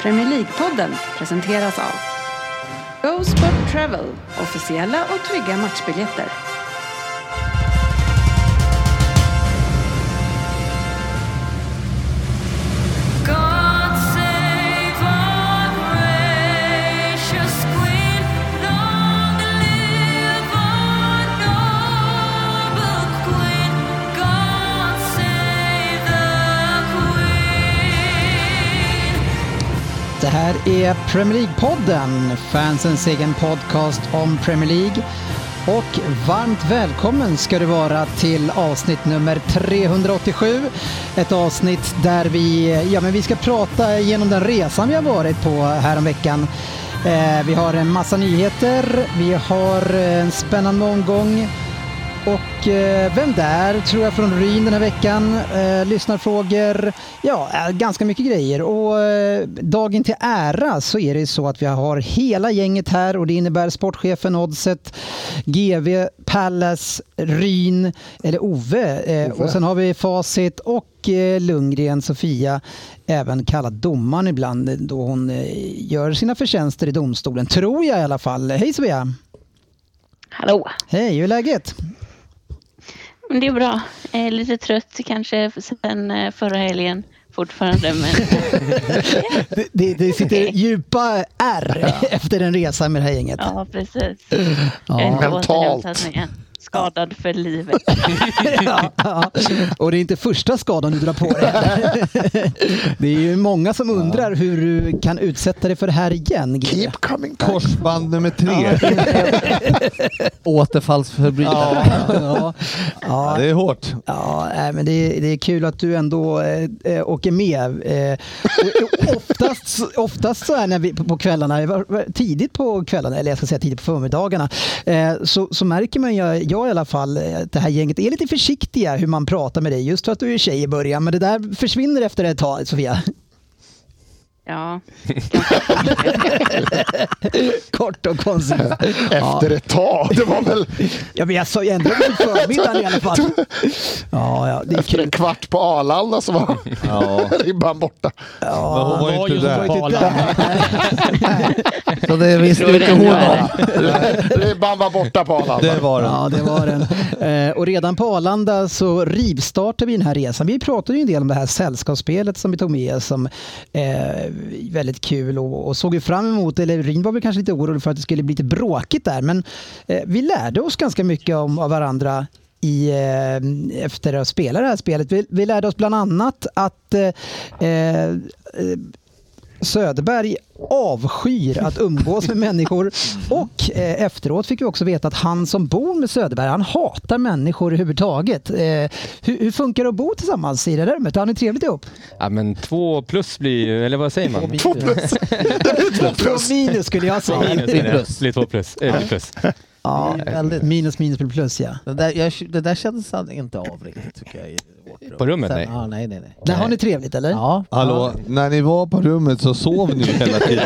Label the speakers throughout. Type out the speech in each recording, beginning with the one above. Speaker 1: Premier League-podden presenteras av Go Sport Travel, officiella och trygga matchbiljetter.
Speaker 2: God save our gracious Queen. Long live our noble Queen. God save the Queen.
Speaker 3: Det här är Premier League-podden, fansens egen podcast om Premier League. Och varmt välkommen ska du vara till avsnitt nummer 387. Ett avsnitt där vi, ja, men vi ska prata genom den resan vi har varit på häromveckan. Eh, vi har en massa nyheter, vi har eh, en spännande omgång och eh, Vem där? tror jag från Ryn den här veckan. Eh, lyssnarfrågor. Ja, eh, ganska mycket grejer. Och eh, Dagen till ära så är det så att vi har hela gänget här och det innebär sportchefen Oddset, GV, Pallas, Ryn, eller Ove. Eh, och sen har vi Facit och eh, Lundgren, Sofia, även kallad domaren ibland då hon eh, gör sina förtjänster i domstolen, tror jag i alla fall. Hej Sofia!
Speaker 4: Hallå!
Speaker 3: Hej, hur är läget?
Speaker 4: Men det är bra. Jag är lite trött kanske sen eh, förra helgen fortfarande. Men
Speaker 3: Det, det, det sitter djupa ärr efter en resa med det här gänget.
Speaker 4: ja, precis. Jag är inte
Speaker 5: Mentalt.
Speaker 4: återhämtat mig än. Skadad för livet.
Speaker 3: Ja. Och det är inte första skadan du drar på dig. Det är ju många som undrar hur du kan utsätta dig för det här igen. Gille.
Speaker 5: Keep coming back.
Speaker 6: Korsband nummer tre. Återfallsförbrytare.
Speaker 3: Ja,
Speaker 6: Ja, det är hårt.
Speaker 3: ja nej, men det, är, det är kul att du ändå eh, eh, åker med. Eh, och- och oftast, så- oftast så här när vi, på, på kvällarna, var- var- tidigt på kvällarna, eller jag ska säga tidigt på förmiddagarna, eh, så, så märker man, jag, jag i alla fall, eh, att det här gänget är lite försiktiga hur man pratar med dig. Just för att du är tjej i början, men det där försvinner efter ett tag, Sofia.
Speaker 4: Ja,
Speaker 3: Kort och koncist.
Speaker 5: Efter ett tag. Det var väl
Speaker 3: Ja, men jag sa ju ändå på förmiddagen i alla fall. Ja, ja, det är
Speaker 5: efter
Speaker 3: kul.
Speaker 5: en kvart på Arlanda så var ribban borta.
Speaker 6: Men hon var ju inte
Speaker 3: Jag var
Speaker 6: där.
Speaker 3: ju inte där.
Speaker 7: Så det visste
Speaker 4: tror
Speaker 7: ju inte
Speaker 4: det
Speaker 7: hon
Speaker 4: nu är
Speaker 7: om.
Speaker 5: ribban var borta på Arlanda.
Speaker 6: Det var den.
Speaker 3: Ja, det var den. Eh, och redan på Arlanda så rivstartade vi den här resan. Vi pratade ju en del om det här sällskapsspelet som vi tog med som eh, väldigt kul och, och såg ju fram emot, eller Ryn var väl kanske lite orolig för att det skulle bli lite bråkigt där, men eh, vi lärde oss ganska mycket om, av varandra i, eh, efter att ha spelat det här spelet. Vi, vi lärde oss bland annat att eh, eh, Söderberg avskyr att umgås med människor och eh, efteråt fick vi också veta att han som bor med Söderberg, han hatar människor överhuvudtaget. Eh, hur, hur funkar det att bo tillsammans i det där rummet? Har ni trevligt ihop?
Speaker 8: Ja men två plus blir ju, eller vad säger man?
Speaker 5: Två plus. Det blir två plus.
Speaker 3: Två minus skulle jag
Speaker 8: Ja,
Speaker 3: säga.
Speaker 8: minus är det. Blir två plus. Eh, blir plus.
Speaker 3: Ja,
Speaker 7: Väldigt.
Speaker 3: minus minus blir plus ja.
Speaker 7: Det där, jag, det där kändes han inte av riktigt tycker jag. I vårt rum.
Speaker 8: På rummet,
Speaker 7: Sen,
Speaker 8: nej.
Speaker 7: Ja, nej, nej, nej.
Speaker 3: Där har ni trevligt eller?
Speaker 7: Ja.
Speaker 6: Hallå, när ni var på rummet så sov ni ju hela tiden.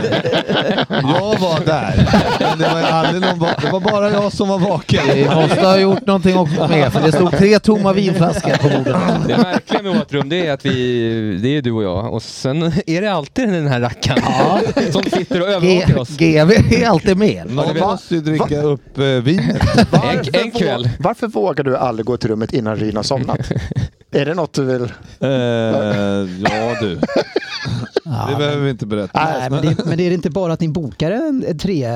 Speaker 6: Jag var där, men det var, ju aldrig någon va- det var bara jag som var
Speaker 7: Vi
Speaker 6: vaken.
Speaker 7: måste ha gjort någonting också med, för det stod tre tomma vinflaskor på bordet.
Speaker 8: Det märkliga med vårt rum det är att vi, det är du och jag och sen är det alltid den här rackaren som sitter och
Speaker 7: G,
Speaker 8: övervakar oss.
Speaker 7: GV är alltid med.
Speaker 6: Någon måste ju dricka upp eh, vinet.
Speaker 8: En, en kväll.
Speaker 5: Varför vågar du aldrig gå till rummet innan Ryn har somnat? Är det något du vill?
Speaker 6: Eh, ja du, det behöver vi inte berätta.
Speaker 3: Nej, men, det, men det är inte bara att ni bokar en en tre,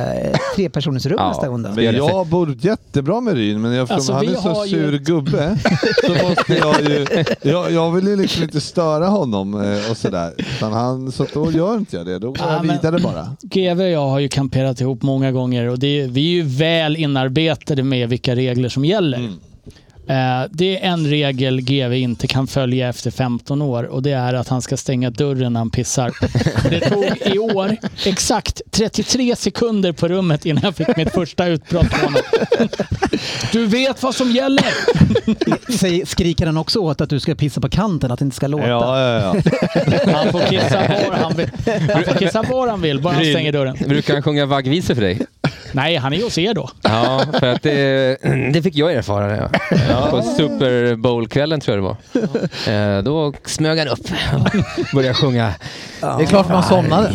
Speaker 3: tre personers rum
Speaker 8: Ja.
Speaker 3: nästa onsdag?
Speaker 6: Men jag bor jättebra med Ryn, men eftersom
Speaker 9: Alltså,
Speaker 6: han
Speaker 9: vi
Speaker 6: är så
Speaker 9: har ju-
Speaker 6: sur gubbe så måste jag ju... Jag, jag vill ju liksom inte störa honom eh, och sådär. Utan han, så att då gör inte jag det. Då går
Speaker 9: Ja,
Speaker 6: jag
Speaker 9: men-
Speaker 6: vidare bara.
Speaker 9: GV och jag har ju kamperat ihop många gånger och det, vi är ju väl inarbetade med vilka regler som gäller. Eh, Det är en regel GV inte kan följa efter 15 år och det är att han ska stänga dörren när han pissar. Det tog i år exakt 33 sekunder på rummet innan jag fick mitt första utbrott på honom. Du vet vad som gäller!
Speaker 3: Säg, skriker han också åt att du ska pissa på kanten, att det inte ska låta?
Speaker 6: Ja, ja, ja.
Speaker 9: Han får kissa var han vill, han får kissa var han vill bara han stänger dörren.
Speaker 8: Brukar han sjunga vaggvisor för dig?
Speaker 9: Nej, han är hos er då.
Speaker 8: Ja, för att det, det fick jag erfara. Ja. På Super Bowl-kvällen tror jag det var. Eh, Då smög han upp och började sjunga.
Speaker 10: Det är klart man somnade.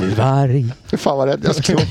Speaker 8: Du varg.
Speaker 5: Fan vad rädd jag skulle bli.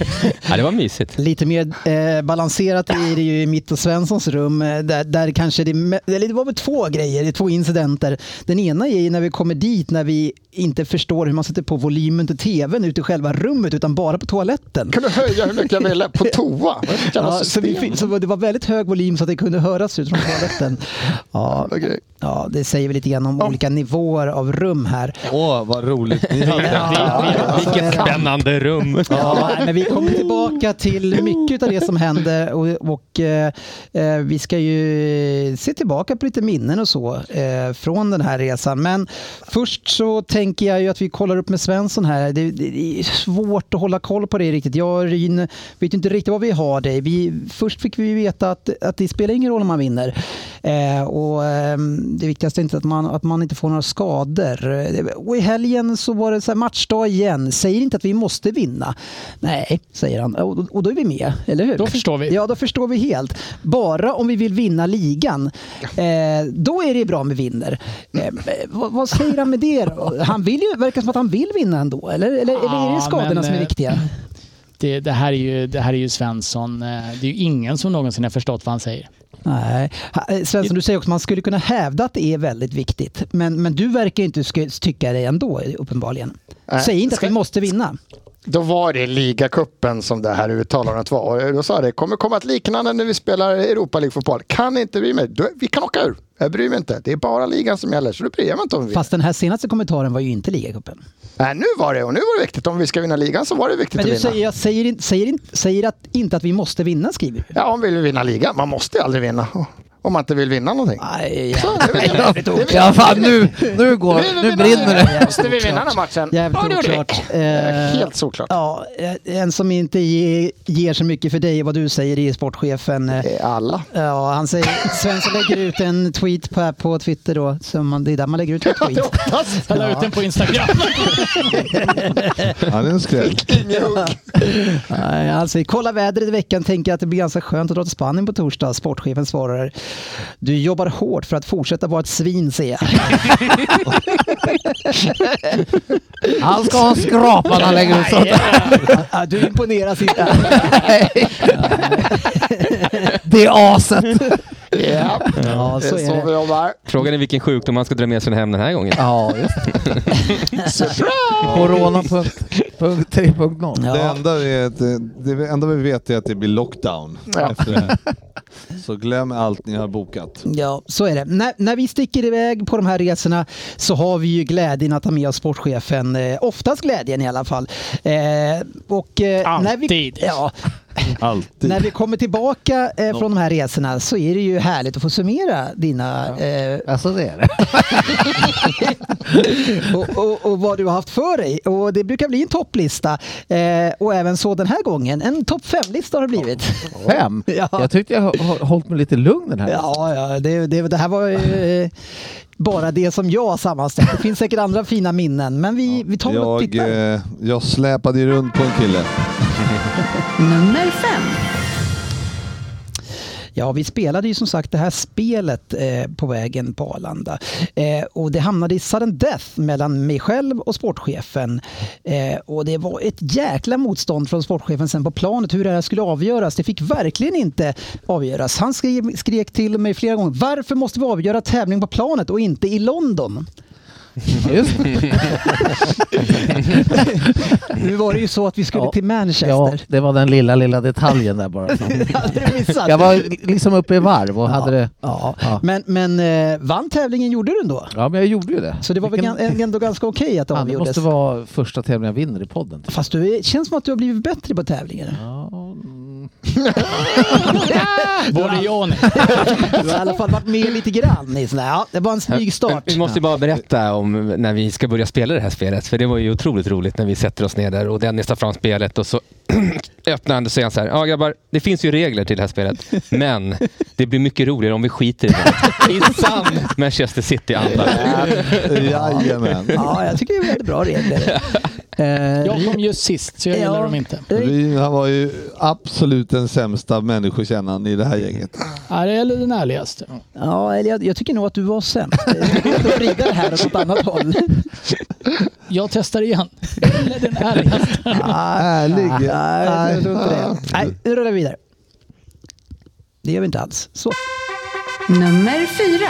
Speaker 8: Ja, det var mysigt.
Speaker 3: Lite mer eh, balanserat blir det ju i mitt och Svenssons rum. eh, Där, där kanske det, me- eller det var väl två grejer, det är två incidenter. Den ena är ju när vi kommer dit när vi inte förstår hur man sätter på volymen till tvn ute i själva rummet utan bara på toaletten.
Speaker 5: kunde höja hur mycket jag ville på toa. Vad är det för jävla
Speaker 3: Ja, så, vi,
Speaker 5: system?
Speaker 3: fi- så det var väldigt hög volym så att det kunde höras ut från toaletten. Ja,
Speaker 5: Okej.
Speaker 3: ja, det säger väl lite grann om olika nivåer av rum här.
Speaker 6: Åh, vad roligt ni hade.
Speaker 8: Vilket spännande rum.
Speaker 3: Ja, nej, men vi kommer tillbaka till mycket av det som händer och, och eh, eh, vi ska ju se tillbaka på lite minnen och så eh, från den här resan. Men först så tänker jag ju att vi kollar upp med Svensson här. Det, det, det är svårt att hålla koll på det riktigt. Jag och Ryn vet ju inte riktigt vad vi har dig. Vi, först fick vi veta att, att det spelar ingen roll om man vinner. Eh, och eh, det viktigaste är inte att man, att man inte får några skador. Eh, Och i helgen så var det så här matchdag igen. Säger inte att vi måste vinna. Nej, säger han. Och, och då är vi med, eller hur?
Speaker 9: Då förstår vi.
Speaker 3: Ja, då förstår vi helt. Bara om vi vill vinna ligan, eh, då är det bra om vi vinner. Eh, vad, vad säger han med det då? Han vill ju, verkar som att han vill vinna ändå, eller? Eller, eller är
Speaker 9: Ja,
Speaker 3: det skadorna
Speaker 9: men,
Speaker 3: som är
Speaker 9: eh,
Speaker 3: viktiga?
Speaker 9: Det, det, här är ju, det här är ju Svensson. eh, Det är ju ingen som någonsin har förstått vad han säger.
Speaker 3: Nej. Ha- eh, Svensson, du säger också att man skulle kunna hävda att det är väldigt viktigt. Men, men du verkar inte sk- tycka det ändå, uppenbarligen.
Speaker 5: Nej.
Speaker 3: Säg inte att vi måste vinna.
Speaker 5: Då var det ligacupen som det här uttalandet var. Och Då sa det, kommer komma ett liknande när vi spelar Europa League-fotboll. Kan inte bry mig. Du- Vi kan åka ur. Jag bryr mig inte. Det är bara ligan som gäller, så då bryr jag mig inte om vi
Speaker 3: Fast den här senaste kommentaren var ju inte ligacupen.
Speaker 5: Nej, nu var det och nu var det viktigt. Om vi ska vinna ligan så var det viktigt
Speaker 3: Men du
Speaker 5: att vinna.
Speaker 3: säger, jag säger, inte- säger, inte- säger att, inte att vi måste vinna, skriver du.
Speaker 5: Ja, om vi vill vinna ligan. Man måste ju aldrig vinna. Om man inte vill vinna någonting.
Speaker 3: Aj,
Speaker 5: Så, det är väl jävligt oklart.
Speaker 10: Ja, fan, nu, nu, går,
Speaker 5: Vi vill
Speaker 10: nu
Speaker 5: vinna
Speaker 10: brinner
Speaker 5: ligan.
Speaker 10: det.
Speaker 5: Måste vi vinna den här matchen?
Speaker 3: Jävligt
Speaker 5: Ja, det gjorde vi.
Speaker 3: oklart.
Speaker 5: Eh,
Speaker 3: Eh,
Speaker 5: Helt såklart.
Speaker 3: Ja, eh, en som inte ge, ger så mycket för dig vad du säger är sportchefen. Eh,
Speaker 5: Eh, Alla.
Speaker 3: Ja, han säger, Svensson lägger ut en tweet på, på Twitter då, som man, det är där man lägger ut en tweet.
Speaker 9: Jag la ut den på Instagram.
Speaker 6: Han är en skräll.
Speaker 3: Nej, Han säger kolla vädret i veckan, tänker att det blir ganska skönt att dra till Spanien på torsdag. Sportchefen svarar, du jobbar hårt för att fortsätta vara ett svin ser jag.
Speaker 10: Han ska ha en skrapa när han lägger ut sånt.
Speaker 3: Ja, du imponeras inte.
Speaker 10: Det är aset.
Speaker 5: Ja,
Speaker 3: Ja,
Speaker 5: det
Speaker 3: så
Speaker 5: är så
Speaker 3: är
Speaker 5: vi
Speaker 3: det.
Speaker 5: jobbar.
Speaker 8: Frågan är vilken sjukdom man ska dra med sig hem den här gången.
Speaker 10: Ja, just Corona punkt- punkt 3.0.
Speaker 6: Det,
Speaker 3: Ja.
Speaker 6: enda vi vet, det enda vi vet är att det blir lockdown
Speaker 5: Ja.
Speaker 6: efter det här. Så glöm allt ni har bokat.
Speaker 3: Ja, så är det. När, när vi sticker iväg på de här resorna så har vi ju glädjen att ha med oss sportchefen. Eh, oftast glädjen i alla fall. Eh, och, eh, när vi,
Speaker 9: Alltid.
Speaker 3: ja,
Speaker 10: Typ.
Speaker 6: Alltid.
Speaker 3: när vi kommer tillbaka eh, från de här resorna så är det ju härligt att få summera dina eh,
Speaker 10: Alltså det är det.
Speaker 3: och, och, och vad du har haft för dig. Och det brukar bli en topplista. Eh, och även så den här gången. En topp fem-lista har det blivit.
Speaker 10: Fem?
Speaker 3: Ja.
Speaker 10: Jag tyckte jag har- har hållit mig lite lugn den här
Speaker 3: Ja, ja det, det, det här var ju eh, bara det som jag sammanställde. Det finns säkert andra fina minnen, men vi, vi tar väl och
Speaker 6: Jag,
Speaker 3: tittar.
Speaker 6: eh, jag släpade ju runt på en kille.
Speaker 1: Nummer fem.
Speaker 3: Ja, vi spelade ju som sagt det här spelet eh, på vägen på Arlanda. Eh, och det hamnade i sudden death mellan mig själv och sportchefen. Eh, och det var ett jäkla motstånd från sportchefen sen på planet hur det här skulle avgöras. Det fick verkligen inte avgöras. Han skrek, skrek till mig flera gånger. Varför måste vi avgöra tävling på planet och inte i London?
Speaker 10: Just det.
Speaker 3: Nu var det ju så att vi skulle
Speaker 10: Ja.
Speaker 3: till
Speaker 10: Ja,
Speaker 3: Manchester.
Speaker 10: det var den lilla, lilla detaljen där bara.
Speaker 3: Det hade du missat.
Speaker 10: Jag var liksom uppe i varv och hade det...
Speaker 3: ja.
Speaker 10: Ja.
Speaker 3: Men, men eh, vann tävlingen gjorde du ändå.
Speaker 10: Ja, men jag gjorde ju det.
Speaker 3: Så det var väl
Speaker 10: Vilken-
Speaker 3: gan- ändå ganska okej att det
Speaker 10: Fan, det
Speaker 3: avgjordes.
Speaker 10: måste vara första tävlingen jag vinner i podden. typ.
Speaker 3: Fast du är, känns som att du har blivit bättre på tävlingar.
Speaker 10: Ja, mm.
Speaker 9: Både jag och ni.
Speaker 3: Du har i alla fall varit med lite grann. I sån här. Ja, det var en snygg start.
Speaker 8: Vi måste ju bara berätta om när vi ska börja spela det här spelet. För det var ju otroligt roligt när vi sätter oss ner där och Dennis tar fram spelet och så öppnar han och säger han så här. Ja grabbar, det finns ju regler till det här spelet. Men det blir mycket roligare om vi skiter i det. I sann Manchester City-anda.
Speaker 6: Jajamän.
Speaker 3: Ja, jag tycker det är väldigt bra regler. Eh,
Speaker 9: Jag kom ju sist, så jag gillar
Speaker 3: Ja.
Speaker 9: dem inte.
Speaker 6: Ryn, han var ju absolut den sämsta människokännaren i det här gänget.
Speaker 9: Ja, det är den ärligaste.
Speaker 3: Ja, eller jag, jag tycker nog att du var sämst. Du kan inte vrida det här åt ett annat håll.
Speaker 9: Jag testar igen. Eller den ärligaste.
Speaker 6: Ärlig.
Speaker 3: Nej, jag tror inte det. Nej, nu rullar vi vidare. Det gör vi inte alls. Så.
Speaker 1: Nummer fyra.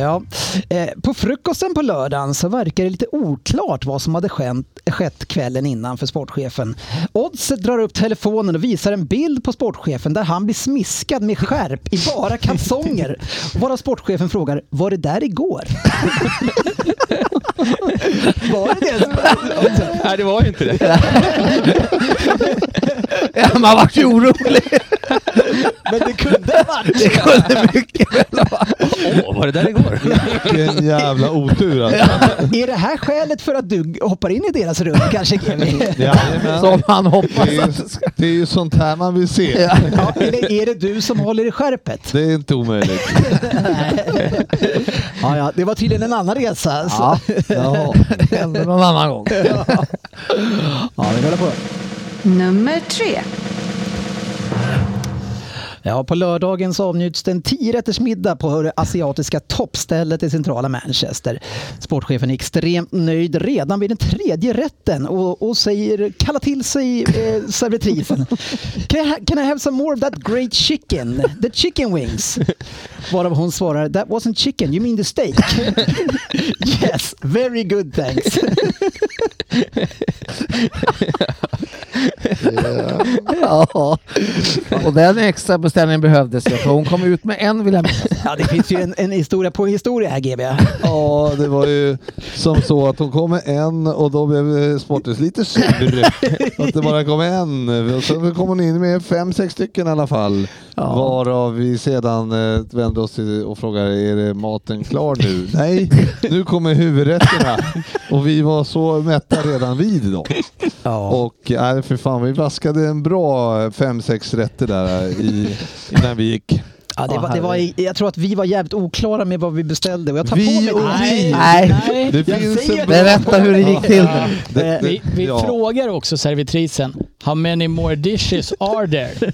Speaker 3: Ja. Eh, på frukosten på lördagen så verkar det lite oklart vad som hade skänt, skett kvällen innan för sportchefen. Oddset drar upp telefonen och visar en bild på sportchefen där han blir smiskad med skärp i bara kalsonger. Varav sportchefen frågar, var det där igår? var det det?
Speaker 8: Nej, det var ju inte det.
Speaker 3: Man vart ju orolig. Men det kunde ha varit det. kunde mycket väl ha varit.
Speaker 8: Åh, var det där igår?
Speaker 6: Vilken jävla otur alltså.
Speaker 3: Är det här skälet för att du hoppar in i deras rum kanske Kevin?
Speaker 6: Jajamän.
Speaker 3: Som han
Speaker 6: Det
Speaker 3: hoppas.
Speaker 6: är, ju, det är ju sånt här man vill se.
Speaker 3: Ja, eller är det du som håller i skärpet?
Speaker 6: Det är inte omöjligt.
Speaker 3: Ja, ja, det var tydligen en annan resa. Så.
Speaker 6: Ja, ja.
Speaker 3: det hände någon annan gång. Ja, ja vi kollar på.
Speaker 1: Nummer tre.
Speaker 3: Ja, på lördagen så avnjuts det en tiorättersmiddag på det asiatiska toppstället i centrala Manchester. Sportchefen är extremt nöjd redan vid den tredje rätten och, och säger, kallar till sig eh, servitrisen. Can I, ha- can I have some more of that great chicken? The chicken wings? Varav hon svarar, that wasn't chicken, you mean the steak? yes, very good thanks.
Speaker 2: Ja, och den extra beställningen behövdes ju, för hon kom ut med en vill jag minnas.
Speaker 3: Ja, det finns ju en, en historia på historia här GB.
Speaker 6: Ja, det var ju som så att hon kom med en och då blev Sportis lite sur. Att det bara kom en. Och så kom hon in med fem, sex stycken i alla fall. Varav vi sedan eh, vände oss till och frågade, är det maten klar nu? Nej, nu kommer huvudrätterna. Och vi var så mätta redan vid dem.
Speaker 3: Ja.
Speaker 6: Och äh, för fan, vi vaskade en bra fem, sex rätter där i, innan vi gick.
Speaker 3: Ja, det var, det var, i- jag tror att vi var jävligt oklara med vad vi beställde och jag tar på
Speaker 6: Vi
Speaker 3: mig
Speaker 6: och
Speaker 3: det.
Speaker 6: vi!
Speaker 2: Nej,
Speaker 9: Nej.
Speaker 6: Det
Speaker 3: jag
Speaker 6: finns
Speaker 3: säger
Speaker 6: en
Speaker 3: det.
Speaker 6: bra...
Speaker 2: berätta hur det gick till.
Speaker 6: Det- det-
Speaker 9: Vi, vi
Speaker 6: ja.
Speaker 9: frågar också servitrisen, how many more dishes are there?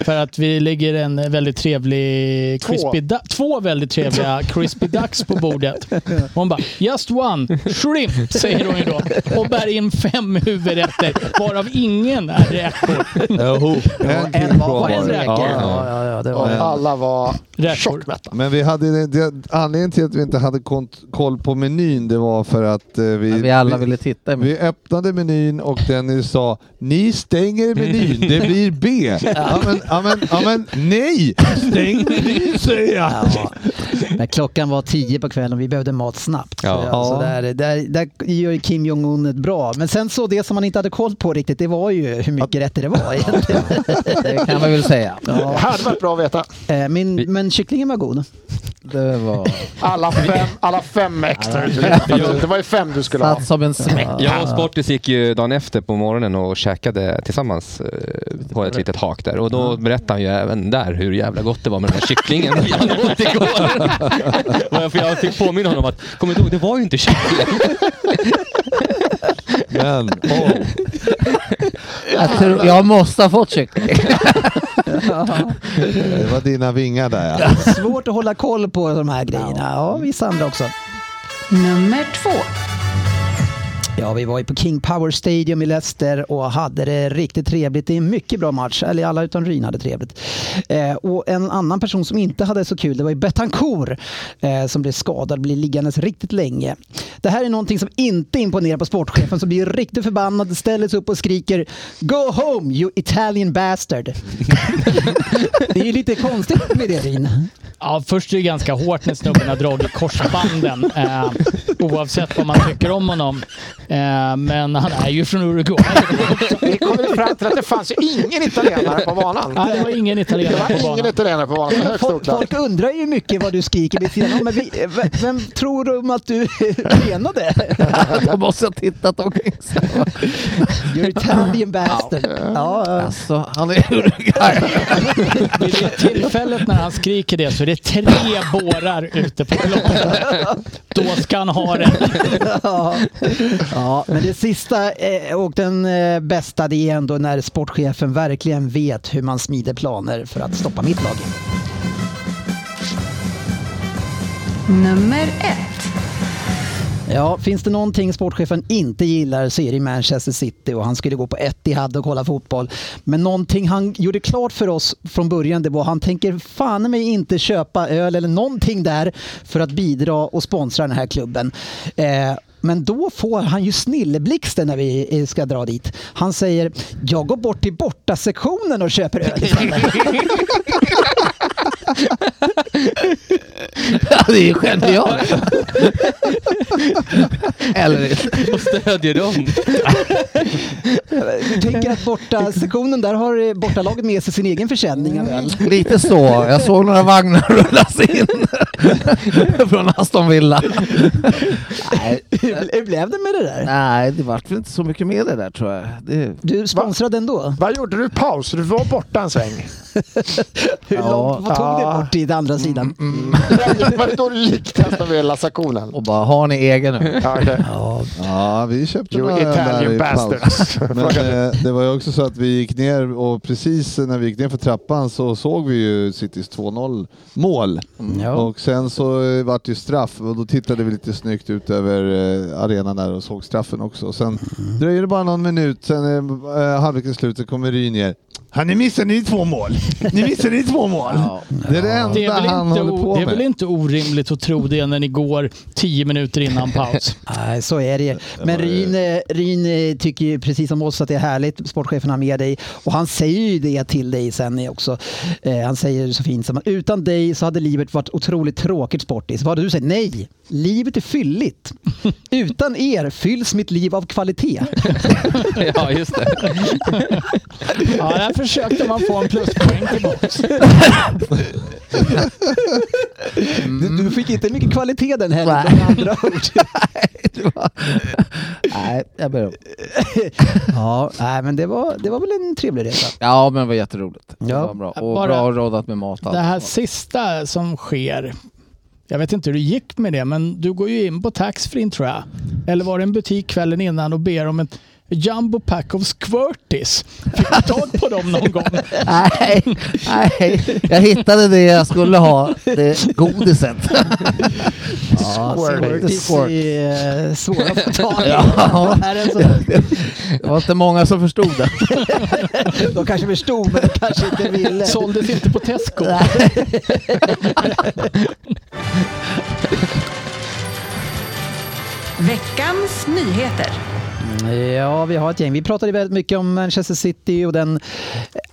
Speaker 9: För att vi ligger en väldigt trevlig crispy två. två väldigt trevliga crispy ducks på bordet. Hon bara, just one, shrimp, säger hon ju då. Och bär in fem huvudrätter, varav ingen är räkor.
Speaker 6: Jo, en
Speaker 3: en
Speaker 6: kul
Speaker 3: var-
Speaker 6: var
Speaker 9: en
Speaker 6: det.
Speaker 9: räkor.
Speaker 6: Ja,
Speaker 3: Ja,
Speaker 6: ja.
Speaker 3: ja, ja, det
Speaker 5: Och
Speaker 3: var det.
Speaker 5: alla var
Speaker 9: räkor.
Speaker 5: tjockmätta.
Speaker 6: Men vi hade, det, anledningen till att vi inte hade kont- koll på menyn det var för att eh, vi,
Speaker 2: Vi alla ville titta. i-
Speaker 6: vi öppnade menyn och Dennis sa ni stänger menyn, det blir B. Ja men, ja, men, ja, men nej! Stäng menyn säger jag!
Speaker 3: Ja. Men klockan var tio på kvällen och vi behövde mat snabbt. Så,
Speaker 8: Ja.
Speaker 3: ja. så där, där, där gör ju Kim Jong-Un ett bra. Men sen så det som man inte hade koll på riktigt, det var ju hur mycket rätter det var egentligen.
Speaker 2: Det kan man väl säga.
Speaker 5: Det hade varit bra att veta.
Speaker 3: Eh, Min, men kycklingen var god.
Speaker 2: Det var
Speaker 5: Alla fem, alla fem extra. Det var ju fem du skulle ha.
Speaker 2: satt som en smäck.
Speaker 8: Jag och Sportis gick ju dagen efter på morgonen och käkade tillsammans eh, på ett litet hak där. Och då berättade han ju även där hur jävla gott det var med den där kycklingen vi hade åt igår. Och jag- för jag fick påminna honom att, kommer du ihåg, det var ju inte kyckling.
Speaker 6: Men, åh.
Speaker 2: Jag, tror, jag måste ha fått kyckling.
Speaker 6: det var dina vingar där ja.
Speaker 3: Svårt att hålla koll på de här grejerna. Ja, vissa andra också.
Speaker 1: Nummer två.
Speaker 3: Ja, vi var ju på King Power Stadium i Leicester och hade det riktigt trevligt. Det är en mycket bra match. Eller alla utan Ryn hade trevligt. Eh, och en annan person som inte hade så kul, det var ju Betancourt eh, som blev skadad, blev liggandes riktigt länge. Det här är någonting som inte imponerar på sportchefen som blir riktigt förbannad, ställer sig upp och skriker Go home you Italian bastard! det är ju lite konstigt med det Ryn.
Speaker 9: Ja, först är det ganska hårt när snubben har dragit korsbanden. Eh, oavsett vad man tycker om honom. Eh, men han är ju från Uruguay.
Speaker 5: Vi kom ju fram till att det fanns ju ingen italienare på banan.
Speaker 9: Nej, det var ingen
Speaker 5: Det
Speaker 9: italienare på
Speaker 5: var ingen
Speaker 9: banan.
Speaker 5: italienare på banan. Högst
Speaker 3: Folk,
Speaker 5: oklart.
Speaker 3: folk undrar ju mycket vad du skriker vid sidan om, men vi, vem, vem tror de att du menade?
Speaker 2: De måste ha tittat omkring sig.
Speaker 3: You're Italian bastard. Ja, ja.
Speaker 2: Alltså, han är Uruguay.
Speaker 9: Vid det tillfället när han skriker det så är det tre bårar ute på planen. Då ska han ha den.
Speaker 3: ja. Ja, men det sista eh, och den eh, bästa det är ändå när sportchefen verkligen vet hur man smider planer för att stoppa mitt lag.
Speaker 1: Nummer ett.
Speaker 3: Ja, finns det någonting sportchefen inte gillar så är det Manchester City och han skulle gå på Etihad och kolla fotboll. Men någonting han gjorde klart för oss från början det var han tänker fan i mig inte köpa öl eller någonting där för att bidra och sponsra den här klubben. Eh, men då får han ju snilleblixten när vi eh, ska dra dit. Han säger jag går bort till bortasektionen och köper öl istället.
Speaker 2: Ja, det är ju genialt! Eller
Speaker 8: Och stödjer dem.
Speaker 3: Jag tänker att bortasektionen, där har eh, bortalaget med sig sin egen försäljning av öl.
Speaker 2: lite så. Jag såg några vagnar rullas in från Aston Villa. Nej,
Speaker 3: Hur hur blev det med det där?
Speaker 2: nej, det vart väl inte så mycket med det där tror jag. Det,
Speaker 3: Du sponsrade ändå?
Speaker 5: Vad gjorde du paus? Du var borta en sväng.
Speaker 3: Hur
Speaker 2: Ja.
Speaker 3: långt vad tog det
Speaker 5: Ja.
Speaker 3: bort till den andra sidan?
Speaker 5: Var det då du gick till Aston Villa sektionen?
Speaker 2: och bara, har ni egen nu?
Speaker 5: Ja, okej.
Speaker 6: Ja, vi köpte
Speaker 5: You
Speaker 6: några öl där
Speaker 5: Italian
Speaker 6: i paus.
Speaker 5: bastards.
Speaker 6: Men eh, det var ju också så att vi gick ner och precis när vi gick ner för trappan så såg vi ju Citys 2-0 mål. Och sen så eh, vart det ju straff och då tittade vi lite snyggt ut över eh, arenan där och såg straffen också. Och sen
Speaker 11: Mm.
Speaker 6: dröjer det bara någon minut, sen eh, eh, halvleken slut så kommer Ryn ner. "Ja, Ni missade ni två mål! Ni missade ni två mål! Det är det enda
Speaker 9: Det är, väl
Speaker 6: han
Speaker 9: inte,
Speaker 6: håller
Speaker 9: o-
Speaker 6: på
Speaker 9: det är
Speaker 6: med.
Speaker 9: väl inte orimligt att tro det när ni går tio minuter innan paus.
Speaker 3: Nej, så är det ju. Men Ryn, eh, Ryn eh, tycker ju precis som oss att det är härligt. Sportchefen har med dig och han säger ju det till dig sen också. Eh, Han säger så fint som att utan dig så hade livet varit otroligt tråkigt sportis. Vad hade du sagt? Nej, livet är fylligt. Utan er fylls mitt liv av kvalitet.
Speaker 8: ja, just det.
Speaker 9: Ja, där försökte man få en pluspoäng tillbaks.
Speaker 3: Du, du fick inte mycket kvalitet den heller.
Speaker 2: Nej.
Speaker 3: med andra ord.
Speaker 2: Det var- nej, jag ber om.
Speaker 3: Ja, nej, men det var, det var väl en trevlig resa.
Speaker 2: Ja, men det var jätteroligt. Det
Speaker 3: Ja.
Speaker 2: var bra. Och
Speaker 9: Bara-
Speaker 2: bra roddat med mat.
Speaker 9: Det här sista som sker, jag vet inte hur det gick med det, men du går ju in på taxfree tror jag. Eller var det en butik kvällen innan och ber om ett jumbo pack of squirties. Fick du tag på dem någon gång?
Speaker 2: Nej, nej, jag hittade det jag skulle ha, det godiset. Ja,
Speaker 3: Squirties är eh, svåra att få tag i.
Speaker 2: Ja.
Speaker 3: Här är en sån-
Speaker 2: Det var inte många som förstod det.
Speaker 3: De kanske förstod men de kanske inte ville.
Speaker 9: Såldes inte på Tesco.
Speaker 1: Veckans nyheter.
Speaker 3: Ja, vi har ett gäng. Vi pratade väldigt mycket om Manchester City och den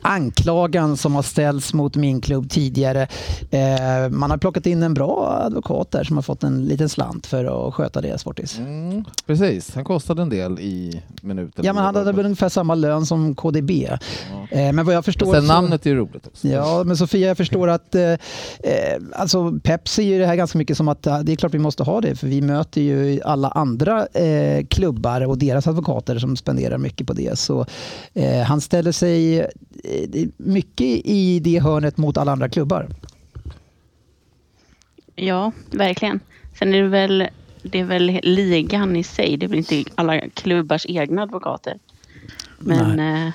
Speaker 3: anklagan som har ställts mot min klubb tidigare. Eh, Man har plockat in en bra advokat där som har fått en liten slant för att sköta det, Sportis.
Speaker 2: Mm, precis, han kostade en del i minuter.
Speaker 3: Ja, men han hade väl ungefär samma lön som KDB. Eh, Men vad jag förstår...
Speaker 2: Och sen
Speaker 3: så-
Speaker 2: namnet är ju roligt också.
Speaker 3: Ja, men Sofia, jag förstår att eh, eh, alltså Pepsi är ju det här ganska mycket som att eh, det är klart vi måste ha det, för vi möter ju alla andra eh, klubbar och deras advokater som spenderar mycket på det. Så eh, han ställer sig eh, det är mycket i det hörnet mot alla andra klubbar.
Speaker 4: Ja, verkligen. Sen är det väl, det är väl ligan i sig. Det är väl inte alla klubbars egna advokater. Men eh,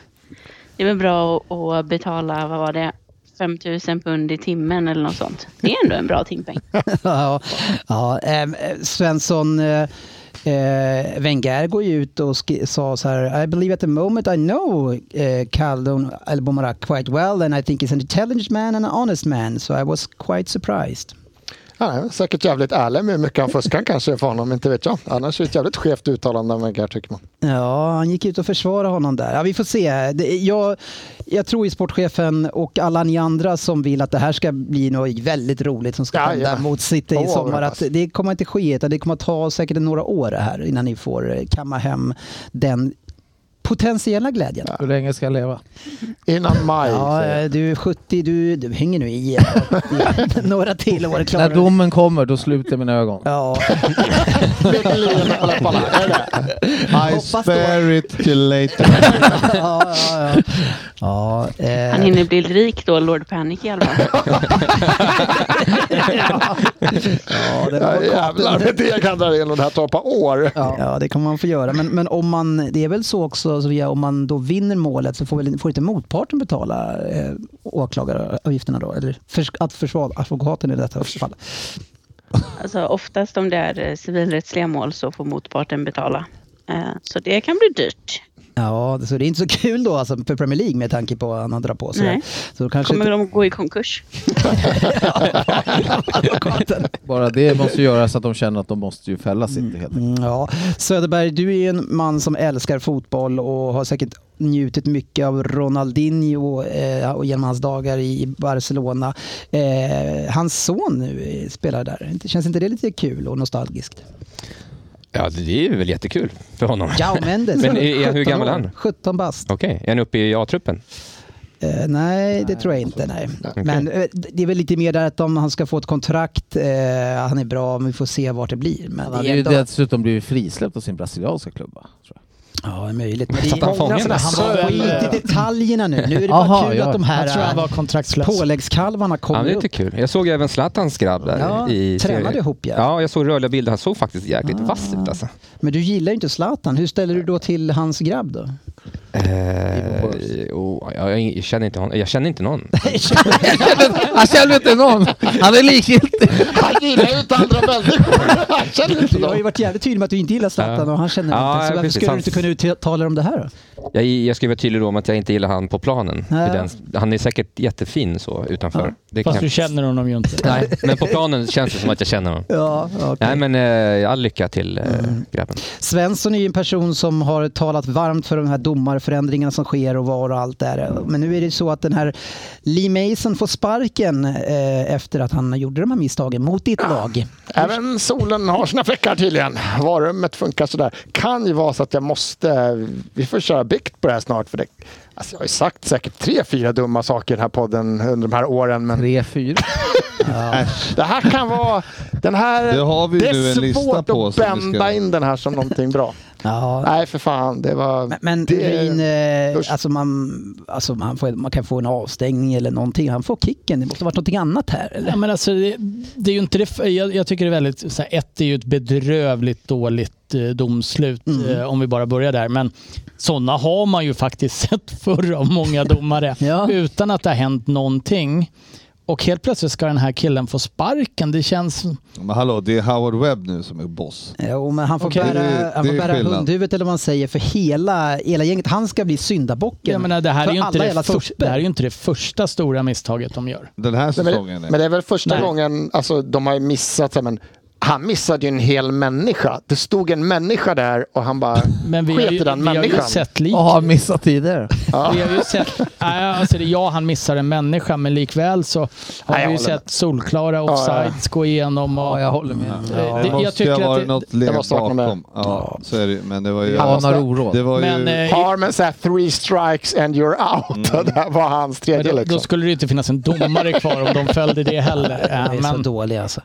Speaker 4: det är väl bra att- att betala, vad var det, 5 000 pund i timmen eller något sånt. Det är ändå en bra timpeng.
Speaker 3: ja, ja, ehm, eh, Svensson eh, eh, Wenger går ju ut och sk- sa så här I believe at the moment I know eh, Khaldun Al-Bomarak quite well and I think he's an intelligent man and an honest man so I was quite surprised.
Speaker 5: Han är säkert jävligt ärlig med hur mycket han fuskar kanske för honom, inte vet jag. Annars är det ett jävligt skevt uttalande av Wenger tycker man.
Speaker 3: Ja, han gick ut och försvarade honom där. Ja, vi får se. Det, jag, jag tror ju sportchefen och alla ni andra som vill att det här ska bli något väldigt roligt som ska
Speaker 5: Ja,
Speaker 3: hända
Speaker 5: ja.
Speaker 3: mot City i
Speaker 5: Åh,
Speaker 3: sommar.
Speaker 5: vad
Speaker 3: Att
Speaker 5: hoppas.
Speaker 3: det kommer inte ske, utan det kommer att ta säkert några år här innan ni får eh, kamma hem den potentiella glädjen.
Speaker 11: Hur länge ska jag leva?
Speaker 5: Innan maj.
Speaker 3: Ja,
Speaker 5: säger jag.
Speaker 3: eh, du är 70, du, du hänger nu i eh, några till år. Klarar
Speaker 11: När
Speaker 3: du.
Speaker 11: domen kommer, då sluter mina ögon.
Speaker 3: Ja,
Speaker 5: Med leende på läpparna. Är det?
Speaker 6: I spare it till later.
Speaker 3: ja, ja. ja. ja eh,
Speaker 4: Han hinner bli rik då, Lord Panic i alla fall.
Speaker 3: ja, det
Speaker 5: Ja,
Speaker 3: var
Speaker 5: jävlar, det är det jag kan dra igenom det här tar ett par år.
Speaker 3: Ja. det kommer man få göra. Men, men om man, det är väl så också, Sofia, om man då vinner målet så får, väl, får inte motparten betala eh, åklagaravgifterna då? Eller förs, att försvarsadvokaten i detta fall?
Speaker 4: Alltså, oftast om det är eh, civilrättsliga mål så får motparten betala. Eh, Så det kan bli dyrt.
Speaker 3: Ja, så det är inte så kul då alltså, för Premier League med tanke på vad han har dragit på sig.
Speaker 4: Nej.
Speaker 3: Så då kanske
Speaker 4: Kommer
Speaker 3: inte-
Speaker 4: de gå i konkurs?
Speaker 3: advokaten.
Speaker 11: Bara det måste göras så att de känner att de måste ju fälla sitt helt enkelt.
Speaker 3: Mm, Ja, Söderberg, du är ju en man som älskar fotboll och har säkert njutit mycket av Ronaldinho eh, och genom hans dagar i Barcelona. Eh, hans son nu eh, spelar där. Inte- Känns inte det lite kul och nostalgiskt?
Speaker 8: Ja, det är ju väl jättekul för honom.
Speaker 3: Jao Mendes.
Speaker 8: Men är- är- hur
Speaker 3: 17
Speaker 8: gammal är
Speaker 3: år.
Speaker 8: han?
Speaker 3: 17 bast.
Speaker 8: Okej, är han uppe i A-truppen?
Speaker 3: Eh, nej, det tror jag inte. Nej. Men eh, det är väl lite mer där att om han ska få ett kontrakt, eh, han är bra, men vi får se vart det blir. Men
Speaker 11: Han
Speaker 3: det
Speaker 11: hade
Speaker 3: är
Speaker 11: ju
Speaker 3: ändå-
Speaker 11: dessutom blivit frisläppt av sin brasilianska klubba. Tror
Speaker 3: Ja, det är möjligt. Men
Speaker 8: Satt
Speaker 3: det
Speaker 8: han
Speaker 3: är
Speaker 8: fången?
Speaker 3: många sådana här-
Speaker 9: Söder-
Speaker 3: Skit i detaljerna nu. Nu är det
Speaker 11: Aha,
Speaker 3: bara kul
Speaker 11: ja.
Speaker 3: att de
Speaker 9: Jag tror han
Speaker 3: här
Speaker 9: var
Speaker 3: eh,
Speaker 9: kontraktlös.
Speaker 3: påläggskalvarna
Speaker 8: Ja, det
Speaker 3: kommer
Speaker 8: är
Speaker 3: upp.
Speaker 8: lite kul. Jag såg även Zlatans grabb där.
Speaker 3: Ja,
Speaker 8: i
Speaker 3: tränade
Speaker 8: serien.
Speaker 3: ihop, ja.
Speaker 8: Ja, jag såg rörliga bilder. Han såg faktiskt jäkligt vass ut alltså.
Speaker 3: Men du gillar ju inte Zlatan. Hur ställer du då till hans grabb då? Ah.
Speaker 8: Eh, oh, jag, jag, känner inte hon, jag känner inte någon.
Speaker 11: jag. Han känner inte någon! Han är likgiltig!
Speaker 5: Han gillar ju inte andra människor. Han känner inte
Speaker 3: Du har ju
Speaker 5: dem.
Speaker 3: varit jävligt tydlig med att du inte gillar Zlatan
Speaker 8: Ja.
Speaker 3: och han känner
Speaker 8: Ja,
Speaker 3: inte. Så
Speaker 8: ja,
Speaker 3: varför
Speaker 8: precis.
Speaker 3: skulle du
Speaker 8: Han-
Speaker 3: inte kunna uttala om det här då?
Speaker 8: Jag, jag ska vara tydlig då med att jag inte gillar han på planen.
Speaker 3: Ja.
Speaker 8: I Den, han är säkert jättefin så utanför. Det
Speaker 9: Fast
Speaker 8: kan-
Speaker 9: du känner honom ju inte.
Speaker 8: Nej, men på planen känns det som att jag känner honom.
Speaker 3: Ja, okej.
Speaker 8: Nej men eh, all lycka till eh,
Speaker 3: Mm.
Speaker 8: grabben.
Speaker 3: Svensson är ju en person som har talat varmt för de här domarförändringarna som sker och var och allt där. Men nu är det så att den här Lee Mason får sparken eh, efter att han gjorde de här misstagen mot ditt lag.
Speaker 5: Även solen har sina fläckar tydligen. Varummet funkar sådär. Kan ju vara så att jag måste... Vi får köra bikt på det här snart. För det, alltså jag har ju sagt säkert tre, fyra dumma saker i den här podden under de här åren. Men
Speaker 11: 3-4.
Speaker 5: det här kan vara... Den här,
Speaker 6: Det har vi
Speaker 5: det är
Speaker 6: nu en
Speaker 5: svårt
Speaker 6: lista på
Speaker 5: att
Speaker 6: som vi ska-
Speaker 5: bända in den här som någonting bra.
Speaker 3: Ja.
Speaker 5: Nej, för fan. Det var...
Speaker 3: Men, men
Speaker 5: det,
Speaker 3: Ulin,
Speaker 5: usch.
Speaker 3: eh, alltså man, alltså man, får, man kan få en avstängning eller någonting. Han får kicken. Det måste ha varit någonting annat här. Eller?
Speaker 9: Ja, men alltså, det, det är ju inte det, jag, jag tycker det är väldigt, så här, ett är ju ett bedrövligt dåligt eh, domslut
Speaker 3: Mm.
Speaker 9: eh, om vi bara börjar där. Men sådana har man ju faktiskt sett förr av många domare
Speaker 3: Ja.
Speaker 9: utan att det har hänt någonting. Och helt plötsligt ska den här killen få sparken. Det känns...
Speaker 6: Men hallå, det är Howard Webb nu som är boss.
Speaker 3: Jo, men han får
Speaker 9: Okej.
Speaker 3: bära,
Speaker 6: Det är-
Speaker 3: han
Speaker 6: det
Speaker 3: får
Speaker 6: är
Speaker 3: bära
Speaker 6: skillnad.
Speaker 3: hundhuvudet eller vad man säger för hela, hela gänget. Han ska bli syndabocken.
Speaker 9: Jag menar, det, här
Speaker 3: för
Speaker 9: är ju inte
Speaker 3: alla jävla
Speaker 9: det, först,
Speaker 3: sopper.
Speaker 9: det här är ju inte det första stora misstaget de gör.
Speaker 6: Den här
Speaker 5: Nej,
Speaker 6: säsongen.
Speaker 5: Men, men det är väl första
Speaker 9: Nej.
Speaker 5: gången, alltså de har ju missat det, men han missade ju en hel människa. Det stod en människa där och han bara
Speaker 9: Men vi, har
Speaker 5: sket
Speaker 9: ju,
Speaker 5: i den
Speaker 9: vi har ju
Speaker 5: människan.
Speaker 9: sett lik.
Speaker 11: Och har missat tidigare.
Speaker 9: Vi har ju sett, nej, alltså det, ja han missar en människa men likväl så har
Speaker 5: Nej, jag
Speaker 9: vi ju
Speaker 5: håller
Speaker 9: sett solklara offsides gå igenom. Och,
Speaker 11: Ja, jag håller med.
Speaker 9: Eh,
Speaker 6: Det
Speaker 9: det- jag
Speaker 6: måste ju
Speaker 9: tycker
Speaker 6: ha
Speaker 9: att
Speaker 6: varit
Speaker 9: det-
Speaker 6: något led
Speaker 5: Jag måste vakna med.
Speaker 6: bakom. Ja, så är det ju. Men det var ju...
Speaker 5: Han måste-
Speaker 11: Anar oråd.
Speaker 6: Det var ju...
Speaker 9: Men, eh,
Speaker 5: Harmon sa three strikes and you're out. Och det var hans
Speaker 9: men
Speaker 5: tredje
Speaker 9: då,
Speaker 5: liksom.
Speaker 9: då skulle det ju inte finnas en domare kvar om de följde det heller.
Speaker 3: Ja,
Speaker 9: Eh,
Speaker 3: det är så
Speaker 9: Men,
Speaker 3: dåliga alltså.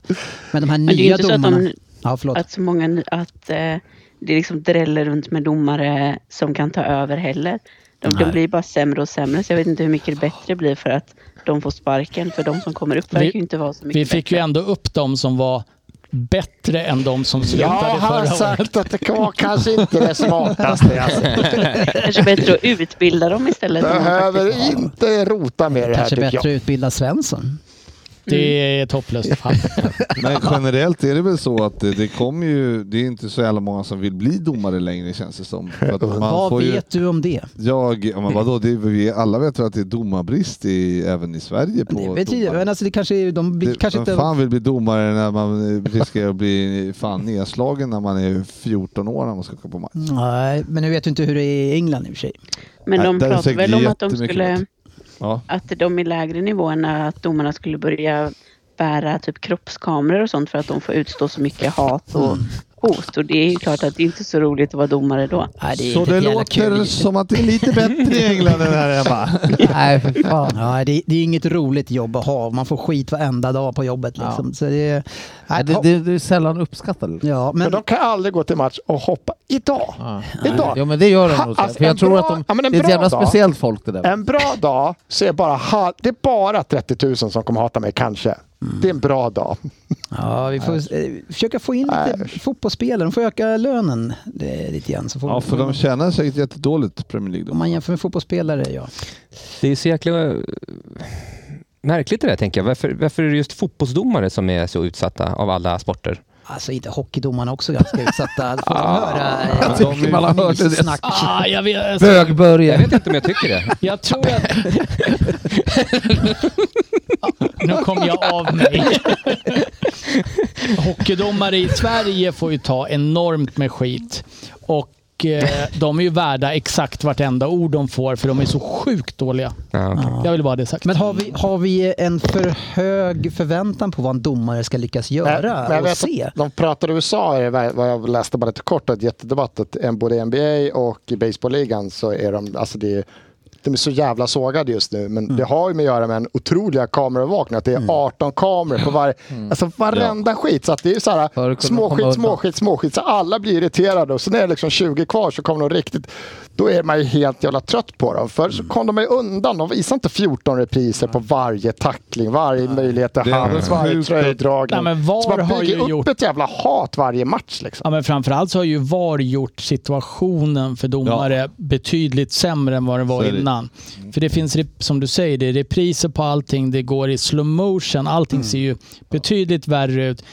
Speaker 3: Men de här
Speaker 4: Men det är ju
Speaker 3: nya
Speaker 4: inte så att,
Speaker 3: domarna.
Speaker 4: de,
Speaker 3: Ja, förlåt.
Speaker 4: att så många, ny- att eh, det liksom dräller runt med domare som kan ta över heller. De, de blir bara sämre och sämre så jag vet inte hur mycket bättre blir för att de får sparken. För de som kommer upp verkar ju inte vara så mycket
Speaker 9: vi fick ju ändå upp de som var bättre än de som
Speaker 5: Ja,
Speaker 9: slutade
Speaker 5: han har
Speaker 9: förra året.
Speaker 5: sagt att det var kanske inte det smartaste. Alltså.
Speaker 4: bättre. Kanske bättre att utbilda dem istället. om de faktiskt-
Speaker 5: Behöver inte rota med det här
Speaker 3: Kanske
Speaker 5: tycker
Speaker 3: bättre att
Speaker 5: jag.
Speaker 3: utbilda Svensson.
Speaker 9: Det är ett hopplöst fall.
Speaker 6: Men generellt är det väl så att det, det kommer ju, det är inte så jävla många som vill bli domare längre känns det som. För att man
Speaker 3: Vad
Speaker 6: får ju,
Speaker 3: vet du om det?
Speaker 6: jag, ja, men vadå, det är, vi alla vet väl att det är domarbrist i, även i Sverige på
Speaker 3: Det betyder,
Speaker 6: domare.
Speaker 3: men alltså det kanske, är- de
Speaker 6: Det,
Speaker 3: vi kanske
Speaker 6: vem
Speaker 3: inte...
Speaker 6: fan vill bli domare när man eh, riskerar att bli fan nedslagen när man är 14 år när man ska gå på match?
Speaker 3: Nej, men nu vet du inte hur det är i England i och för sig.
Speaker 4: Men
Speaker 6: Nej,
Speaker 4: de
Speaker 6: där är
Speaker 4: pratade
Speaker 6: säkert
Speaker 4: väl om att de
Speaker 6: jättemycket
Speaker 4: skulle,
Speaker 6: bättre. Ja.
Speaker 4: att de i lägre nivåerna, att domarna
Speaker 3: Mm.
Speaker 4: skulle börja bära typ kroppskameror och sånt för att de får utstå så mycket hat och host och det är ju klart att det är inte så roligt att vara domare då.
Speaker 3: Nej, det är
Speaker 6: Så
Speaker 3: inte
Speaker 6: det
Speaker 3: ett jävla kul
Speaker 6: låter
Speaker 3: liv.
Speaker 6: som att det är lite bättre i England än här hemma.
Speaker 2: Nej, för fan.
Speaker 3: Ja, det, det är inget roligt jobb att ha. Man får skit varenda dag på jobbet. Liksom. Så det,
Speaker 2: Nej, det, det, det är sällan uppskattat.
Speaker 3: ja,
Speaker 5: Men
Speaker 3: men,
Speaker 5: de kan aldrig gå till match och hoppa idag.
Speaker 2: Ja.
Speaker 5: Idag.
Speaker 2: Jo men det gör de
Speaker 5: Ha,
Speaker 2: nog. säkert.
Speaker 5: alltså,
Speaker 2: För
Speaker 5: en
Speaker 2: jag tror
Speaker 5: bra-
Speaker 2: att de,
Speaker 5: ja, men en
Speaker 2: det är ett
Speaker 5: bra
Speaker 2: jävla
Speaker 5: dag.
Speaker 2: speciellt folk det där.
Speaker 5: En bra dag så är bara ha- det är bara 30 000 som kommer hata mig, kanske.
Speaker 2: Mm.
Speaker 5: Det är en bra dag.
Speaker 3: ja, vi får eh, försöka få in lite fotbollsspelare. De får öka lönen eh, lite grann. Så får
Speaker 6: Ja, för de tjänar säkert jättedåligt Premier League.
Speaker 3: Om
Speaker 6: Då.
Speaker 3: man jämför med fotbollsspelare, ja.
Speaker 8: Det är ju så jäkla eh, märkligt det där, tänker jag. Varför, varför är det just fotbollsdomare som är så utsatta av alla sporter?
Speaker 3: Alltså inte hockeydomarna också ganska utsatta. Då får de höra eh,
Speaker 6: Jag tycker man har hört det.
Speaker 3: snack.
Speaker 9: Ah, jag, vet, alltså,
Speaker 8: Jag
Speaker 2: Bögbörje.
Speaker 8: vet inte om jag tycker det.
Speaker 9: jag tror att... nu kom jag av mig. Hockeydomare i Sverige får ju ta enormt med skit. Och eh, de är ju värda exakt vartenda ord de får för de är så sjukt dåliga.
Speaker 8: Ja, okej.
Speaker 9: Jag vill bara ha det sagt.
Speaker 3: Men har vi, har vi en för hög förväntan på vad en domare ska lyckas göra
Speaker 5: jag
Speaker 3: och
Speaker 5: vet att
Speaker 3: se?
Speaker 5: De pratar i USA, är det vad jag läste bara lite kort, att jättedebatt att en- både i NBA och i baseballligan så är de, alltså det är, de är så jävla sågade just nu, men det har ju med att göra med en otroliga kameraövervakning, att det är 18 kameror på varje, alltså varenda skit. Så att det är så
Speaker 2: För
Speaker 5: här,
Speaker 2: att kunna komma
Speaker 5: småskit,
Speaker 2: undan.
Speaker 5: småskit, småskit, så alla blir irriterade och sen är det liksom 20 kvar så kommer de riktigt, då är man ju helt jävla trött på dem. Förr så kom de ju undan, de visade inte 14 repriser på varje tackling, varje möjlighet till
Speaker 6: Det är
Speaker 5: hands, varje
Speaker 6: sjukt.
Speaker 5: tröjdragning.
Speaker 9: Nej, men VAR
Speaker 5: så man
Speaker 9: har
Speaker 5: bygger
Speaker 9: ju
Speaker 5: upp
Speaker 9: gjort-
Speaker 5: ett jävla hat varje match. Liksom.
Speaker 9: Ja, men framförallt så har ju VAR gjort situationen för domare betydligt sämre än vad den var
Speaker 6: Så är det. Mm.
Speaker 9: innan. För det finns, rep- som du säger, det är repriser på allting, det går i slow motion, allting
Speaker 6: Mm.
Speaker 9: ser ju betydligt värre ut.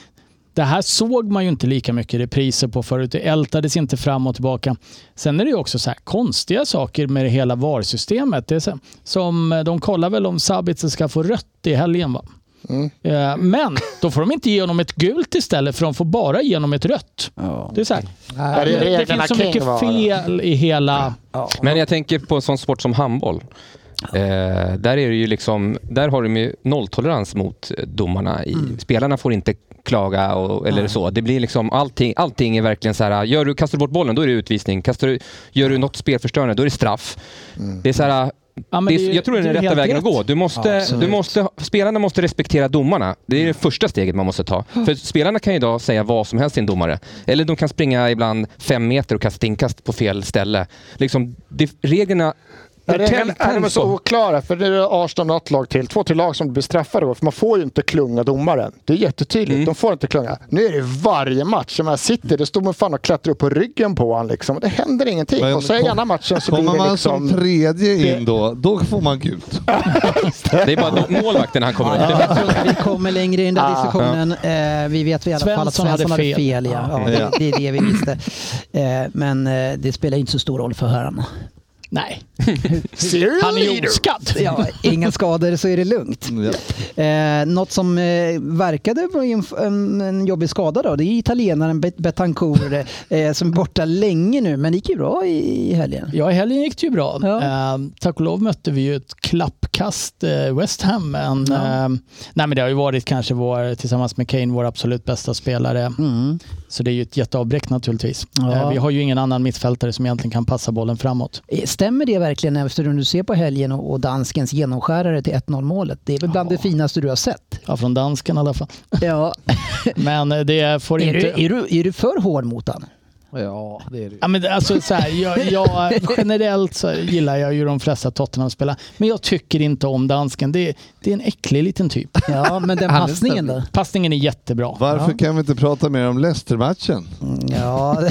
Speaker 9: Det här såg man ju inte lika mycket repriser på förut. Det ältades inte fram och tillbaka. Sen är det ju också så här konstiga saker med det hela VAR-systemet. Det är så här, som eh, de kollar väl om Sabitzer ska få rött i helgen va?
Speaker 6: Mm.
Speaker 9: Eh, Men då får de inte ge honom ett gult istället för de får bara ge honom ett rött. Det är så här.
Speaker 5: Där är
Speaker 9: Äh, Det, det
Speaker 5: reglerna
Speaker 9: finns så
Speaker 5: kring
Speaker 9: mycket
Speaker 5: var det.
Speaker 9: fel i hela...
Speaker 8: Men jag tänker på en sån sport som handboll. Eh, där, är det ju liksom, där har de ju nolltolerans mot eh, domarna. I, Spelarna får inte klaga och, eller så. Det blir liksom allting, allting är verkligen så här, gör du, kastar du bort bollen då är det utvisning. Kastar du, gör du något spelförstörande då är det straff. Det är så här,
Speaker 9: Ja, men
Speaker 8: det är,
Speaker 9: det är-
Speaker 8: jag tror det är den
Speaker 9: det är
Speaker 8: rätta
Speaker 9: helt
Speaker 8: vägen att
Speaker 9: rätt.
Speaker 8: gå. Du måste, du måste, spelarna måste respektera domarna. Det är det första steget man måste ta. För spelarna kan ju idag säga vad som helst till en domare. Eller de kan springa ibland fem meter och kasta inkast på fel ställe. Liksom, det, reglerna...
Speaker 5: Ja, Reglerna Äh,
Speaker 8: Tänd-
Speaker 5: är
Speaker 8: tänd
Speaker 5: de så
Speaker 8: på.
Speaker 5: oklara, för det är Arsenal något lag till, två till lag som blir straffade då, för man får ju inte klunga domaren. Det är jättetydligt,
Speaker 9: Mm.
Speaker 5: de får inte klunga. Nu är det varje match, som här sitter, det står man fan och klättrar upp på ryggen på honom liksom. Det händer ingenting.
Speaker 6: Men
Speaker 5: och så är
Speaker 6: kom-
Speaker 5: ena matchen så blir
Speaker 6: Kommer
Speaker 5: det
Speaker 6: man
Speaker 5: liksom...
Speaker 6: som tredje in då, då får man gult.
Speaker 8: Det är bara de- målvakten han kommer åt.
Speaker 3: Jag tror att vi kommer längre i den där diskussionen. Eh, vi vet i alla fall att
Speaker 9: Svensson hade
Speaker 3: Svensson hade fel.
Speaker 9: fel.
Speaker 3: ja. Ja,
Speaker 6: Ja.
Speaker 3: det, det är det vi visste. Eh, men eh, det spelar inte så stor roll för hörarna.
Speaker 9: Nej,
Speaker 5: Serial
Speaker 9: han är ju
Speaker 5: leader!
Speaker 9: oskadd.
Speaker 3: Ja, inga skador så är det lugnt.
Speaker 6: Mm, Ja.
Speaker 3: Eh, något som eh, verkade vara en, en, en jobbig skada då, det är italienaren Bet- Betancourt eh, som är borta länge nu, men det gick ju bra i, i helgen.
Speaker 9: Ja, i helgen gick det ju bra.
Speaker 3: Ja.
Speaker 9: Eh, tack och lov mötte vi ju ett klappkast eh, West Ham. En, eh, nej, men det har ju varit kanske vår, tillsammans med Kane vår absolut bästa spelare.
Speaker 3: Mm.
Speaker 9: Så det är ju ett jätteavbräck naturligtvis.
Speaker 3: Ja.
Speaker 9: Eh, vi har ju ingen annan mittfältare som egentligen kan passa bollen framåt.
Speaker 3: Eh, Stämmer det verkligen efter du ser på helgen och, och danskens genomskärare till 1-0 målet? Det är väl bland det finaste du har sett?
Speaker 9: Ja, från dansken i alla fall.
Speaker 3: Ja.
Speaker 9: Men eh, det får
Speaker 3: är,
Speaker 9: inte...
Speaker 3: du, är, du, är du för hård mot han?
Speaker 2: Ja, det är det ju.
Speaker 9: Ja, men det- alltså, så här, jag, jag, generellt så gillar jag ju de flesta Tottenham-spelarna, men jag tycker inte om dansken. Det, är- det är en äcklig liten typ.
Speaker 3: Ja, men den
Speaker 2: Han är
Speaker 3: passningen då?
Speaker 2: stämd.
Speaker 9: Passningen är jättebra.
Speaker 6: Varför kan vi inte prata mer om Leicester-matchen?
Speaker 3: Ja,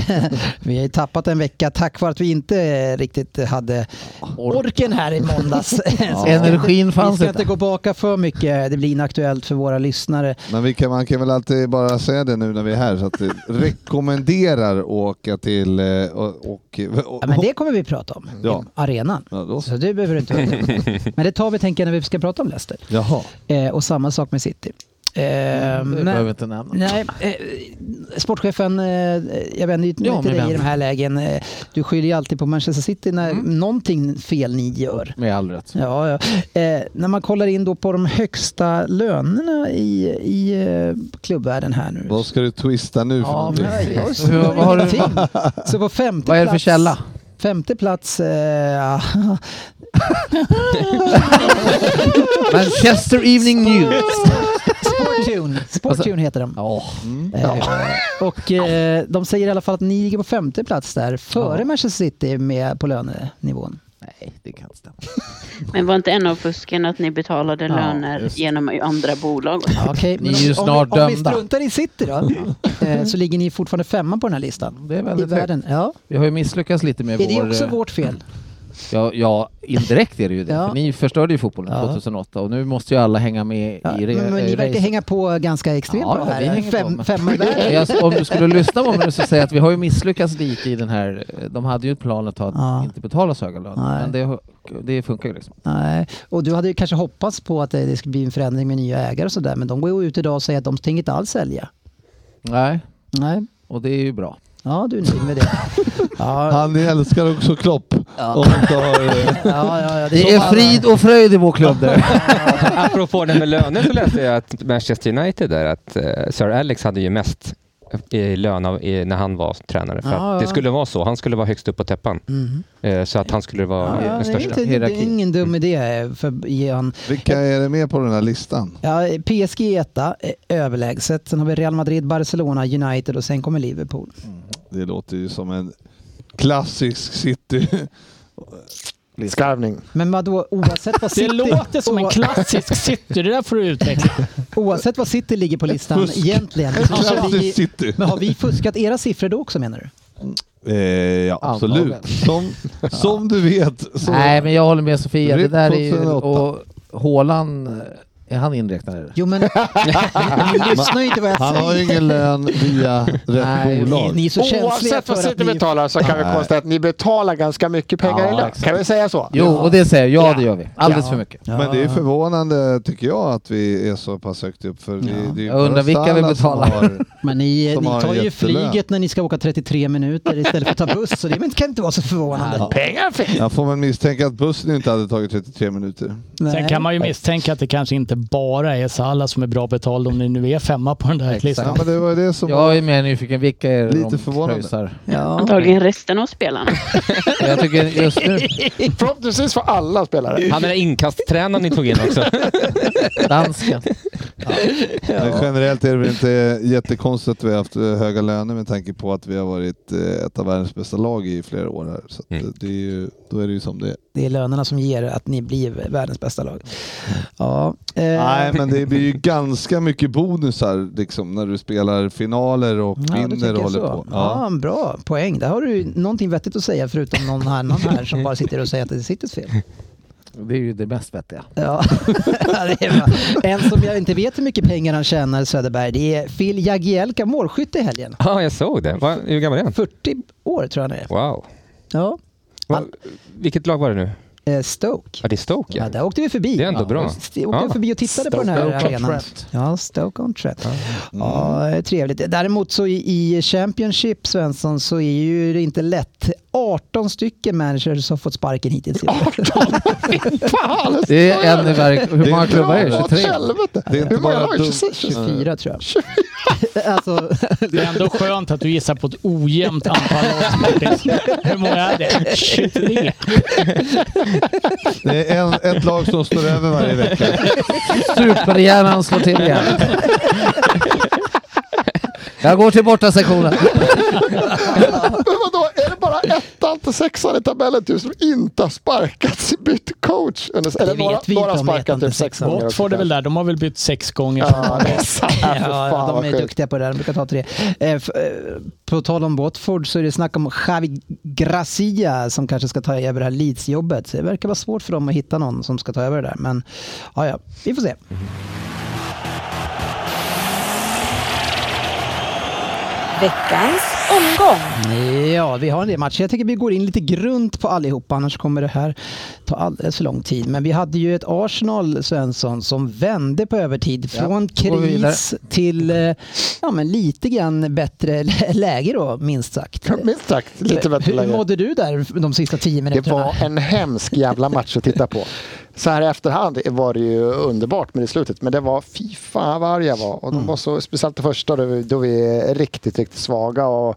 Speaker 3: vi har ju tappat en vecka tack vare att vi inte eh, riktigt hade orken här i måndags. Så vi ska inte-
Speaker 2: Energin fanns
Speaker 3: Vi ska
Speaker 2: inte.
Speaker 3: inte gå baka för mycket, det blir inaktuellt för våra lyssnare.
Speaker 6: Men vi kan, man kan väl alltid bara säga det nu när vi är här, så att det rekommenderar att åka till... eh, Och, och, och,
Speaker 3: Ja, men det kommer vi prata om,
Speaker 6: Ja.
Speaker 3: arenan.
Speaker 6: Ja, då så.
Speaker 3: Så det behöver du inte vara orolig för. Men det tar vi tänker jag, när vi ska prata om Leicester.
Speaker 6: Jaha.
Speaker 3: Eh, och samma sak med City. Eh,
Speaker 2: Mm, Det behöver inte nämna.
Speaker 3: Nej, eh, sportchefen, eh, jag vänder ju mig
Speaker 2: Ja,
Speaker 3: till
Speaker 2: min
Speaker 3: dig
Speaker 2: vän.
Speaker 3: i de här lägen. Eh, Du skyller ju alltid på Manchester City när någonting fel ni gör.
Speaker 2: Mm. Med all rätt.
Speaker 3: Ja, ja. Eh, när man kollar in då på de högsta lönerna i, i eh, klubbvärlden här nu.
Speaker 6: Vad ska du twista nu för
Speaker 3: Ja,
Speaker 6: någonting?
Speaker 3: men jag
Speaker 2: Hur- vad har
Speaker 3: har
Speaker 2: du-
Speaker 3: du... Så på femte
Speaker 2: Vad är det för
Speaker 3: plats-
Speaker 2: källa?
Speaker 3: Femte plats... Eh,
Speaker 2: Manchester Evening News. Alltså,
Speaker 3: Sporttune. Sporttune heter den.
Speaker 2: Ja.
Speaker 3: Eh, Och eh, de säger i alla fall att ni ligger på femte plats där, före
Speaker 2: Ja.
Speaker 3: Manchester City med på lönenivån.
Speaker 2: Nej, det kan inte stämma.
Speaker 4: Men var inte en av fusken att ni betalade
Speaker 3: Ja,
Speaker 4: löner genom andra bolag? och så?
Speaker 3: Okej,
Speaker 2: Ni är
Speaker 3: men
Speaker 2: ju
Speaker 3: om-
Speaker 2: snart
Speaker 3: om, vi- om vi
Speaker 2: dömda.
Speaker 3: struntar i City då, eh, så ligger ni fortfarande femma på den här listan.
Speaker 2: Det är
Speaker 3: I
Speaker 2: väldigt högt.
Speaker 3: världen. Ja.
Speaker 2: Vi har ju misslyckats lite med
Speaker 3: Är det
Speaker 2: vår...
Speaker 3: också
Speaker 2: eh,
Speaker 3: vårt fel?
Speaker 2: Ja, ja, indirekt är det ju det.
Speaker 3: Ja.
Speaker 2: För ni förstörde ju fotbollen
Speaker 3: Ja.
Speaker 2: 2008 och nu måste ju alla hänga med
Speaker 3: Ja,
Speaker 2: i re-
Speaker 3: men, men ni
Speaker 2: eh,
Speaker 3: verkar
Speaker 2: racet.
Speaker 3: hänga på ganska extremt
Speaker 2: Ja,
Speaker 3: bra
Speaker 2: ja, vi
Speaker 3: här.
Speaker 2: hänger på,
Speaker 3: Fem,
Speaker 2: men-
Speaker 3: femma i världen.
Speaker 2: Jag, om du skulle lyssna på mig nu så säger jag att vi har ju misslyckats lite i den här... De hade ju ett plan att ta,
Speaker 3: Ja.
Speaker 2: inte betala så höga löner,
Speaker 3: Nej.
Speaker 2: men det, det funkar ju liksom.
Speaker 3: Nej, och du hade ju kanske hoppats på att det, det skulle bli en förändring med nya ägare och sådär, men de går ju ut idag och säger att de tänker inte alls sälja.
Speaker 2: Nej,
Speaker 3: Nej,
Speaker 2: och det är ju bra.
Speaker 3: ja du är nöjd med det. Ja,
Speaker 6: Han älskar också Klopp. Och han tar, eh,
Speaker 3: ja, ja, ja,
Speaker 2: Det är frid och fröjd i vår klubb där.
Speaker 8: Apropå det med löner så läste jag att Manchester United där, att eh, Sir Alex hade ju mest eh, i lön av, i, när han var tränare. För
Speaker 3: Ja,
Speaker 8: att det
Speaker 3: ja.
Speaker 8: skulle vara så. Han skulle vara högst upp på täppan.
Speaker 3: Mhm.
Speaker 8: Eh, så att han skulle vara
Speaker 3: Ja,
Speaker 8: den
Speaker 3: det, är
Speaker 8: största.
Speaker 3: inte, det är
Speaker 2: Hierarki.
Speaker 3: ingen dum idé för Jan.
Speaker 6: vilka är det med på den här listan?
Speaker 3: Ja, PSG är etta, eh, överlägset. Sen har vi Real Madrid, Barcelona, United och sen kommer Liverpool.
Speaker 6: Det låter ju som en klassisk city.
Speaker 5: Skarvning.
Speaker 3: Men vadå, oavsett vad
Speaker 9: Det
Speaker 3: City...
Speaker 9: låter som en klassisk city, det där får du utveckla.
Speaker 3: Oavsett vad City ligger på listan
Speaker 6: Fusk.
Speaker 3: egentligen. Så har
Speaker 6: Klassisk
Speaker 3: vi,
Speaker 6: city.
Speaker 3: men har vi fuskat era siffror då också menar du?
Speaker 6: Eh, ja, absolut. Som, som du vet. Så,
Speaker 2: Nej, men jag håller med Sofia. Det
Speaker 6: Ryck
Speaker 2: där är ju...
Speaker 6: 2008.
Speaker 2: Och Haaland, är han inräknad? eller?
Speaker 3: Jo men ni lyssnar ju inte vad jag
Speaker 6: han har
Speaker 3: säger.
Speaker 6: ju ingen lön via rätt
Speaker 2: Nej,
Speaker 6: bolag.
Speaker 3: Ni är så känsliga
Speaker 5: Oavsett vad
Speaker 3: för att
Speaker 5: City
Speaker 3: ni...
Speaker 5: betalar så kan vi
Speaker 6: Nej.
Speaker 5: konstatera att ni betalar ganska mycket pengar
Speaker 2: Ja,
Speaker 5: i lön.
Speaker 2: exakt.
Speaker 5: Kan vi säga så?
Speaker 2: Jo, och det säger jag. Ja, det gör vi. Alldeles för mycket.
Speaker 6: Men det är förvånande tycker jag att vi är så pass högt upp. För det, det är ju
Speaker 2: Jag undrar
Speaker 6: bara
Speaker 2: vilka vi
Speaker 6: Salah som
Speaker 2: betalar.
Speaker 6: har-
Speaker 3: Men ni,
Speaker 6: Som
Speaker 3: ni
Speaker 6: har
Speaker 3: tar ju
Speaker 6: jättelön.
Speaker 3: flyget när ni ska åka 33 minuter istället för att ta buss så det men det kan inte vara så förvånande.
Speaker 5: Pengar finns.
Speaker 6: Jag får väl misstänka att bussen inte hade tagit 33 minuter.
Speaker 3: Nej.
Speaker 9: Sen kan man ju misstänka att det kanske inte bara är Salah som är bra betald om ni nu är femma på den där
Speaker 2: Exakt.
Speaker 6: Ja,
Speaker 9: listan.
Speaker 6: men det var ju det som var...
Speaker 2: Jag är mer nyfiken. Vilka är det
Speaker 6: Lite
Speaker 2: de
Speaker 6: förvånande.
Speaker 2: pröjsar?
Speaker 3: Ja.
Speaker 4: Antagligen resten av spelarna.
Speaker 2: Jag tycker just nu...
Speaker 5: Förhoppningsvis för alla spelare.
Speaker 8: Han är den inkasttränaren ni tog in också.
Speaker 2: Dansken.
Speaker 6: Men generellt är det väl inte jättekonstigt att vi har haft eh, höga löner med tanke på att vi har varit eh, ett av världens bästa lag i flera år här. Så att eh,
Speaker 8: Mm.
Speaker 6: det är ju, då är det ju som det är.
Speaker 3: Det är lönerna som ger att ni blir världens bästa lag. Ja, eh,
Speaker 6: Nej, men det blir ju ganska mycket bonusar liksom, när du spelar finaler och
Speaker 3: ja, du
Speaker 6: vinner
Speaker 3: tänker
Speaker 6: och håller
Speaker 3: så.
Speaker 6: på.
Speaker 2: Ah.
Speaker 3: Ja.
Speaker 6: Ja.
Speaker 3: bra poäng. Där har du ju någonting vettigt att säga förutom någon annan här som bara sitter och säger att det är Citys fel.
Speaker 2: Det är ju det mest vettiga.
Speaker 3: Ja. det är bra. En som jag inte vet hur mycket pengar han tjänar, Söderberg, det är Phil Jagielka, målskytt i helgen.
Speaker 8: Ja, jag såg det. Va, hur gammal är han?
Speaker 3: 40 år tror jag han är.
Speaker 8: Wow.
Speaker 3: Ja.
Speaker 8: Va, vilket lag var det nu?
Speaker 3: Eh, Stoke.
Speaker 8: Ja, det är Stoke.
Speaker 3: Ja,
Speaker 8: Ja.
Speaker 3: där åkte vi förbi.
Speaker 8: Det är ändå
Speaker 3: ja,
Speaker 8: bra.
Speaker 3: visst. Det åkte
Speaker 8: Ja.
Speaker 3: jag förbi och tittade på den här
Speaker 2: Stoke on
Speaker 3: arenan.
Speaker 2: Trent.
Speaker 3: Ja, Stoke on Trent. Ja, det är trevligt. Däremot så i i Championship, Svensson, så är ju det inte lätt. 18 stycken managers har fått sparken hittills. i år.
Speaker 5: Fan,
Speaker 2: Det är en i varje... Hur många klubbar är det?
Speaker 5: åt
Speaker 2: 23?
Speaker 5: helvete.
Speaker 6: Det är inte
Speaker 5: Hur många
Speaker 6: bara
Speaker 5: lag?
Speaker 6: dumt.
Speaker 5: 26?
Speaker 3: 24 tror jag. alltså,
Speaker 9: Det är ändå skönt att du gissar på ett ojämnt antal avspartis. Hur många är det? 23.
Speaker 6: Det är en, ett lag som står över varje vecka.
Speaker 2: Superhjärnan slår till igen. Jag går till borta sektionen.
Speaker 5: Men vadå, är det bara ettan till sexan i tabellen typ som inte har sparkats, bytt coach? Eller, eller
Speaker 3: vet
Speaker 5: några,
Speaker 3: vi inte
Speaker 5: några
Speaker 3: om ettan
Speaker 5: sparkat
Speaker 3: till
Speaker 5: typ sex
Speaker 3: sexan.
Speaker 5: gånger. också,
Speaker 9: Watford är väl
Speaker 5: kanske.
Speaker 9: där. De har väl bytt sex gånger.
Speaker 5: Ja, det är sant. Ja, för fan,
Speaker 3: ja,
Speaker 5: vad
Speaker 3: de är
Speaker 5: sjukt.
Speaker 3: duktiga på det där. De brukar ta tre. Eh, f- eh, på tal om Watford så är det snack om Javi Gracia som kanske ska ta över det här Leeds-jobbet. Så Det verkar vara svårt för dem att hitta någon som ska ta över det där. Men ja, ja, vi får se.
Speaker 12: Veckans
Speaker 13: omgång.
Speaker 3: Ja, vi har en del matcher. Jag tänker vi går in lite grunt på allihopa, annars kommer det här ta alldeles för lång tid. Men vi hade ju ett Arsenal, Svensson, som vände på övertid
Speaker 2: Ja,
Speaker 3: från
Speaker 2: då går vi vidare.
Speaker 3: kris till eh, ja, men lite grann bättre lä- läge då, minst sagt.
Speaker 5: Minst sagt, lite bättre
Speaker 3: Hur
Speaker 5: läge.
Speaker 3: mådde du där de sista tio
Speaker 5: Det
Speaker 3: minuterna?
Speaker 5: var en hemsk jävla match att titta på. Så här i efterhand var det ju underbart med det slutet, men det var fy fan vad arg jag var. Och de
Speaker 3: Mm.
Speaker 5: var så, speciellt det första då vi, då vi är riktigt, riktigt svaga och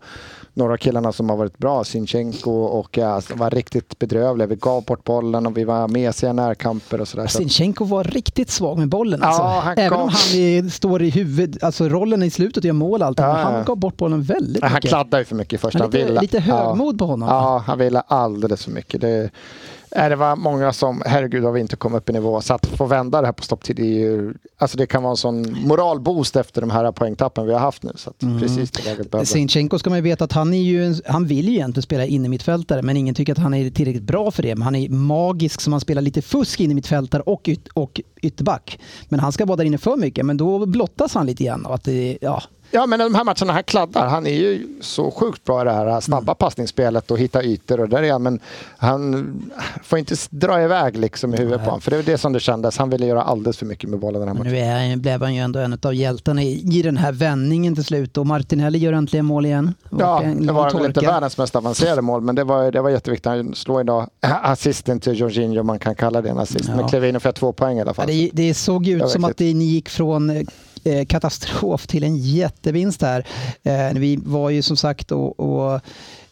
Speaker 5: några av killarna som har varit bra, Sinchenko och eh, alltså, var riktigt bedrövliga. Vi gav bort bollen och vi var mesiga i närkamper och sådär. Så att-
Speaker 3: Sinchenko var riktigt svag med bollen.
Speaker 5: Ja,
Speaker 3: Alltså.
Speaker 5: han
Speaker 3: Även
Speaker 5: gav-
Speaker 3: om han i, står i huvud, alltså rollen i slutet och gör mål och allt. men
Speaker 5: Ja, ja.
Speaker 3: Han gav bort bollen väldigt
Speaker 5: Han
Speaker 3: mycket.
Speaker 5: kladdade ju för mycket i första.
Speaker 3: Men lite-
Speaker 5: Han ville-
Speaker 3: lite högmod på honom.
Speaker 5: Ja, han ville alldeles för mycket. Det, nej, det var många som, herregud har vi inte kommit upp i nivå. Så att få vända det här på stopptid är ju, alltså det kan vara en sån moralboost efter de här poängtappen vi har haft nu. Så att
Speaker 3: Mm.
Speaker 5: precis det läget behöver.
Speaker 3: Sinchenko ska man ju veta att han, är ju en, han vill ju egentligen spela in i mittfältare men ingen tycker att han är tillräckligt bra för det. Men han är magisk som han spelar lite fusk in i mittfältare och, yt, och ytterback. Men han ska vara där inne för mycket men då blottas han lite igen. Och att det, ja.
Speaker 5: Ja, men de här matcherna, han kladdar. Han är ju så sjukt bra i det här
Speaker 3: Mm.
Speaker 5: snabba passningsspelet och hitta ytor och där är han. Men han får inte s- dra iväg liksom i huvudet på honom. För det är det som det kändes. Han ville göra alldeles för mycket med bollen den här matchen.
Speaker 3: Nu är, han- blev han ju ändå en av hjältarna i, i den här vändningen till slut och Martinelli gör äntligen mål igen. Och
Speaker 5: Ja,
Speaker 3: en
Speaker 5: det
Speaker 3: lång
Speaker 5: var väl inte
Speaker 3: torka.
Speaker 5: världens mest avancerade mål, men det var, det var jätteviktigt. Han slår idag assisten till Jorginho, om man kan kalla det en assist.
Speaker 3: Ja.
Speaker 5: Men klev in och fick två poäng i alla
Speaker 3: Ja,
Speaker 5: fall.
Speaker 3: det, det såg ju
Speaker 5: Det
Speaker 3: ut
Speaker 5: var
Speaker 3: som att
Speaker 5: riktigt.
Speaker 3: det, ni gick från eh, katastrof till en jättevinst här. Eh, vi var ju som sagt och, och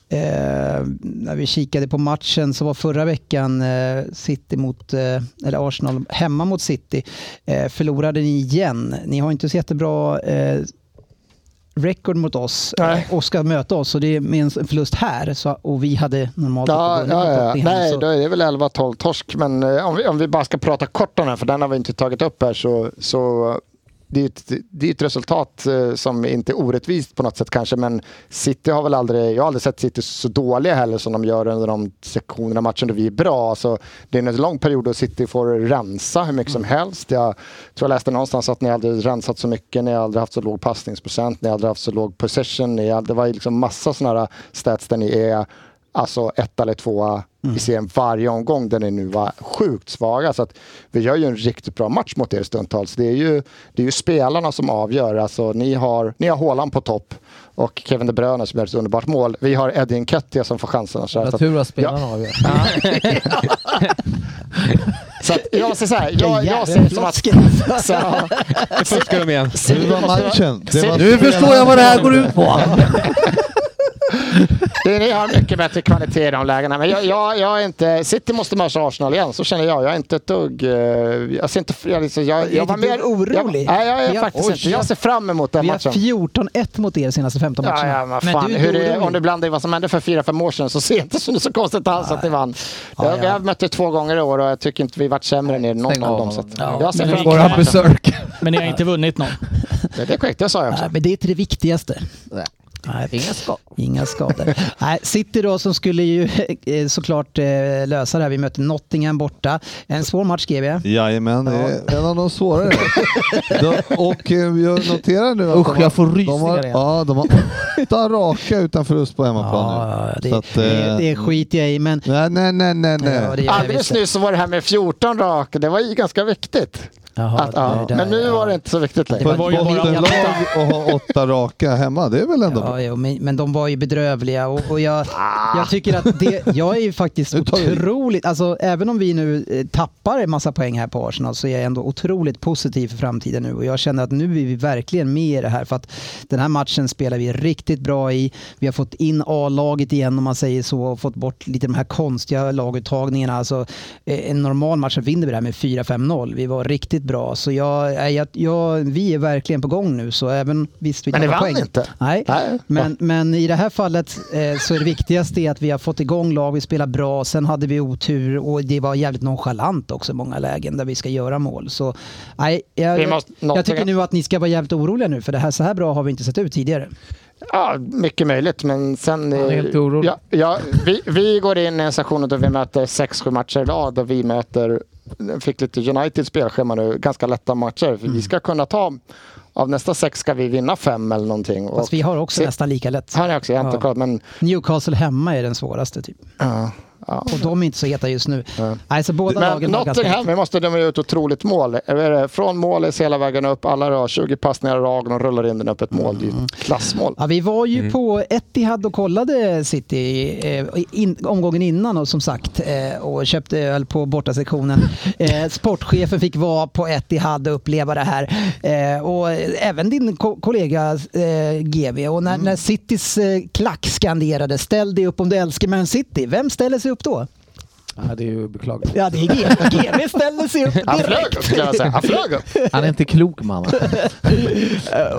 Speaker 3: eh, när vi kikade på matchen så var förra veckan eh, City mot, eh, eller Arsenal hemma mot City. Eh, förlorade ni igen. Ni har inte så jättebra eh, rekord mot oss eh,
Speaker 5: Nej.
Speaker 3: och ska möta oss och det är med en förlust här så, och vi hade normalt
Speaker 5: Ja,
Speaker 3: inte vunnit
Speaker 5: ja,
Speaker 3: mot
Speaker 5: ja.
Speaker 3: Tottenham,
Speaker 5: Nej,
Speaker 3: så-
Speaker 5: då är det väl 11-12 torsk. Men eh, om vi, om vi bara ska prata kort om den, för den har vi inte tagit upp här, så, så det är ju ett, det är ett resultat eh, som inte är orättvist på något sätt kanske, men City har väl aldrig, jag har aldrig sett City så dåliga heller som de gör under de sektionerna av matchen då vi är bra. Alltså, det är en lång period då City får rensa hur mycket som helst. Jag tror jag läste någonstans att ni aldrig rensat så mycket, ni har aldrig haft så låg passningsprocent, ni har aldrig haft så låg possession, ni har, det var ju liksom massa sådana här stats där ni är alltså ett eller tvåa
Speaker 2: Mm.
Speaker 5: i serien varje omgång där ni nu var sjukt svaga. Så att vi gör ju en riktigt bra match mot er stundtals. Det är ju, det är ju spelarna som avgör. Alltså, ni, har, ni har Haaland på topp och Kevin De Bruyne som gör ett underbart mål. Vi har Eddie Nketiah som får chanserna. Så, här.
Speaker 2: Jag
Speaker 5: så, att,
Speaker 2: tur att spelarna avgör.
Speaker 5: så att jag ser så här, jag,
Speaker 3: Jävla
Speaker 5: jag ser det som att...
Speaker 3: flaska.
Speaker 5: Så,
Speaker 8: Nu fuskar de igen.
Speaker 6: Det var matchen. Det var
Speaker 2: Nu förstår jag vad det här går ut på.
Speaker 5: det, ni har mycket bättre kvalitet i de lägena. Men jag, jag, jag är inte... City måste matcha Arsenal igen, så känner jag. Jag är inte ett dugg... eh, Jag ser inte... Jag, liksom, jag,
Speaker 3: är
Speaker 5: jag var
Speaker 3: inte ett
Speaker 5: mer
Speaker 3: dugg orolig.
Speaker 5: Jag, nej, jag
Speaker 3: Vi
Speaker 5: är
Speaker 3: har-
Speaker 5: faktiskt
Speaker 3: Oj.
Speaker 5: inte. Jag ser fram emot den
Speaker 3: Vi har
Speaker 5: matchen.
Speaker 3: 14-1 mot er senaste 15 matcherna.
Speaker 5: Ja, ja, men
Speaker 3: Men
Speaker 5: fan.
Speaker 3: du är
Speaker 5: Hur det,
Speaker 3: orolig.
Speaker 5: om du blandar i vad som hände för fyra, fem år sedan så ser jag inte så, så konstigt alls att ni vann.
Speaker 3: Ja,
Speaker 5: jag,
Speaker 3: ja.
Speaker 5: jag mötte två gånger i år och jag tycker inte vi varit sämre än er någon
Speaker 2: Stäng
Speaker 5: av
Speaker 2: av
Speaker 5: dem. Så
Speaker 2: honom.
Speaker 5: att jag ser
Speaker 9: men
Speaker 5: fram
Speaker 9: vi-
Speaker 2: Går
Speaker 5: emot
Speaker 2: han
Speaker 5: matchen.
Speaker 2: berserk?
Speaker 9: Men ni har inte vunnit någon.
Speaker 5: Det det är korrekt, det sa jag också.
Speaker 3: Nej, men det är inte det viktigaste.
Speaker 2: Nej.
Speaker 3: Nej,
Speaker 2: Inga skott.
Speaker 3: Inga skador. Nej, City då som skulle ju eh, såklart eh, lösa det här. Vi mötte Nottingham borta. En svår match skrev jag.
Speaker 6: Jajamän, det är en av de svårare. de, och eh, jag noterar nu att
Speaker 2: Usch,
Speaker 6: de har,
Speaker 2: jag får
Speaker 6: de har,
Speaker 2: rysningar igen.
Speaker 6: ja, de har åtta raka utan förlust på hemmaplan
Speaker 3: Ja,
Speaker 6: nu.
Speaker 3: det,
Speaker 6: Så att, eh,
Speaker 3: det, det skiter jag i men...
Speaker 6: Nej, nej, nej, nej. nej.
Speaker 3: Ja, det gör jag
Speaker 5: Alldeles
Speaker 3: visst.
Speaker 5: nyss så var det här med 14 raka, det var ju ganska viktigt.
Speaker 3: Jaha,
Speaker 5: Att,
Speaker 3: det var
Speaker 5: ja.
Speaker 3: det där,
Speaker 5: Men nu
Speaker 3: ja.
Speaker 5: var det inte så viktigt
Speaker 6: På
Speaker 5: längre.
Speaker 3: var-
Speaker 6: ett
Speaker 3: det var ju bara
Speaker 6: bottenlag och ha åtta raka hemma, det är väl ändå bra?
Speaker 3: Ja, jo, men, men de var ju bedrövliga och, och jag, jag tycker att det, jag är ju faktiskt
Speaker 6: Nu tar vi-
Speaker 3: otroligt, alltså även om vi nu eh, tappar en massa poäng här på Arsenal så är jag ändå otroligt positiv för framtiden nu och jag känner att nu är vi verkligen med i det här för att den här matchen spelar vi riktigt bra i. Vi har fått in A-laget igen om man säger så och fått bort lite de här konstiga laguttagningarna. Alltså, eh, en normal match så vinner vi det här med 4-5-0. Vi var riktigt bra så jag, nej, jag, jag, vi är verkligen på gång nu så även visst vi
Speaker 5: Men ni
Speaker 3: tappar
Speaker 5: vann
Speaker 3: poäng.
Speaker 5: inte.
Speaker 3: Nej,
Speaker 5: Nej.
Speaker 3: men, men i det här fallet eh, så är det viktigaste är att vi har fått igång lag, vi spelar bra, sen hade vi otur och det var jävligt nonchalant också i många lägen där vi ska göra mål. Så, nej, jag,
Speaker 5: Vi måste-
Speaker 3: jag tycker
Speaker 5: någonting-
Speaker 3: nu att ni ska vara jävligt oroliga nu för det här, så här bra har vi inte sett ut tidigare.
Speaker 5: Ja, mycket möjligt, men sen...
Speaker 11: är
Speaker 5: eh,
Speaker 11: helt orolig.
Speaker 5: Ja, ja, vi, vi går in i en session då vi möter 6-7 matcher i rad där vi möter, fick lite United spelschema nu, ganska lätta matcher. För
Speaker 3: Mm.
Speaker 5: Vi ska kunna ta, av nästa sex ska vi vinna fem eller någonting.
Speaker 3: Fast vi har också nästan lika lätt.
Speaker 5: Här är också, jag har inte
Speaker 3: Ja.
Speaker 5: kollat, men...
Speaker 3: Newcastle hemma är den svåraste typ.
Speaker 5: Ja, ja.
Speaker 3: Och de är inte så heta just nu. Nej, så båda
Speaker 5: Men
Speaker 3: lagen har ganska
Speaker 5: Nottingham, vi måste döma ut otroligt mål. Vad är det? Från målet hela vägen upp, alla rör 20 passningar i rad och de rullar in den upp ett mål. Det är ju ett klassmål.
Speaker 3: Mm. Ja, vi var
Speaker 6: Mm.
Speaker 3: ju på Etihad och kollade City eh, in, omgången innan och som sagt eh, och köpte öl på bortasektionen. Eh, sportchefen fick vara på Etihad och uppleva det här. Eh, och även din ko- kollega eh, GV. Och när,
Speaker 6: Mm.
Speaker 3: när Citys eh, klack skanderade ställ dig upp om du älskar Man City. Vem ställer sig upp då?
Speaker 11: Ja, det är ju beklagligt.
Speaker 3: Ja, det är GV. GV ställer sig upp
Speaker 5: Han flög
Speaker 3: direkt.
Speaker 5: upp skulle jag säga. Han flög upp.
Speaker 2: Han är inte klok man.
Speaker 3: Eh,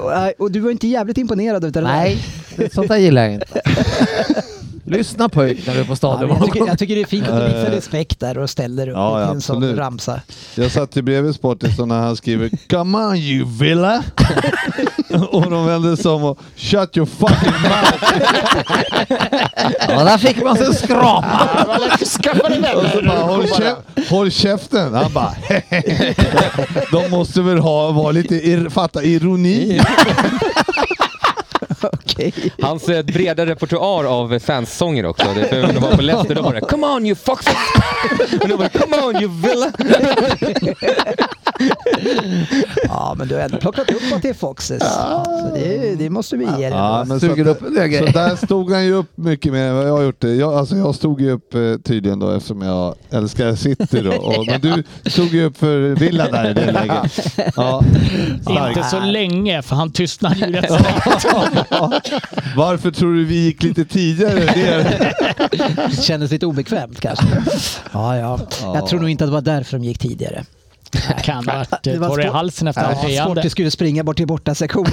Speaker 3: och, eh, och du var inte jävligt imponerad utav det där.
Speaker 2: Nej, sånt där gillar jag inte. Lyssna pojk när du är på
Speaker 3: Ja, men
Speaker 2: stadion.
Speaker 3: jag, tycker, jag tycker det är fint att du visar respekt där och ställer upp
Speaker 6: Eh. Ja,
Speaker 3: till
Speaker 6: ja,
Speaker 3: en sån
Speaker 6: absolut.
Speaker 3: ramsa.
Speaker 6: Jag satt ju bredvid Sportis och när han skriver “Come on you villa” och de vände sig om och “Shut your fucking mouth”
Speaker 2: Ja, där fick man sig skrapa.
Speaker 5: Han var lätt- Skaffa dig
Speaker 6: och så
Speaker 5: vänner.
Speaker 6: bara “Håll, käf håll käften”. Han bara “De måste väl ha, vara lite, ir fatta ironi”.
Speaker 8: Hans eh, breda repertoar av eh, fanssånger också. Det behöver de vara på Leicester. Då var det “Come on you fuck!” Och då var det “Come on you villa!”
Speaker 3: Ja, men du har ändå plockat upp att det är Foxes. Så det, det måste vi ge dig.
Speaker 6: Ja, men så,
Speaker 2: Suger
Speaker 6: att-
Speaker 2: upp en del
Speaker 6: så
Speaker 2: grejer.
Speaker 6: där stod han ju upp mycket mer än vad jag har gjort. Det. Jag, alltså jag stod ju upp eh, tydligen då eftersom jag älskar City då. Och, men du stod ju upp för Villa där i det läget. Ja,
Speaker 9: Inte så länge, för han tystnade ju rätt snabbt.
Speaker 6: Varför tror du vi gick lite tidigare? Det är...
Speaker 3: Det kändes lite obekvämt kanske. Ja, ja. Jag tror nog inte att det var därför de gigick tidigare.
Speaker 9: Kan ha varit
Speaker 3: Det
Speaker 9: eh,
Speaker 3: var
Speaker 9: torr i
Speaker 3: svårt.
Speaker 9: halsen efter allt
Speaker 3: Ja,
Speaker 9: friande.
Speaker 3: Sportis skulle springa bort till borta sektionen.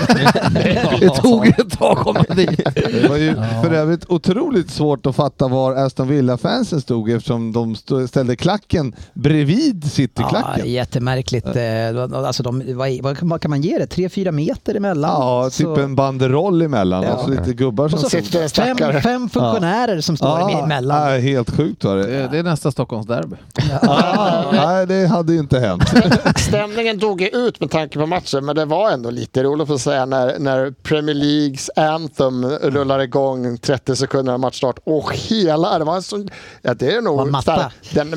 Speaker 2: Det tog ju ett tag att komma dit.
Speaker 6: Det var ju för övrigt otroligt svårt att fatta var Aston Villa-fansen stod eftersom de stå- ställde klacken bredvid
Speaker 3: Ja,
Speaker 6: City-klacken.
Speaker 3: jättemärkligt. Eh, det var- Alltså, de, vad, vad kan- vad kan man ge det? Tre, fyra meter emellan?
Speaker 6: Ja, typ
Speaker 3: Så-
Speaker 6: en banderoll emellan och så lite gubbar som
Speaker 3: och så
Speaker 6: stod.
Speaker 5: Sitter en
Speaker 3: Fem,
Speaker 5: stackare.
Speaker 3: fem funktionärer som står
Speaker 6: Ja,
Speaker 3: emellan.
Speaker 6: ja, helt sjukt var det.
Speaker 2: Det är nästa Stockholmsderby.
Speaker 6: Ah, nej, det hade ju inte hänt.
Speaker 5: Stämningen dog ju ut med tanke på matchen, men det var ändå lite roligt att säga när, när Premier Leagues anthem rullar igång 30 sekunder av matchstart och hela, det var en sån, ja, det är
Speaker 3: Var
Speaker 5: nog
Speaker 3: matta.
Speaker 5: sådär, den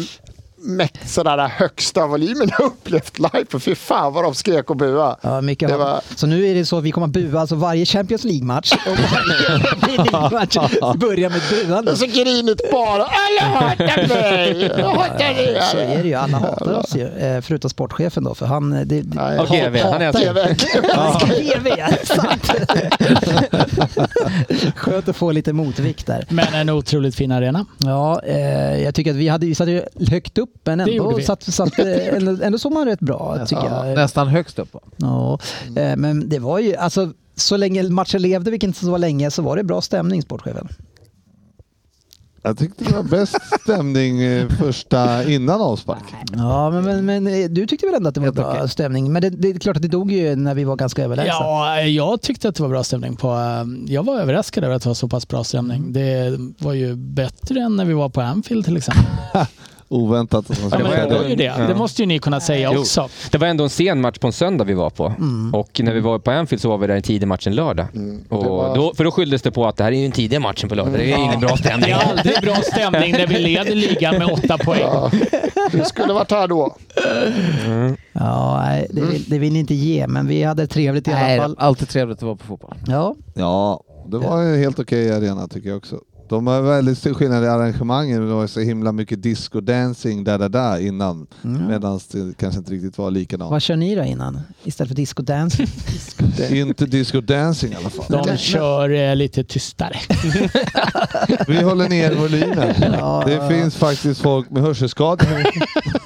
Speaker 5: mäkt, sådär högsta volymen jag upplevt live, för fy fan vad de skrek och buade.
Speaker 3: Ja, mycket
Speaker 5: Det
Speaker 3: har-
Speaker 5: var-
Speaker 3: Så nu är det så att vi kommer att bua alltså varje Champions League-match och varje Premier League-match börjar med ett buande.
Speaker 5: Det är så grinigt bara, alla hatar mig! Jag hatar
Speaker 3: Så är
Speaker 5: dig!
Speaker 3: det ju, alla hatar oss ju. eh, Förutom sportchefen då, för han... eh, Det, det,
Speaker 5: Nej,
Speaker 8: Och GV, han är
Speaker 5: hatar
Speaker 8: alltså-
Speaker 5: GV.
Speaker 3: ja. sant. Skönt att få lite motvikt där.
Speaker 9: Men en otroligt fin arena.
Speaker 3: Ja, eh, jag tycker att vi hade ju satt ju högt upp, men
Speaker 9: gjorde
Speaker 3: ändå,
Speaker 9: vi.
Speaker 3: satt, satt, eh, ändå, ändå såg man rätt bra tycker
Speaker 2: Ja,
Speaker 3: jag.
Speaker 2: nästan högst upp.
Speaker 3: Ja, eh, men det var ju, alltså så länge matchen levde, vilket inte var länge, så var det bra stämning, sportchefen.
Speaker 6: Jag tyckte det var bäst stämning eh, första innan avspark.
Speaker 3: Ja, men, men, men eh, du tyckte väl ändå att det var bra stämning? Men det, det är klart att det dog ju när vi var ganska överlägsna.
Speaker 9: Ja, jag tyckte att det var bra stämning. På, eh, jag var överraskad över att det var så pass bra stämning. Det var ju bättre än när vi var på Anfield till exempel.
Speaker 6: Oväntat att de
Speaker 9: Ja, men det
Speaker 6: spelade.
Speaker 9: var ju det. Det måste ju ni kunna säga
Speaker 8: Jo.
Speaker 9: också.
Speaker 8: Det var ändå en sen match på en söndag vi var på.
Speaker 2: Mm.
Speaker 8: Och när vi var på Anfield så var vi där en tidig match en lördag. Och
Speaker 5: var-
Speaker 8: då, för då skylldes det på att det här är ju den tidiga matchen på lördag. Det är ingen bra
Speaker 9: Det
Speaker 8: stämning.
Speaker 9: är aldrig bra stämning när vi leder ligan med åtta poäng.
Speaker 5: Du skulle varit här då.
Speaker 3: Ja, nej, det, vill, det vill ni inte ge, men vi hade trevligt i alla
Speaker 2: Nej,
Speaker 3: fall.
Speaker 2: alltid trevligt att vara på fotboll.
Speaker 3: Ja,
Speaker 6: Ja, det var en helt okej arena tycker jag också. De har väldigt stor skillnad i arrangemangen. Det var så himla mycket disco dancing där, där, där innan. Medan det kanske inte riktigt var likadant.
Speaker 3: Mm. vad kör ni då innan? Istället för disco dance?
Speaker 6: Inte disco dancing i alla fall.
Speaker 9: De kör eh, lite tystare.
Speaker 6: Vi håller ner volymen.
Speaker 3: Ja,
Speaker 6: Det
Speaker 3: ja.
Speaker 6: finns faktiskt folk med hörselskador.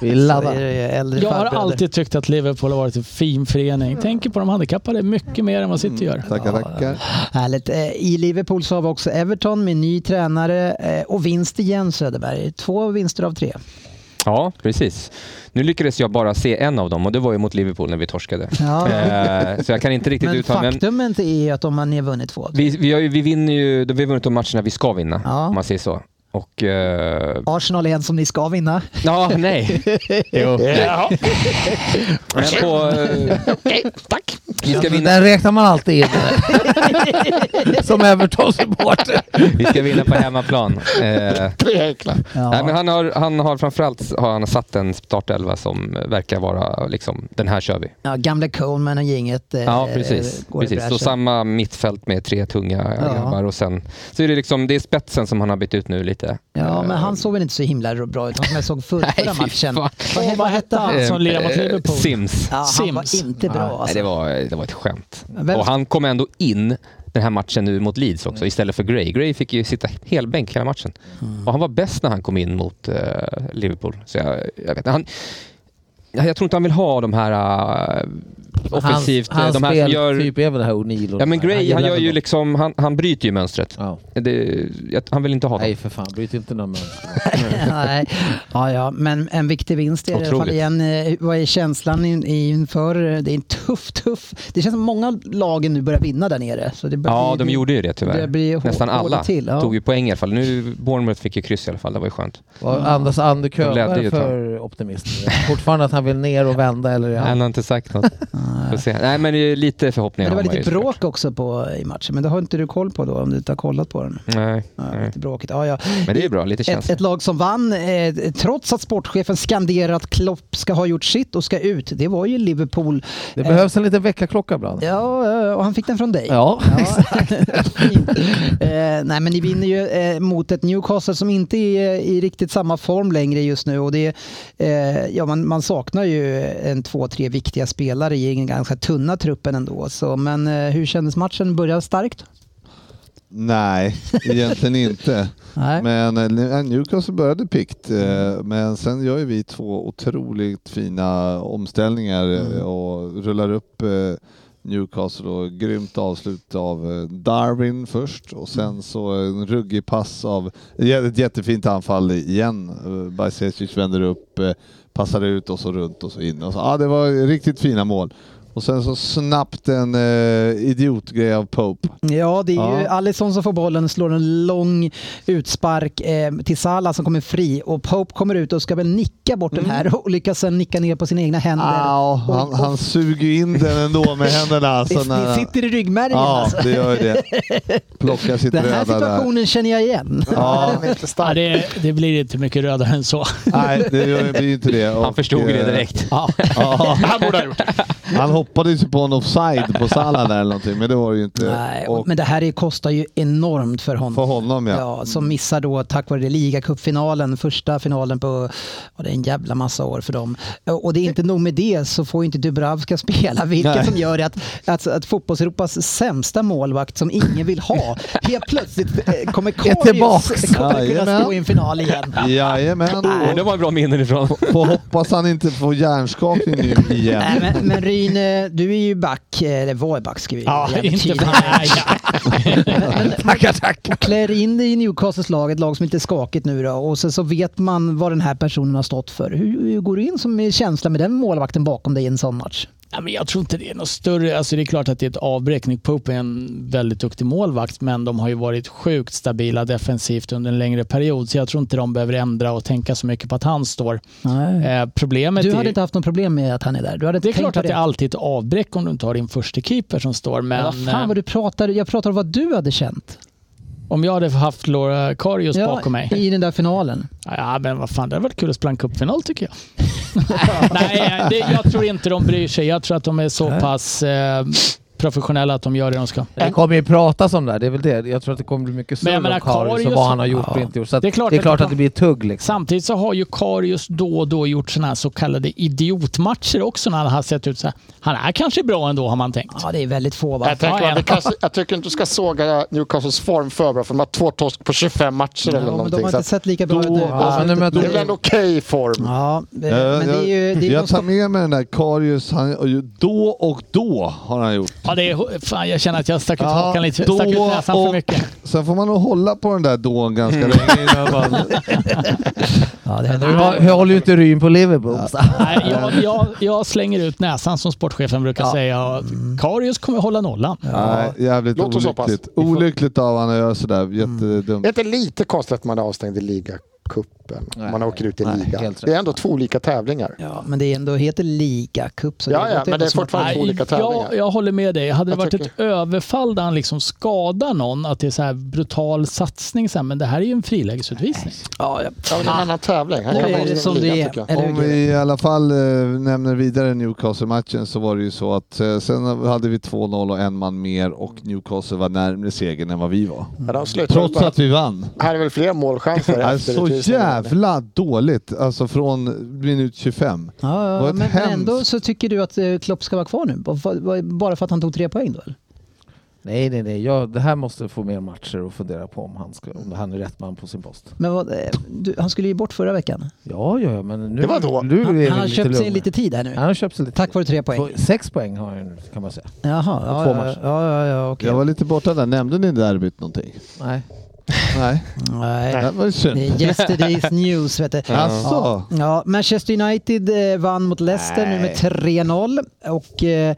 Speaker 2: Vi
Speaker 3: Så är
Speaker 2: laddar.
Speaker 3: det ju äldre
Speaker 9: Jag har
Speaker 3: farbröder.
Speaker 9: alltid tyckt att Liverpool har varit en fin förening. Tänker på de handikappade mycket mer än vad City gör.
Speaker 6: Tackar, tackar.
Speaker 3: Härligt. Eh, I Liverpool så har vi också Everton med ny tränare eh, och vinst igen Söderberg. Två vinster av tre.
Speaker 8: Ja, precis. Nu lyckades jag bara se en av dem och det var ju mot Liverpool när vi torskade.
Speaker 3: Ja.
Speaker 8: Eh, så jag kan inte riktigt
Speaker 3: Men
Speaker 8: uttala men
Speaker 3: faktumet är ju att om man har vunnit två.
Speaker 8: vi, vi, har ju, vi vinner ju, vi har vunnit de matcherna vi ska vinna,
Speaker 3: Ja.
Speaker 8: om man säger så. Och... eh,
Speaker 3: Arsenal är en som ni ska vinna.
Speaker 8: ja, nej. Jo, nej. Men på, eh,
Speaker 5: Tack!
Speaker 8: vi, ska vinna,
Speaker 2: Den räknar man alltid in. Som Everton-supporter.
Speaker 8: vi ska vinna på hemmaplan. Eh,
Speaker 5: Tre häcklar.
Speaker 3: Ja.
Speaker 8: Nej, men han har, han har framförallt har han satt en startelva som verkar vara liksom, den här kör vi.
Speaker 3: Ja, gamla Coleman och gänget eh,
Speaker 8: Ja, precis.
Speaker 3: går i
Speaker 8: precis. Så
Speaker 3: bräschen.
Speaker 8: samma mittfält med tre tunga
Speaker 3: Ja.
Speaker 8: grabbar och sen så är det liksom, det är spetsen som han har bytt ut nu lite.
Speaker 3: Ja, men
Speaker 8: Eh,
Speaker 3: han såg väl inte så himla bra ut, han som jag såg förra
Speaker 8: Nej, fy
Speaker 3: matchen.
Speaker 8: fan.
Speaker 3: Vad, he- vad hette han?
Speaker 9: som
Speaker 8: eh,
Speaker 9: lirar mot
Speaker 8: eh,
Speaker 9: Liverpool.
Speaker 8: Sims.
Speaker 3: Ja, han var
Speaker 9: Sims.
Speaker 3: inte bra
Speaker 8: Nej,
Speaker 3: alltså.
Speaker 8: det, var, det var ett skämt.
Speaker 3: Vem-
Speaker 8: Och han kom ändå in den här matchen nu mot Leeds också istället för Gray. Gray fick ju sitta helbänk hela matchen.
Speaker 3: Mm.
Speaker 8: Och han var bäst när han kom in mot eh, Liverpool. Så jag, jag, vet, han, Ja, jag tror inte han vill ha de här eh, offensivt... eh, de här som gör,
Speaker 11: typ är väl det här O'Neill och
Speaker 8: ja, men
Speaker 11: de här.
Speaker 8: Gray,
Speaker 11: gillar
Speaker 8: han, gör
Speaker 11: väl
Speaker 8: ju
Speaker 11: dem.
Speaker 8: liksom, han, han bryter ju mönstret.
Speaker 11: Ja.
Speaker 8: Det, jag, han vill inte ha dem.
Speaker 11: Nej för fan, bryt inte någon mönster.
Speaker 3: Nej. Ja, ja, men en viktig vinst är det i alla fall
Speaker 8: Otroligt.
Speaker 3: igen. Eh, Vad är känslan in- inför? eh, Det är en tuff, tuff... Det känns som många av lagen nu börjar vinna där nere. Så det börjar
Speaker 8: Ja,
Speaker 3: bli-
Speaker 8: de gjorde ju det
Speaker 3: det
Speaker 8: tyvärr.
Speaker 3: blir hår-
Speaker 8: Nästan
Speaker 3: hårt
Speaker 8: alla
Speaker 3: till, ja.
Speaker 8: tog ju poäng i alla fall. Nu Bournemouth fick ju kryss i alla fall, det var ju skönt.
Speaker 11: Vad Andas Ander
Speaker 8: ledde ju
Speaker 11: Köberg
Speaker 8: ett tag.
Speaker 11: för optimist? Fortfarande att han vill ner och vända eller? är han-
Speaker 8: Han har inte sagt något. Får se. Nej, men det är lite förhoppningar
Speaker 3: Men det var
Speaker 8: har man
Speaker 3: lite
Speaker 8: ju såklart.
Speaker 3: bråk också på, i matchen, men det har inte du koll på då om du inte har kollat på den.
Speaker 8: Nej,
Speaker 3: Ja,
Speaker 8: nej.
Speaker 3: Lite bråkigt. Ja, ja.
Speaker 8: Men det är bra, lite
Speaker 3: Ett,
Speaker 8: känsla.
Speaker 3: ett lag som vann, eh, trots att sportchefen skanderade att Klopp ska ha gjort sitt och ska ut, det var ju Liverpool.
Speaker 11: Det behövs en liten väckarklocka ibland.
Speaker 3: Ja, eh, och han fick den från dig.
Speaker 11: Ja.
Speaker 3: exakt. eh, nej, men ni vinner ju eh, mot ett Newcastle som inte är eh, i riktigt samma form längre just nu. Och det, är, eh, ja, man, man saknar ju en två, tre viktiga spelare i den ganska tunna truppen ändå. Så, men eh, hur kändes matchen? Började starkt?
Speaker 6: Nej, egentligen inte.
Speaker 3: Nej.
Speaker 6: Men eh, Newcastle började pikt eh, men sen gör ju vi två otroligt fina omställningar eh, och rullar upp eh, Newcastle och grymt avslut av eh, Darwin först och sen så en ruggig pass av jä- ett jättefint anfall igen. Eh, Bajsesic vänder upp, eh, passar ut och så runt och så in. Och så, ah, det var riktigt fina mål. Och sen så snabbt en eh, idiotgrej av Pope.
Speaker 3: Ja, det är ju
Speaker 6: Ja.
Speaker 3: Alisson som får bollen och slår en lång utspark eh, till Salah som kommer fri och Pope kommer ut och ska väl nicka bort
Speaker 6: Mm.
Speaker 3: den här och lyckas sen nicka ner på sina egna händer.
Speaker 6: Ja,
Speaker 3: Och-
Speaker 6: han,
Speaker 3: och-
Speaker 6: han suger ju in den ändå med händerna. Alltså,
Speaker 3: det, det sitter i ryggmärgen
Speaker 6: Ja,
Speaker 3: alltså.
Speaker 6: det gör ju det. Plockar sitt
Speaker 3: Den här
Speaker 6: röda där.
Speaker 3: situationen känner jag igen.
Speaker 6: Ja,
Speaker 5: Den är inte
Speaker 9: Ja,
Speaker 5: stark.
Speaker 9: det, det blir inte mycket rödare än så.
Speaker 6: nej, det gör- det blir ju inte det.
Speaker 8: Han
Speaker 6: Och,
Speaker 8: förstod ju det
Speaker 6: eh,
Speaker 8: direkt.
Speaker 6: Ja,
Speaker 5: Han borde ha gjort det.
Speaker 6: han hoppades ju på en offside på Salah där eller någonting, men det var det ju inte.
Speaker 3: Nej,
Speaker 6: och
Speaker 3: men det här är, kostar ju enormt för honom.
Speaker 6: för honom ja. Mm.
Speaker 3: Ja, som missar då tack vare ligacupfinalen, första finalen på ja, det är en jävla massa år för dem. Och det är inte nog med det så får ju inte Dubravka spela, vilket
Speaker 6: Nej.
Speaker 3: som gör att, att, att fotbolls-Europas sämsta målvakt som ingen vill ha, helt plötsligt eh, kommer Karius
Speaker 11: tillbaks.
Speaker 3: kommer kunna
Speaker 6: Jajamän.
Speaker 3: stå i en final igen.
Speaker 6: Jajamän.
Speaker 8: Och det var bra minnen ifrån.
Speaker 6: Får hoppas han inte får hjärnskakning nu igen.
Speaker 3: Nej, men, men Ryn, eh, du är ju back, eh, eller var back ska vi
Speaker 9: Ja,
Speaker 3: jävligt
Speaker 9: inte
Speaker 3: tidigt.
Speaker 9: för nej, ja.
Speaker 11: Tackar, tackar.
Speaker 3: klär in dig i Newcastles lag, ett lag som inte är skakigt nu då, och sen så vet man vad den här personen har stått för. Hur, hur går du in som i känsla med den målvakten bakom dig i en sån match?
Speaker 9: Ja, men jag tror inte det är något större. Alltså, det är klart att det är ett avbräck. Nick Pope är en väldigt duktig målvakt, men de har ju varit sjukt stabila defensivt under en längre period. Så jag tror inte de behöver ändra och tänka så mycket på att han står. Eh, problemet
Speaker 3: Mm. Du
Speaker 9: är...
Speaker 3: hade inte haft något problem med att han är där? Du hade inte
Speaker 9: det är
Speaker 3: tänkt
Speaker 9: klart
Speaker 3: på
Speaker 9: att det
Speaker 3: det
Speaker 9: är alltid ett avbräck om du inte har din första keeper som står. Men
Speaker 3: Men vad fan vad du pratar, jag pratar om vad du hade känt
Speaker 9: eh, om jag hade haft Laura Karius
Speaker 3: Ja,
Speaker 9: bakom mig.
Speaker 3: i den där finalen.
Speaker 9: Ja, men vad fan, det hade varit kul att spela en cupfinal tycker jag. Nej, det, jag tror inte de bryr sig. Jag tror att de är så pass eh, professionella att de gör det de ska.
Speaker 11: Det kommer ju pratas om det här, det är väl det. Jag tror att det kommer bli mycket
Speaker 9: Men jag
Speaker 11: surr
Speaker 9: menar,
Speaker 11: om Karius och
Speaker 9: Karius-
Speaker 11: vad han har gjort och
Speaker 9: Ja.
Speaker 11: inte gjort. Så att
Speaker 9: Det är klart att det
Speaker 11: att,
Speaker 9: kom-
Speaker 11: det blir tugg liksom.
Speaker 9: Samtidigt så har ju Karius då och då gjort såna här så kallade idiotmatcher också när han har sett ut så här. Han är kanske bra ändå har man tänkt.
Speaker 3: Ja, det är väldigt få va?
Speaker 5: Jag, tänker,
Speaker 9: Ja, ja.
Speaker 5: man, kan, jag tycker inte du ska såga Newcastles form för bra, för de har två torsk på 25 matcher eller
Speaker 3: Ja, men de
Speaker 5: någonting.
Speaker 3: har
Speaker 5: så
Speaker 3: inte
Speaker 5: att
Speaker 3: sett lika bra ut nu.
Speaker 11: Ja, men de
Speaker 5: det är väl en
Speaker 11: möter...
Speaker 5: okej form.
Speaker 3: Ja, eh, men
Speaker 6: Eh,
Speaker 3: det är ju...
Speaker 6: jag,
Speaker 3: Det är
Speaker 6: jag
Speaker 3: ju
Speaker 6: tar med mig den där Karius, han, då och då har han gjort.
Speaker 9: Ja, Ja, det är, fan, jag känner att jag stack ut
Speaker 6: Ja,
Speaker 9: hakan lite.
Speaker 6: då
Speaker 9: Stack ut näsan för
Speaker 6: och-
Speaker 9: mycket.
Speaker 6: Sen får man nog hålla på den där dån ganska
Speaker 5: Mm.
Speaker 6: länge innan man...
Speaker 3: Ja, det händer.
Speaker 2: Du har- jag håller ju inte ryn på Liverpool. så.
Speaker 9: Nej, jag, jag, jag slänger ut näsan som sportchefen brukar säga. Karius kommer hålla nollan.
Speaker 6: Nej, jävligt
Speaker 5: Låt oss hoppas.
Speaker 6: olyckligt. Olyckligt av han att göra sådär.
Speaker 3: Mm.
Speaker 6: Jättedumt.
Speaker 5: Är det inte lite konstigt att man är avstängd i ligacupen? Om Man åker ut i
Speaker 2: nej,
Speaker 5: ligan.
Speaker 2: helt rätt.
Speaker 5: Det är ändå två olika tävlingar.
Speaker 3: Ja, men det är ändå heter ligacup. så
Speaker 5: Ja,
Speaker 3: låter
Speaker 5: ja, men
Speaker 3: inte
Speaker 5: det är
Speaker 3: som att-
Speaker 5: fortfarande-
Speaker 9: Nej,
Speaker 5: olika tävlingar.
Speaker 9: jag, jag håller med dig. Hade det
Speaker 5: Jag
Speaker 9: varit ett
Speaker 5: tycker-
Speaker 9: överfall där han liksom skadar någon, att det är så här brutal satsning, så här, men det här är ju en frilägesutvisning.
Speaker 3: Ja, ja.
Speaker 5: Ja, men det är en annan tävling. Han
Speaker 3: Nu
Speaker 5: kan
Speaker 3: är
Speaker 5: vara
Speaker 3: det
Speaker 5: avstängd
Speaker 3: som
Speaker 5: i
Speaker 3: det
Speaker 5: ligan
Speaker 3: är.
Speaker 5: tycker jag.
Speaker 3: Eller
Speaker 6: Om
Speaker 3: hur?
Speaker 6: vi i alla fall eh, nämner vidare Newcastle-matchen så var det ju så att eh, sen hade vi 2-0 och en man mer och Newcastle var närmare segern än vad vi var.
Speaker 5: Ja, de slutar
Speaker 6: Trots
Speaker 5: bara-
Speaker 6: att vi vann.
Speaker 5: Här är väl fler målchanser
Speaker 6: Det är
Speaker 5: efter
Speaker 6: så
Speaker 5: utvisningen.
Speaker 6: jävla dåligt, alltså från minut 25.
Speaker 3: Ja,
Speaker 6: Vad
Speaker 3: ja,
Speaker 6: ett
Speaker 3: men, men ändå
Speaker 6: hemskt.
Speaker 3: så tycker du att eh, Klopp ska vara kvar nu? Bara- Bara för att han tog tre poäng då? eller?
Speaker 2: Nej, nej, nej. Jag, det här måste få mer matcher och fundera på om han, ska, om han är rätt man på sin post.
Speaker 3: Men vad, eh, du, han skulle ju bort förra veckan.
Speaker 2: Ja, ja, ja, men nu,
Speaker 5: Det var då.
Speaker 2: nu är
Speaker 3: Han,
Speaker 2: det
Speaker 3: han har
Speaker 2: lite
Speaker 3: köpt sig
Speaker 2: lugn.
Speaker 3: lite tid här nu.
Speaker 2: Han har köpt sig lite.
Speaker 3: Tack vare tre poäng.
Speaker 2: Två- Sex poäng har han kan man säga.
Speaker 3: Jaha, ja,
Speaker 2: två
Speaker 3: ja,
Speaker 2: matcher.
Speaker 3: ja, ja, ja okej.
Speaker 6: Jag var lite borta där, nämnde ni derbyt någonting?
Speaker 2: Nej.
Speaker 6: Nej,
Speaker 3: Nej,
Speaker 6: det var ju synd.
Speaker 3: det är yesterday's news vet du.
Speaker 6: Alltså,
Speaker 3: Ja, Manchester United eh, vann mot Leicester nu med 3-0 och eh,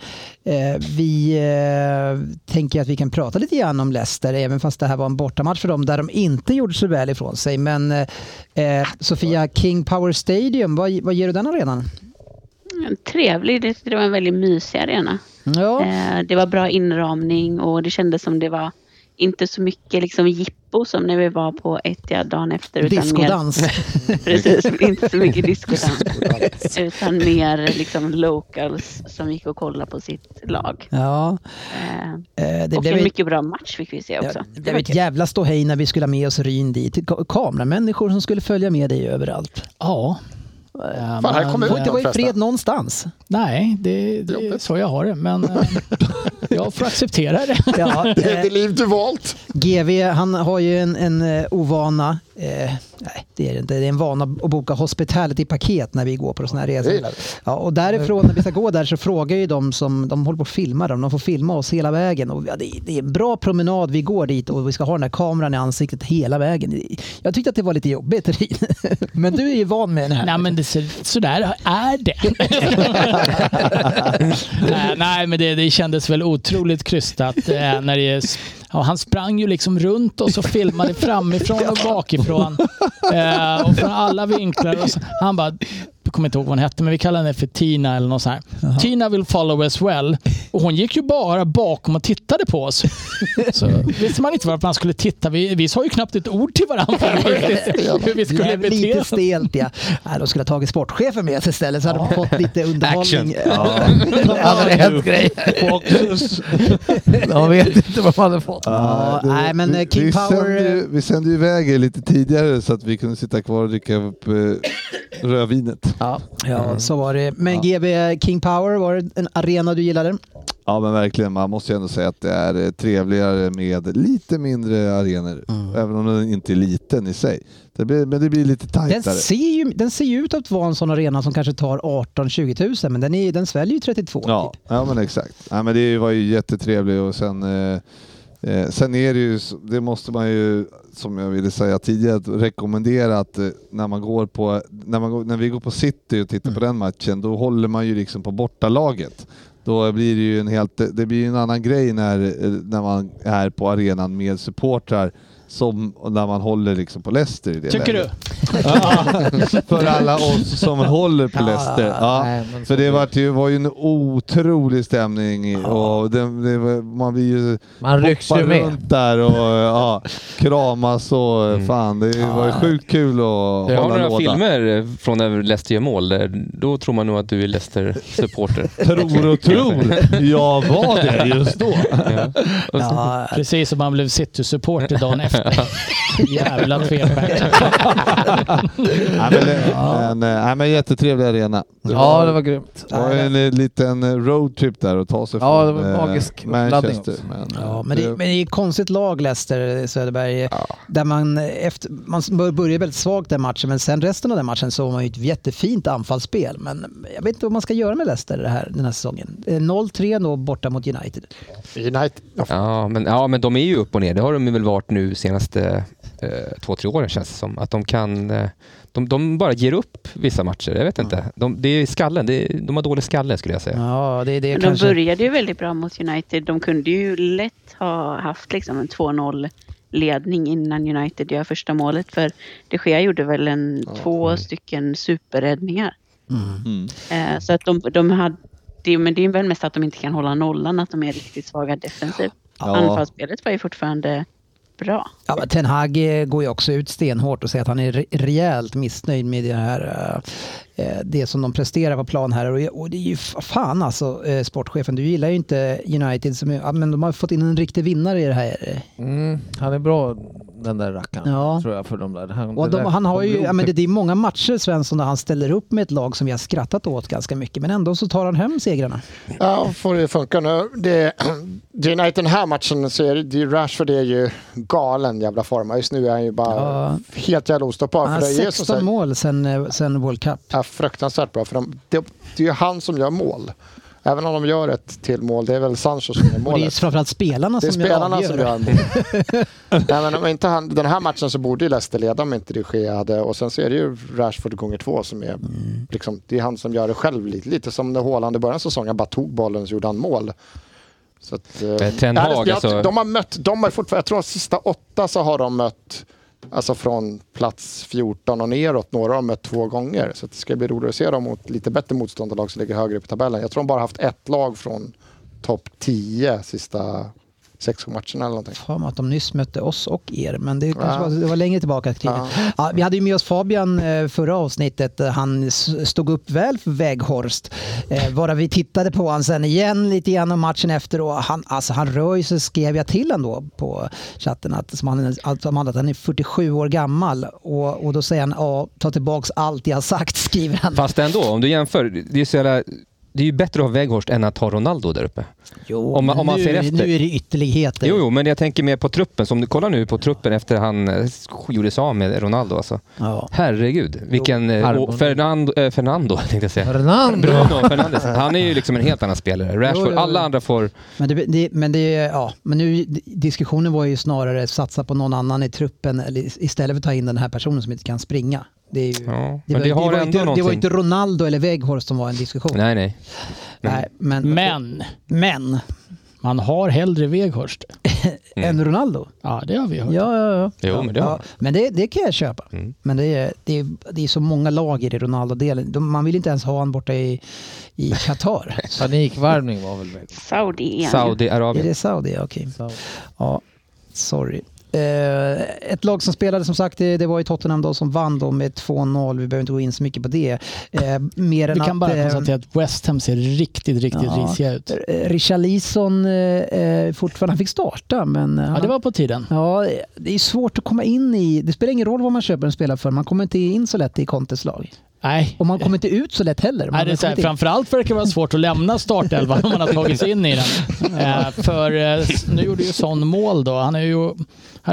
Speaker 3: eh, vi eh, tänker att vi kan prata lite grann om Leicester även fast det här var en bortamatch för dem där de inte gjorde så väl ifrån sig. Men eh, eh, Sofia, King Power Stadium, vad, vad ger du den arenan?
Speaker 4: En Trevlig. Det det var en väldigt mysig arena.
Speaker 3: Ja,
Speaker 4: Eh, Det var bra inramning och det kändes som det var inte så mycket liksom jippo som när vi var på Etihad dagen efter. utan mer-
Speaker 3: diskodans.
Speaker 4: Precis, inte så mycket diskodans. utan mer liksom locals som gick och kollade på sitt lag.
Speaker 3: Ja,
Speaker 4: Eh,
Speaker 3: eh, det
Speaker 4: och
Speaker 3: blev
Speaker 4: en
Speaker 3: ju-
Speaker 4: mycket bra match fick vi se också.
Speaker 3: Ja, det var ett jävla ståhej när vi skulle ha med oss Ryn dit. Ka- Kameramänniskor som skulle följa med dig överallt.
Speaker 9: Ja.
Speaker 5: Fan, här kommer
Speaker 3: Får inte
Speaker 5: ut
Speaker 3: vara i fred
Speaker 5: någon förresten.
Speaker 3: någonstans.
Speaker 9: Nej, det, det är
Speaker 5: Jobbigt.
Speaker 9: så jag har det. Men eh, jag får acceptera det.
Speaker 3: Ja,
Speaker 5: Det är
Speaker 3: eh,
Speaker 5: det liv du valt.
Speaker 3: GV han har ju en, en eh, ovana. Eh, nej, det är det inte. Det är en vana att boka hospitality-paket när vi går på sådana här resor.
Speaker 5: gillar vi.
Speaker 3: Ja, och därifrån, när vi ska gå där, så frågar ju de som de håller på att filma dem. De får filma oss hela vägen. Och, ja, det, är- det är en bra promenad. Vi går dit och vi ska ha den här kameran i ansiktet hela vägen. Jag tyckte att det var lite jobbigt, Ryn. Men du är ju van med den här.
Speaker 9: Nej, men det ser, sådär är det. nej, nej, men det, det kändes väl otroligt krystat. Eh, när det, ja, han sprang ju liksom runt oss och filmade framifrån och bakifrån. Eh, och från alla vinklar. Och så, han bara, jag kommer inte ihåg vad hon hette, men vi kallar henne för Tina eller något så här. Tina vill follow as well. Och hon gick ju bara bakom och tittade på oss. Så visste man inte varför man skulle titta. Vi, vi sa ju knappt ett ord till varandra. hur vi skulle
Speaker 3: Jävligt
Speaker 9: bete
Speaker 3: lite
Speaker 9: oss.
Speaker 3: stelt ja. Nej, de skulle ha tagit sportchefen med sig istället så hade de fått lite underhållning. Ja.
Speaker 2: Det hade hänt grejer. De vet inte vad man hade fått.
Speaker 3: Ja,
Speaker 6: det-
Speaker 3: nej, men, eh, King
Speaker 6: vi,
Speaker 3: Power,
Speaker 6: Sände
Speaker 3: eh,
Speaker 6: ju, vi sände ju iväg er lite tidigare så att vi kunde sitta kvar och dricka upp eh, rödvinet.
Speaker 3: Ja, så var det. Men GB King Power, var det en arena du gillade?
Speaker 6: Ja men verkligen, man måste ju ändå säga att det är eh, trevligare med lite mindre arenor.
Speaker 3: Mm.
Speaker 6: Även om den inte är liten i sig. Det blir, men det blir lite
Speaker 3: Den
Speaker 6: tajtare.
Speaker 3: ser, ju, den ser ju ut att vara en sån arena som kanske tar 18-20 000 men den, är, den sväljer ju 32.
Speaker 6: Ja,
Speaker 3: typ.
Speaker 6: ja men exakt. Ja, men det var ju jättetrevligt och sen, eh, eh, sen är det ju, så- det måste man ju, som jag ville säga tidigare, att rekommendera att eh, när man går på, när, man går, när vi går på City och tittar
Speaker 9: Mm.
Speaker 6: på den matchen, då håller man ju liksom på bortalaget. Då blir det ju en helt, det det blir ju en annan grej när, eh, när man är på arenan med supportrar som när man håller liksom på Leicester i det
Speaker 9: Tycker du?
Speaker 6: läget. För alla oss som håller på Leicester. Ja.
Speaker 2: nej, men
Speaker 6: För det var ju, var ju en otrolig stämning och det, det, var- man blir ju
Speaker 2: Man rycks
Speaker 6: hoppar
Speaker 2: ju med.
Speaker 6: runt där och ja, kramas och
Speaker 11: Mm.
Speaker 6: fan det var ju sjukt kul att
Speaker 8: Jag har
Speaker 6: hålla
Speaker 8: några
Speaker 6: låda.
Speaker 8: filmer eh, från när Leicester gör mål. där- Då tror man nog att du är Leicester-supporter.
Speaker 6: Tror och tror. Jag var det just då.
Speaker 8: Ja. Och så-
Speaker 3: Ja,
Speaker 9: Precis som man blev City-supporter dagen efter. Jävla tvärfärd.
Speaker 6: nej, men, eh, men, eh, nej, men jättetrevlig arena.
Speaker 11: Ja, det var grymt.
Speaker 6: Det var en eh, liten eh, roadtrip där att ta sig
Speaker 11: Ja,
Speaker 6: från
Speaker 11: det var
Speaker 6: eh,
Speaker 11: magisk uppladdning
Speaker 6: Manchester.
Speaker 11: också.
Speaker 6: Men, eh,
Speaker 3: Ja, men, det, men det är ett konstigt lag Leicester, Söderberg. Där man, efter, man börjar väldigt svagt den matchen, men sen resten av den matchen så har man ju ett jättefint anfallsspel. Men jag vet inte vad man ska göra med Leicester det här, den här säsongen. Eh, 0-3 då borta mot United.
Speaker 5: United. Ja,
Speaker 8: Ja men, ja, men de är ju upp och ner. Det har de väl varit nu senaste eh, två, tre åren känns det som. Att de kan... Eh, de, de bara ger upp vissa matcher. Jag vet inte. De, det är skallen. Det är, de har dålig skalle skulle jag säga.
Speaker 3: Ja, det är det
Speaker 4: Men de
Speaker 3: kanske.
Speaker 4: började ju väldigt bra mot United. De kunde ju lätt ha haft liksom en 2-0 ledning innan United gör första målet. För de Gea gjorde väl en två stycken superräddningar.
Speaker 6: Mm.
Speaker 4: Eh, så att de, de hade... det- Men det är väl mest att de inte kan hålla nollan, att de är riktigt svaga defensivt.
Speaker 6: Ja.
Speaker 4: Anfallsspelet var ju fortfarande bra.
Speaker 3: Ja, men Ten Hag eh, går ju också ut stenhårt och säger att han är re- rejält missnöjd med det här, eh, eh, det som de presterar på plan här. Och jag- Och det är ju f- fan alltså, eh, sportchefen, du gillar ju inte United, som, är- ja, men de har fått in en riktig vinnare i det här. eh,
Speaker 11: Mm, han är bra den där rackaren,
Speaker 3: Ja.
Speaker 11: tror jag, för de där.
Speaker 3: Och
Speaker 11: det
Speaker 3: de,
Speaker 11: där
Speaker 3: han har ju,
Speaker 11: kommer
Speaker 3: ja, men det, det är många matcher Svensson där han ställer upp med ett lag som vi har skrattat åt ganska mycket men ändå så tar han hem segrarna.
Speaker 5: Ja, får det funka nu. Det, det är United den här matchen så är det, det är Rashford är ju galen jävla form. Just nu är han ju bara helt jävla ostoppbar.
Speaker 3: Han har
Speaker 5: för det är ju som
Speaker 3: 16
Speaker 5: sagt-
Speaker 3: mål sen, eh, sen World Cup.
Speaker 5: är fruktansvärt bra. För de, det, det är ju han som gör mål. Även om de gör ett till mål, det är väl Sancho som
Speaker 3: Och
Speaker 5: gör
Speaker 3: det är ju
Speaker 5: målet.
Speaker 3: framförallt spelarna
Speaker 5: Det är
Speaker 3: som
Speaker 5: spelarna
Speaker 3: avgör.
Speaker 5: som gör mål. Nej, men om inte han, den här matchen så borde ju Leicester leda om inte det sker hade. Och sen så är det ju Rashford gånger två som är,
Speaker 3: Mm.
Speaker 5: liksom, det är han som gör det själv. Lite, lite som när Haaland i början av säsongen han bara tog bollen och så gjorde han mål. Så att, eh,
Speaker 8: Ten
Speaker 5: ja, det-
Speaker 8: Hag,
Speaker 5: jag,
Speaker 8: alltså.
Speaker 5: De har mött, de har fortfarande, jag tror de sista åtta så har de mött Alltså från plats 14 och neråt. Några har de mött två gånger. Så att det ska bli roligt att se dem mot lite bättre motståndarlag som ligger högre upp i tabellen. Jag tror de bara haft ett lag från topp 10 sista sex matcherna eller någonting.
Speaker 3: Fan att de nyss mötte oss och er, men det, kanske
Speaker 5: Ja.
Speaker 3: var, det var längre tillbaka i tiden. Ja. vi hade ju med oss Fabian eh, förra avsnittet. Eh, Han s- stod upp väl för Weghorst. Eh, bara vi tittade på han sen igen lite grann om matchen efter och han, alltså, han rör ju sig, skrev jag till ändå på chatten att, som han, att, som han, att han är 47 år gammal och, och då säger han ja, ta tillbaks allt jag har sagt, skriver han.
Speaker 8: Fast ändå, om du jämför. Det är, så jävla, det är ju bättre att ha Weghorst än att ha Ronaldo där uppe.
Speaker 3: Jo,
Speaker 8: Om man- om man
Speaker 3: nu,
Speaker 8: ser efter.
Speaker 3: nu är det ytterligheter.
Speaker 8: Jo, jo, men jag tänker mer på truppen. Som du kollar nu på truppen efter han eh, gjorde sig av med Ronaldo. Alltså.
Speaker 3: Ja.
Speaker 8: Herregud, vilken... eh,
Speaker 11: Harmon.
Speaker 8: och Fernando, eh, Fernando tänkte jag säga.
Speaker 11: Fernando!
Speaker 8: Bruno Fernandes. Han är ju liksom en helt annan spelare.
Speaker 3: Jo, jo,
Speaker 8: Rashford,
Speaker 3: jo.
Speaker 8: alla andra får...
Speaker 3: Men, det, det, men, det, ja, men nu, diskussionen var ju snarare satsa på någon annan i truppen eller istället för att ta in den här personen som inte kan springa. Det, är ju,
Speaker 8: Ja,
Speaker 3: det,
Speaker 8: men
Speaker 3: var,
Speaker 8: det
Speaker 3: var
Speaker 8: har ändå
Speaker 3: inte, det var
Speaker 8: någonting.
Speaker 3: inte Ronaldo eller Weghorst som var en diskussion.
Speaker 8: Nej, nej.
Speaker 3: Nej, men,
Speaker 9: Men
Speaker 3: men
Speaker 9: man har hellre Weghorst.
Speaker 3: en Ronaldo?
Speaker 9: Ja, det har vi hört.
Speaker 3: Ja, ja, ja.
Speaker 8: Mm. Jo, men det
Speaker 3: ja,
Speaker 8: har han. Mm.
Speaker 3: men det, det kan jag köpa. Men det är, det, är, det är så många lager i Ronaldo-delen. De- Man vill inte ens ha honom borta i i Qatar.
Speaker 11: Panikvärmning var väl det.
Speaker 4: Saudi igen.
Speaker 3: Är
Speaker 8: Saudiarabien.
Speaker 3: det Saudi? Ja, Okej.
Speaker 11: Så.
Speaker 3: Ja, sorry. Eh, ett lag som spelade som sagt, det, det var ju Tottenham då som vann då med 2-0. Vi behöver inte gå in så mycket på det. Eh, mer än
Speaker 9: Vi kan
Speaker 3: att,
Speaker 9: bara
Speaker 3: eh,
Speaker 9: konstatera att West Ham ser riktigt, riktigt
Speaker 3: Ja.
Speaker 9: risiga ut.
Speaker 3: eh, Richarlison eh, eh, fortfarande, han fick starta men... eh,
Speaker 9: Ja,
Speaker 3: han,
Speaker 9: det var på tiden.
Speaker 3: ja, det är svårt att komma in i... Det spelar ingen roll vad man köper en spelare för, man kommer inte in så lätt i Contes lag.
Speaker 9: Nej.
Speaker 3: Och man kommer inte ut så lätt heller. Man
Speaker 9: Nej, det är så
Speaker 3: kommer
Speaker 9: här,
Speaker 3: inte in.
Speaker 9: framförallt verkar det vara svårt att lämna startelvan om man har tagit sig in i den. Eh, för eh, s- nu gjorde ju Son mål då. Han har ju han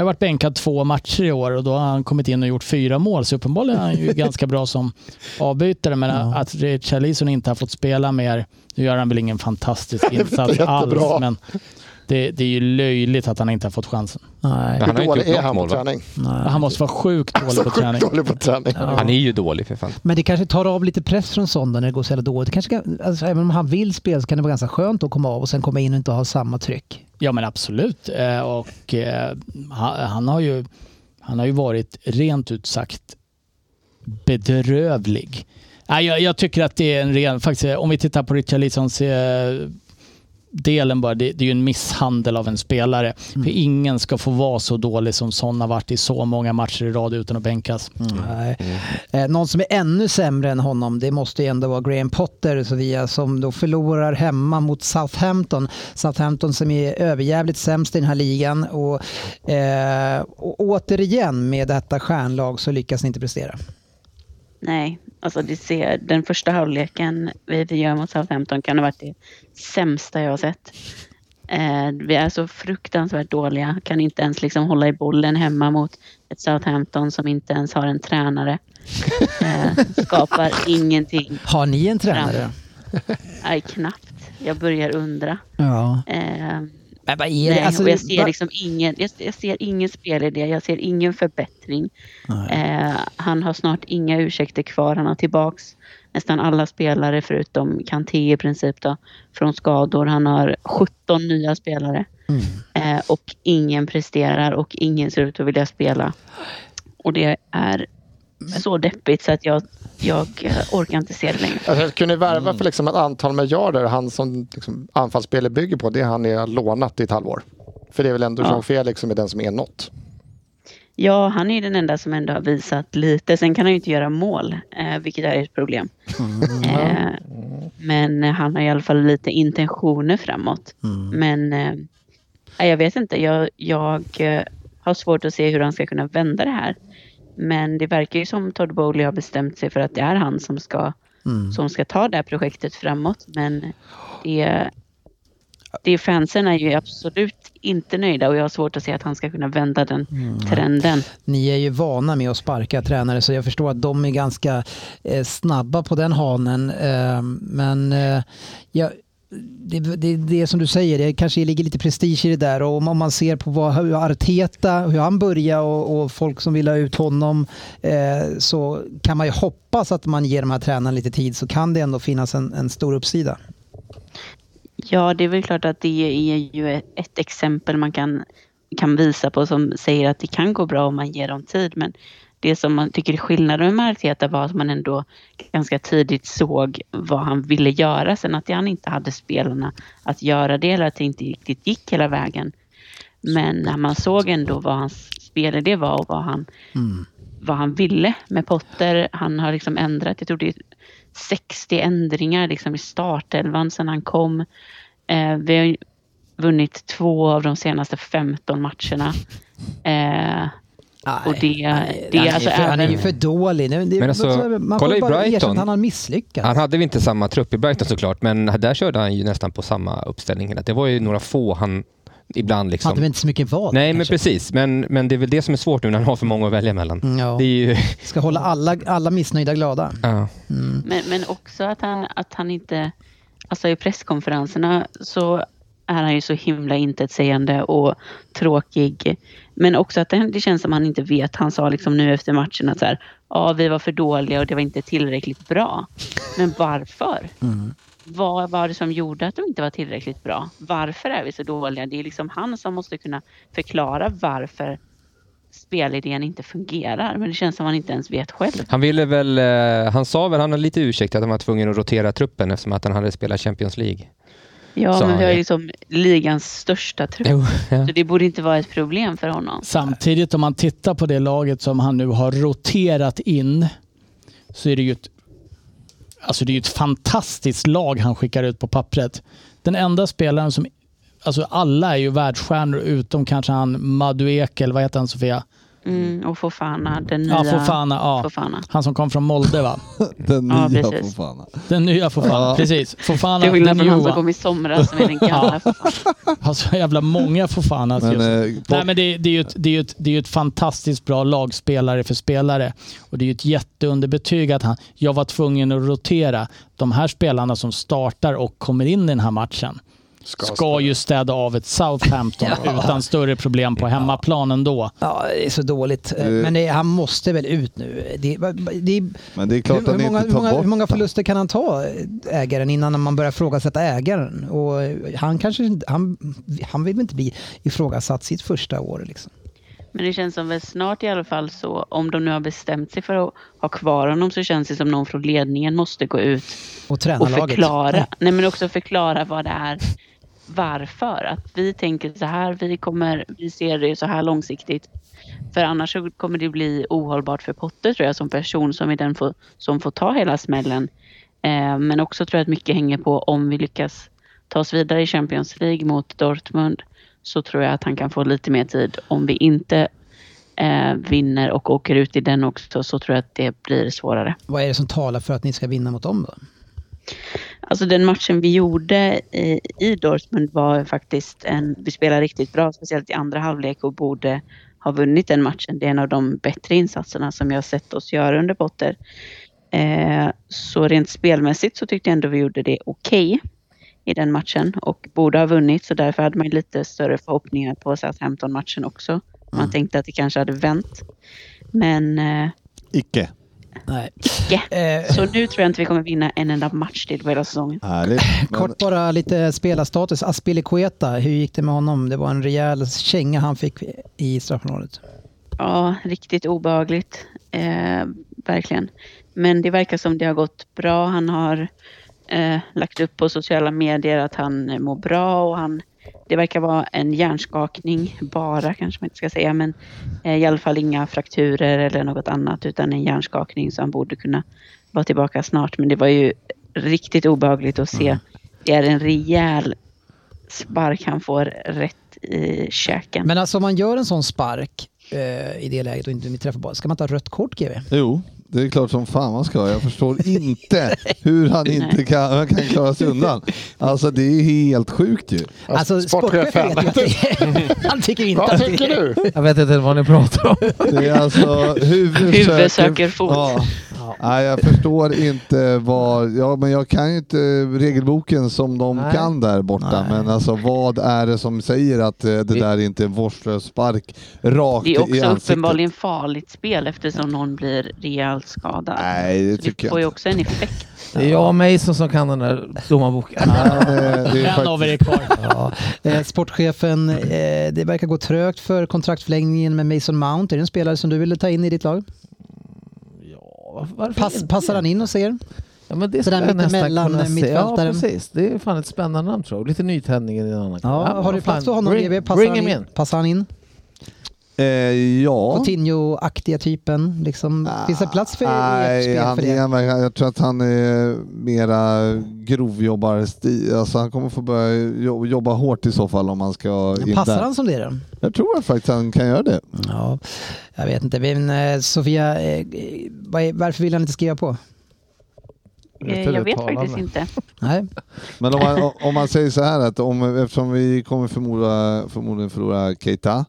Speaker 9: har ju varit bänkad två matcher i år och då har han kommit in och gjort fyra mål. Så uppenbarligen är han ju ganska bra som avbytare. Men att Richarlison inte har fått spela mer, nu gör han väl ingen fantastisk insats
Speaker 5: jättebra.
Speaker 9: alls. Men det, det är ju löjligt att han inte har fått chansen.
Speaker 3: Nej.
Speaker 5: Hur
Speaker 8: Men han har ju
Speaker 5: dålig
Speaker 8: inte
Speaker 5: är
Speaker 8: gjort
Speaker 5: han på
Speaker 8: något mål va?
Speaker 5: träning?
Speaker 9: Han måste vara sjukt
Speaker 3: Alltså,
Speaker 9: dålig
Speaker 5: Så
Speaker 9: på träning.
Speaker 5: sjukt dålig på träning.
Speaker 8: Han är ju dålig för fan.
Speaker 3: Men det kanske tar av lite press från Sonda när det går så jävla dåligt. Det Kanske kan, alltså, även om han vill spela så kan det vara ganska skönt att komma av och sen komma in och inte ha samma tryck.
Speaker 9: Ja men absolut. Eh, Och eh, han, han, har ju, han har ju varit rent ut sagt bedrövlig. Nej, jag, jag tycker att det är en ren... Faktiskt, om vi tittar på Richarlisons eh, delen bara, det, det är ju en misshandel av en spelare.
Speaker 3: Mm.
Speaker 9: För ingen ska få vara så dålig som Son har varit i så många matcher i rad utan att bänkas.
Speaker 3: Nej. Eh, någon som är ännu sämre än honom, det måste ju ändå vara Graham Potter Sofia, som då förlorar hemma mot Southampton. Southampton som är överjävligt sämst i den här ligan. Och, eh, och återigen med detta stjärnlag så lyckas ni inte prestera.
Speaker 4: Nej, alltså det ser, den första halvleken vi, vi gör mot Southampton kan ha varit det sämsta jag har sett. Eh, vi är så fruktansvärt dåliga, kan inte ens liksom hålla i bollen hemma mot ett Southampton som inte ens har en tränare. Eh, skapar ingenting.
Speaker 3: Har ni en tränare?
Speaker 4: Nej, knappt. Jag börjar undra.
Speaker 3: Ja.
Speaker 4: Eh,
Speaker 3: Men vad är det?
Speaker 4: nej,
Speaker 3: Alltså,
Speaker 4: och jag ser
Speaker 3: va-
Speaker 4: liksom ingen, jag, jag ser ingen spelidé, jag ser ingen förbättring. Eh, han har snart inga ursäkter kvar, han har tillbaks nästan alla spelare förutom Kanté i princip då, från skador. Han har 17 nya spelare
Speaker 3: Mm.
Speaker 4: eh, och ingen presterar och ingen ser ut att vilja spela. Och det är så deppigt så att jag, jag eh, orkar inte se det längre.
Speaker 5: Alltså, jag kunde värva
Speaker 9: Mm.
Speaker 5: för liksom ett antal miljarder. Han som liksom, anfallsspelet bygger på, det är han jag har lånat i ett halvår. För det är väl ändå
Speaker 4: Ja.
Speaker 5: Jean Felix som är den som är något.
Speaker 4: Ja, han är ju den enda som ändå har visat lite. Sen kan han ju inte göra mål, eh, vilket är ett problem. Eh, men han har i alla fall lite intentioner framåt. Men eh, nej, jag vet inte, jag, jag eh, har svårt att se hur han ska kunna vända det här. Men det verkar ju som Todd Bowley har bestämt sig för att det är han som ska, som ska ta det här projektet framåt. Men det, det fansen är ju absolut inte nöjda och jag har svårt att se att han ska kunna vända den trenden.
Speaker 3: Ni är ju vana med att sparka tränare så jag förstår att de är ganska eh, snabba på den hanen. Eh, men eh, jag, det, det, det som du säger, det kanske ligger lite prestige i det där. Och om om man ser på vad, hur Arteta, hur han börjar och, och folk som vill ha ut honom eh, så kan man ju hoppas att man ger de här tränarna lite tid så kan det ändå finnas en, en stor uppsida.
Speaker 4: Ja, det är väl klart att det är ju ett- ett exempel man kan, kan visa på som säger att det kan gå bra om man ger dem tid. Men det som man tycker är skillnaden med Arteta var att man ändå ganska tidigt såg vad han ville göra. Sen att han inte hade spelarna att göra det eller att det inte riktigt gick hela vägen. Men när man såg ändå vad hans spelidé var och vad han, vad han ville med Potter. Han har liksom ändrat, jag tror det är 60 ändringar liksom i startelvan sedan han kom. Eh, vi har ju vunnit två av de senaste 15 matcherna. Eh, och det, det
Speaker 3: han,
Speaker 4: är alltså
Speaker 3: är för, han är ju
Speaker 4: även...
Speaker 3: för dålig. Det, det,
Speaker 8: Men alltså,
Speaker 3: man får
Speaker 8: kolla i
Speaker 3: bara erkänna att
Speaker 8: Brighton.
Speaker 3: han har misslyckats.
Speaker 8: Han hade väl inte samma trupp i Brighton såklart, men där körde han ju nästan på samma uppställning. hela tiden. Det var ju några få han ibland liksom...
Speaker 3: hade väl inte så mycket val.
Speaker 8: Nej, men
Speaker 3: kanske.
Speaker 8: precis. Men, men det är väl det som är svårt nu när han har för många att välja mellan.
Speaker 3: Mm, ja.
Speaker 8: Det är ju...
Speaker 3: Ska hålla alla, alla missnöjda glada.
Speaker 8: Ja.
Speaker 4: Men, men också att han, att han inte... Alltså i presskonferenserna så är han ju så himla intetsägande och tråkig. Men också att det, det känns som han inte vet. Han sa liksom nu efter matchen att så här, ja, vi var för dåliga och det var inte tillräckligt bra. Men varför? Vad var det som gjorde att de inte var tillräckligt bra? Varför är vi så dåliga? Det är liksom han som måste kunna förklara varför spelidén inte fungerar. Men det känns som han inte ens vet själv.
Speaker 8: Han ville väl... eh, Han sa väl, han hade lite ursäkt att han var tvungen att rotera truppen eftersom att han hade spelat Champions League.
Speaker 4: Ja,
Speaker 8: sa
Speaker 4: men
Speaker 8: han
Speaker 4: vi har
Speaker 8: ju.
Speaker 4: ju liksom ligans största trupp.
Speaker 8: Jo, ja.
Speaker 4: Så det borde inte vara ett problem för honom.
Speaker 9: Samtidigt om man tittar på det laget som han nu har roterat in så är det ju ett, alltså det är ju ett fantastiskt lag han skickar ut på pappret. Den enda spelaren som, alltså alla är ju världsstjärnor utom kanske han Madueke, eller vad heter han Sofia?
Speaker 4: Mm, och Fofana, den nya
Speaker 9: Ja, Fofana. Ja.
Speaker 4: Fofana.
Speaker 9: Han som kom från Molde va?
Speaker 6: Den
Speaker 4: Ja,
Speaker 6: nya
Speaker 4: precis.
Speaker 6: Fofana.
Speaker 9: Den nya Fofana,
Speaker 6: Ja.
Speaker 9: precis. Fofana
Speaker 4: Till skillnad från han som
Speaker 9: Nanjua.
Speaker 4: kom i somras som är den gamla Fofana.
Speaker 9: Har så jävla många Fofanas
Speaker 6: Men,
Speaker 9: Alltså, just nu.
Speaker 6: eh, Pot-
Speaker 9: Nej, men det, det, är ju ett, det, är ju ett, det är ju ett fantastiskt bra lag spelare för spelare. Och det är ju ett jätteunderbetyg att han, jag var tvungen att rotera. De här spelarna som startar och kommer in i den här matchen ska, ju städa av ett Southampton utan större problem på hemmaplan ändå.
Speaker 3: Ja, det är så dåligt. Eh,
Speaker 6: Du-
Speaker 3: Men det, han måste väl ut nu. Det, det,
Speaker 6: men det är klart
Speaker 3: hur, hur,
Speaker 6: han
Speaker 3: många,
Speaker 6: inte
Speaker 3: hur,
Speaker 6: tar
Speaker 3: många, hur
Speaker 6: bort
Speaker 3: många förluster kan han ta, eh, ägaren, innan man börjar ifrågasätta ägaren? Och eh, han, kanske, inte- han, han vill väl inte bli ifrågasatt sitt första år. Liksom.
Speaker 4: Men det känns som väl snart i alla fall så, om de nu har bestämt sig för att ha kvar honom så känns det som någon från ledningen måste gå ut
Speaker 3: Och träna
Speaker 4: och
Speaker 3: laget. Mm.
Speaker 4: förklara. Nej, men också förklara vad det är varför. Att vi tänker så här, vi, kommer, vi ser det så här långsiktigt. För annars så kommer det bli ohållbart för Potter tror jag som person som är den får, som får ta hela smällen. Eh, men också tror jag att mycket hänger på om vi lyckas ta oss vidare i Champions League mot Dortmund så tror jag att han kan få lite mer tid. Om vi inte eh, vinner och åker ut i den också så tror jag att det blir svårare.
Speaker 3: Vad är det som talar för att ni ska vinna mot dem då?
Speaker 4: Alltså den matchen vi gjorde i, i Dortmund var faktiskt en, vi spelade riktigt bra, speciellt i andra halvlek och borde ha vunnit den matchen. Det är en av de bättre insatserna som jag har sett oss göra under Potter. Eh, så rent spelmässigt så tyckte jag ändå vi gjorde det okej i den matchen och borde ha vunnit så därför hade man lite större förhoppningar på Southampton-matchen också. Man tänkte att det kanske hade vänt. Men eh,
Speaker 6: Icke.
Speaker 3: Nej.
Speaker 4: icke.
Speaker 3: Eh,
Speaker 4: Så nu tror jag inte vi kommer vinna en enda match till på hela säsongen.
Speaker 6: Härligt. Men,
Speaker 3: Kort bara lite spelarstatus. Aspilicueta, hur gick det med honom? Det var en rejäl känga han fick i straffområdet.
Speaker 4: Ja, riktigt obehagligt. Eh, verkligen. Men det verkar som det har gått bra. Han har eh, lagt upp på sociala medier att han eh, mår bra och han, det verkar vara en hjärnskakning bara kanske man inte ska säga men eh, i alla fall inga frakturer eller något annat utan en hjärnskakning så han borde kunna vara tillbaka snart. Men det var ju riktigt obehagligt att se. Det är en rejäl spark han får rätt i käken.
Speaker 3: Men alltså om man gör en sån spark eh, i det läget och inte träffar bollen, ska man ta rött kort GW?
Speaker 6: jo, det är klart som fan man ska. Jag förstår inte hur han inte kan, kan klara sig undan. Alltså det är helt sjukt ju.
Speaker 3: Alltså sportchefen vet ju att det Han tycker inte
Speaker 5: Vad
Speaker 3: att det
Speaker 5: tycker du?
Speaker 2: Jag vet inte vad ni pratar om.
Speaker 6: Det är alltså huvud
Speaker 4: Huvud söker fot.
Speaker 6: Ja. Nej, jag förstår inte vad... Ja, men jag kan ju inte regelboken som de
Speaker 2: Nej.
Speaker 6: kan där borta.
Speaker 2: Nej.
Speaker 6: Men alltså vad är det som säger att eh, det där är inte är en vårdslös spark rakt
Speaker 4: Det
Speaker 6: i
Speaker 4: är också
Speaker 6: ansiktet?
Speaker 4: uppenbarligen farligt spel eftersom någon blir rejält skadad.
Speaker 6: Nej, det
Speaker 4: Så det
Speaker 6: tycker
Speaker 4: får
Speaker 6: jag
Speaker 4: ju
Speaker 6: inte.
Speaker 4: också en effekt.
Speaker 2: Det är jag och Mason som kan den där domarboken.
Speaker 6: Men, eh, det är
Speaker 9: En av er
Speaker 6: faktiskt...
Speaker 9: är kvar.
Speaker 3: Ja, eh, sportchefen, eh, det verkar gå trögt för kontraktförlängningen med Mason Mount. Är det en spelare som du ville ta in i ditt lag?
Speaker 2: Ja, varför- varför
Speaker 3: Pass,
Speaker 2: inte?
Speaker 3: passar han in hos er?
Speaker 2: Ja, men det
Speaker 3: Så
Speaker 2: skulle
Speaker 3: där
Speaker 2: jag nästan
Speaker 3: mittemellan
Speaker 2: kunna se. Ja,
Speaker 3: eh, mittfältaren.
Speaker 2: precis. Det är fan ett spännande namn tror jag. Lite nytändning i en annan
Speaker 3: Ja,
Speaker 2: men
Speaker 3: har
Speaker 2: vad
Speaker 3: du plats
Speaker 2: fan.
Speaker 3: för honom?
Speaker 2: Bring,
Speaker 3: GB? Passar,
Speaker 2: bring
Speaker 3: han
Speaker 2: him
Speaker 3: in?
Speaker 2: in.
Speaker 3: passar han in?
Speaker 6: Eh, ja.
Speaker 3: Coutinho-aktiga typen? Liksom.
Speaker 2: Ah,
Speaker 3: Finns det plats för ert
Speaker 6: Nej,
Speaker 3: spel
Speaker 6: han
Speaker 3: för det?
Speaker 6: är, verkligen- jag tror att han är mera grovjobbare. Alltså han kommer få börja jo- jobba hårt i så fall om han ska in
Speaker 3: Passar
Speaker 6: där.
Speaker 3: han som det då?
Speaker 6: Jag tror faktiskt han kan göra det.
Speaker 3: Ja, jag vet inte. Men, eh, Sofia, eh, vad är- varför vill han inte skriva på?
Speaker 2: Rätt
Speaker 4: Eh, Jag vet
Speaker 2: uttalande.
Speaker 4: faktiskt inte.
Speaker 3: Nej.
Speaker 6: Men om man, om man säger så här att om, eftersom vi kommer förmoda, förmodligen förlora Keita,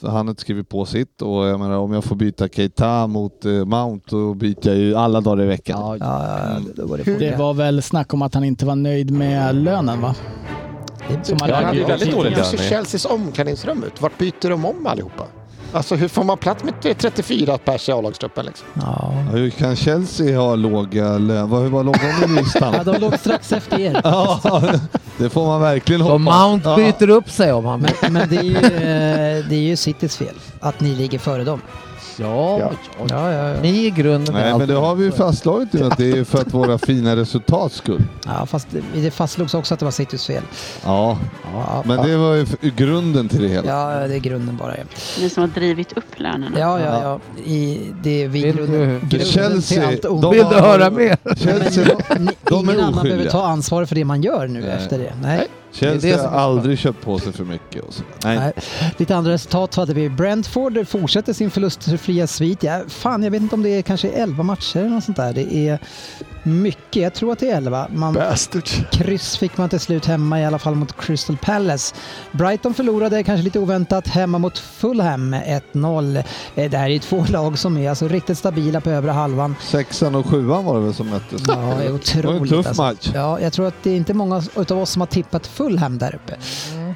Speaker 6: så han har inte skrivit på sitt och jag menar om jag får byta Keita mot eh, Mount då byter jag ju alla dagar i veckan.
Speaker 3: Ja, då går det på.
Speaker 9: Det var väl snack om att han inte var nöjd med lönen va? Som han
Speaker 8: Ja, han
Speaker 9: hade
Speaker 8: blir väldigt
Speaker 9: tidigare.
Speaker 8: dålig.
Speaker 5: Hur ser
Speaker 8: Danny.
Speaker 5: Chelseas omklädningsrum ut? Vart byter de om allihopa? Alltså hur får man plats med 34 pers i A-lagstruppen? Liksom?
Speaker 3: Ja.
Speaker 6: Ja, Hur kan Chelsea ha låga löner? Vad- Hur var låg de i listan?
Speaker 3: Ja, de låg strax efter er.
Speaker 6: Ja, det får man verkligen
Speaker 2: Så
Speaker 6: hoppas.
Speaker 2: Mount byter upp sig om han
Speaker 3: Men, men det, är ju, eh, det är ju Citys fel att ni ligger före dem.
Speaker 2: Ja,
Speaker 5: Ja.
Speaker 2: ja, ja, ja. Ni är i grunden
Speaker 6: Nej, men det har vi ju fastslagit nu att det är för att våra fina resultat skull.
Speaker 3: Ja, fast det- det fastslogs också att det var Citys fel.
Speaker 6: Ja,
Speaker 3: Ja,
Speaker 6: men det var ju f- grunden till det hela.
Speaker 3: ja det är grunden bara. Ja,
Speaker 4: Ni som har drivit upp lönerna.
Speaker 3: ja, ja. ja. I, det är vi
Speaker 2: Vill
Speaker 3: grunden,
Speaker 2: du-
Speaker 3: grunden till
Speaker 6: Chelsea,
Speaker 3: allt ont.
Speaker 6: de-
Speaker 2: Vill du höra mer?
Speaker 6: Chelsea,
Speaker 3: Ni,
Speaker 6: de är
Speaker 3: ingen annan
Speaker 6: oskyldiga.
Speaker 3: behöver ta ansvar för det man gör nu
Speaker 6: Nej.
Speaker 3: efter det. Nej.
Speaker 2: Det är det
Speaker 6: Chelsea
Speaker 2: som
Speaker 6: har
Speaker 2: är så
Speaker 6: aldrig köpt på sig för mycket. Och så. Nej.
Speaker 3: Nej. Lite andra resultat hade vi. Brentford fortsätter sin förlustfria svit. Ja, fan, jag vet inte om det är kanske 11 matcher eller något sånt där. Det är mycket. Jag tror att det är 11. Man
Speaker 5: Bastards.
Speaker 3: Kryss fick man till slut hemma i alla fall mot Crystal Palace. Brighton förlorade, kanske lite oväntat, hemma mot Fulham med 1-0. Eh, Det här är ju två lag som är alltså riktigt stabila på övre halvan.
Speaker 6: Sexan och sjuan var det väl som möttes?
Speaker 3: Ja, det är
Speaker 6: det var en
Speaker 3: otroligt.
Speaker 6: tuff
Speaker 3: alltså.
Speaker 6: match.
Speaker 3: Ja, jag tror att det är inte många utav oss som har tippat Fulham där uppe.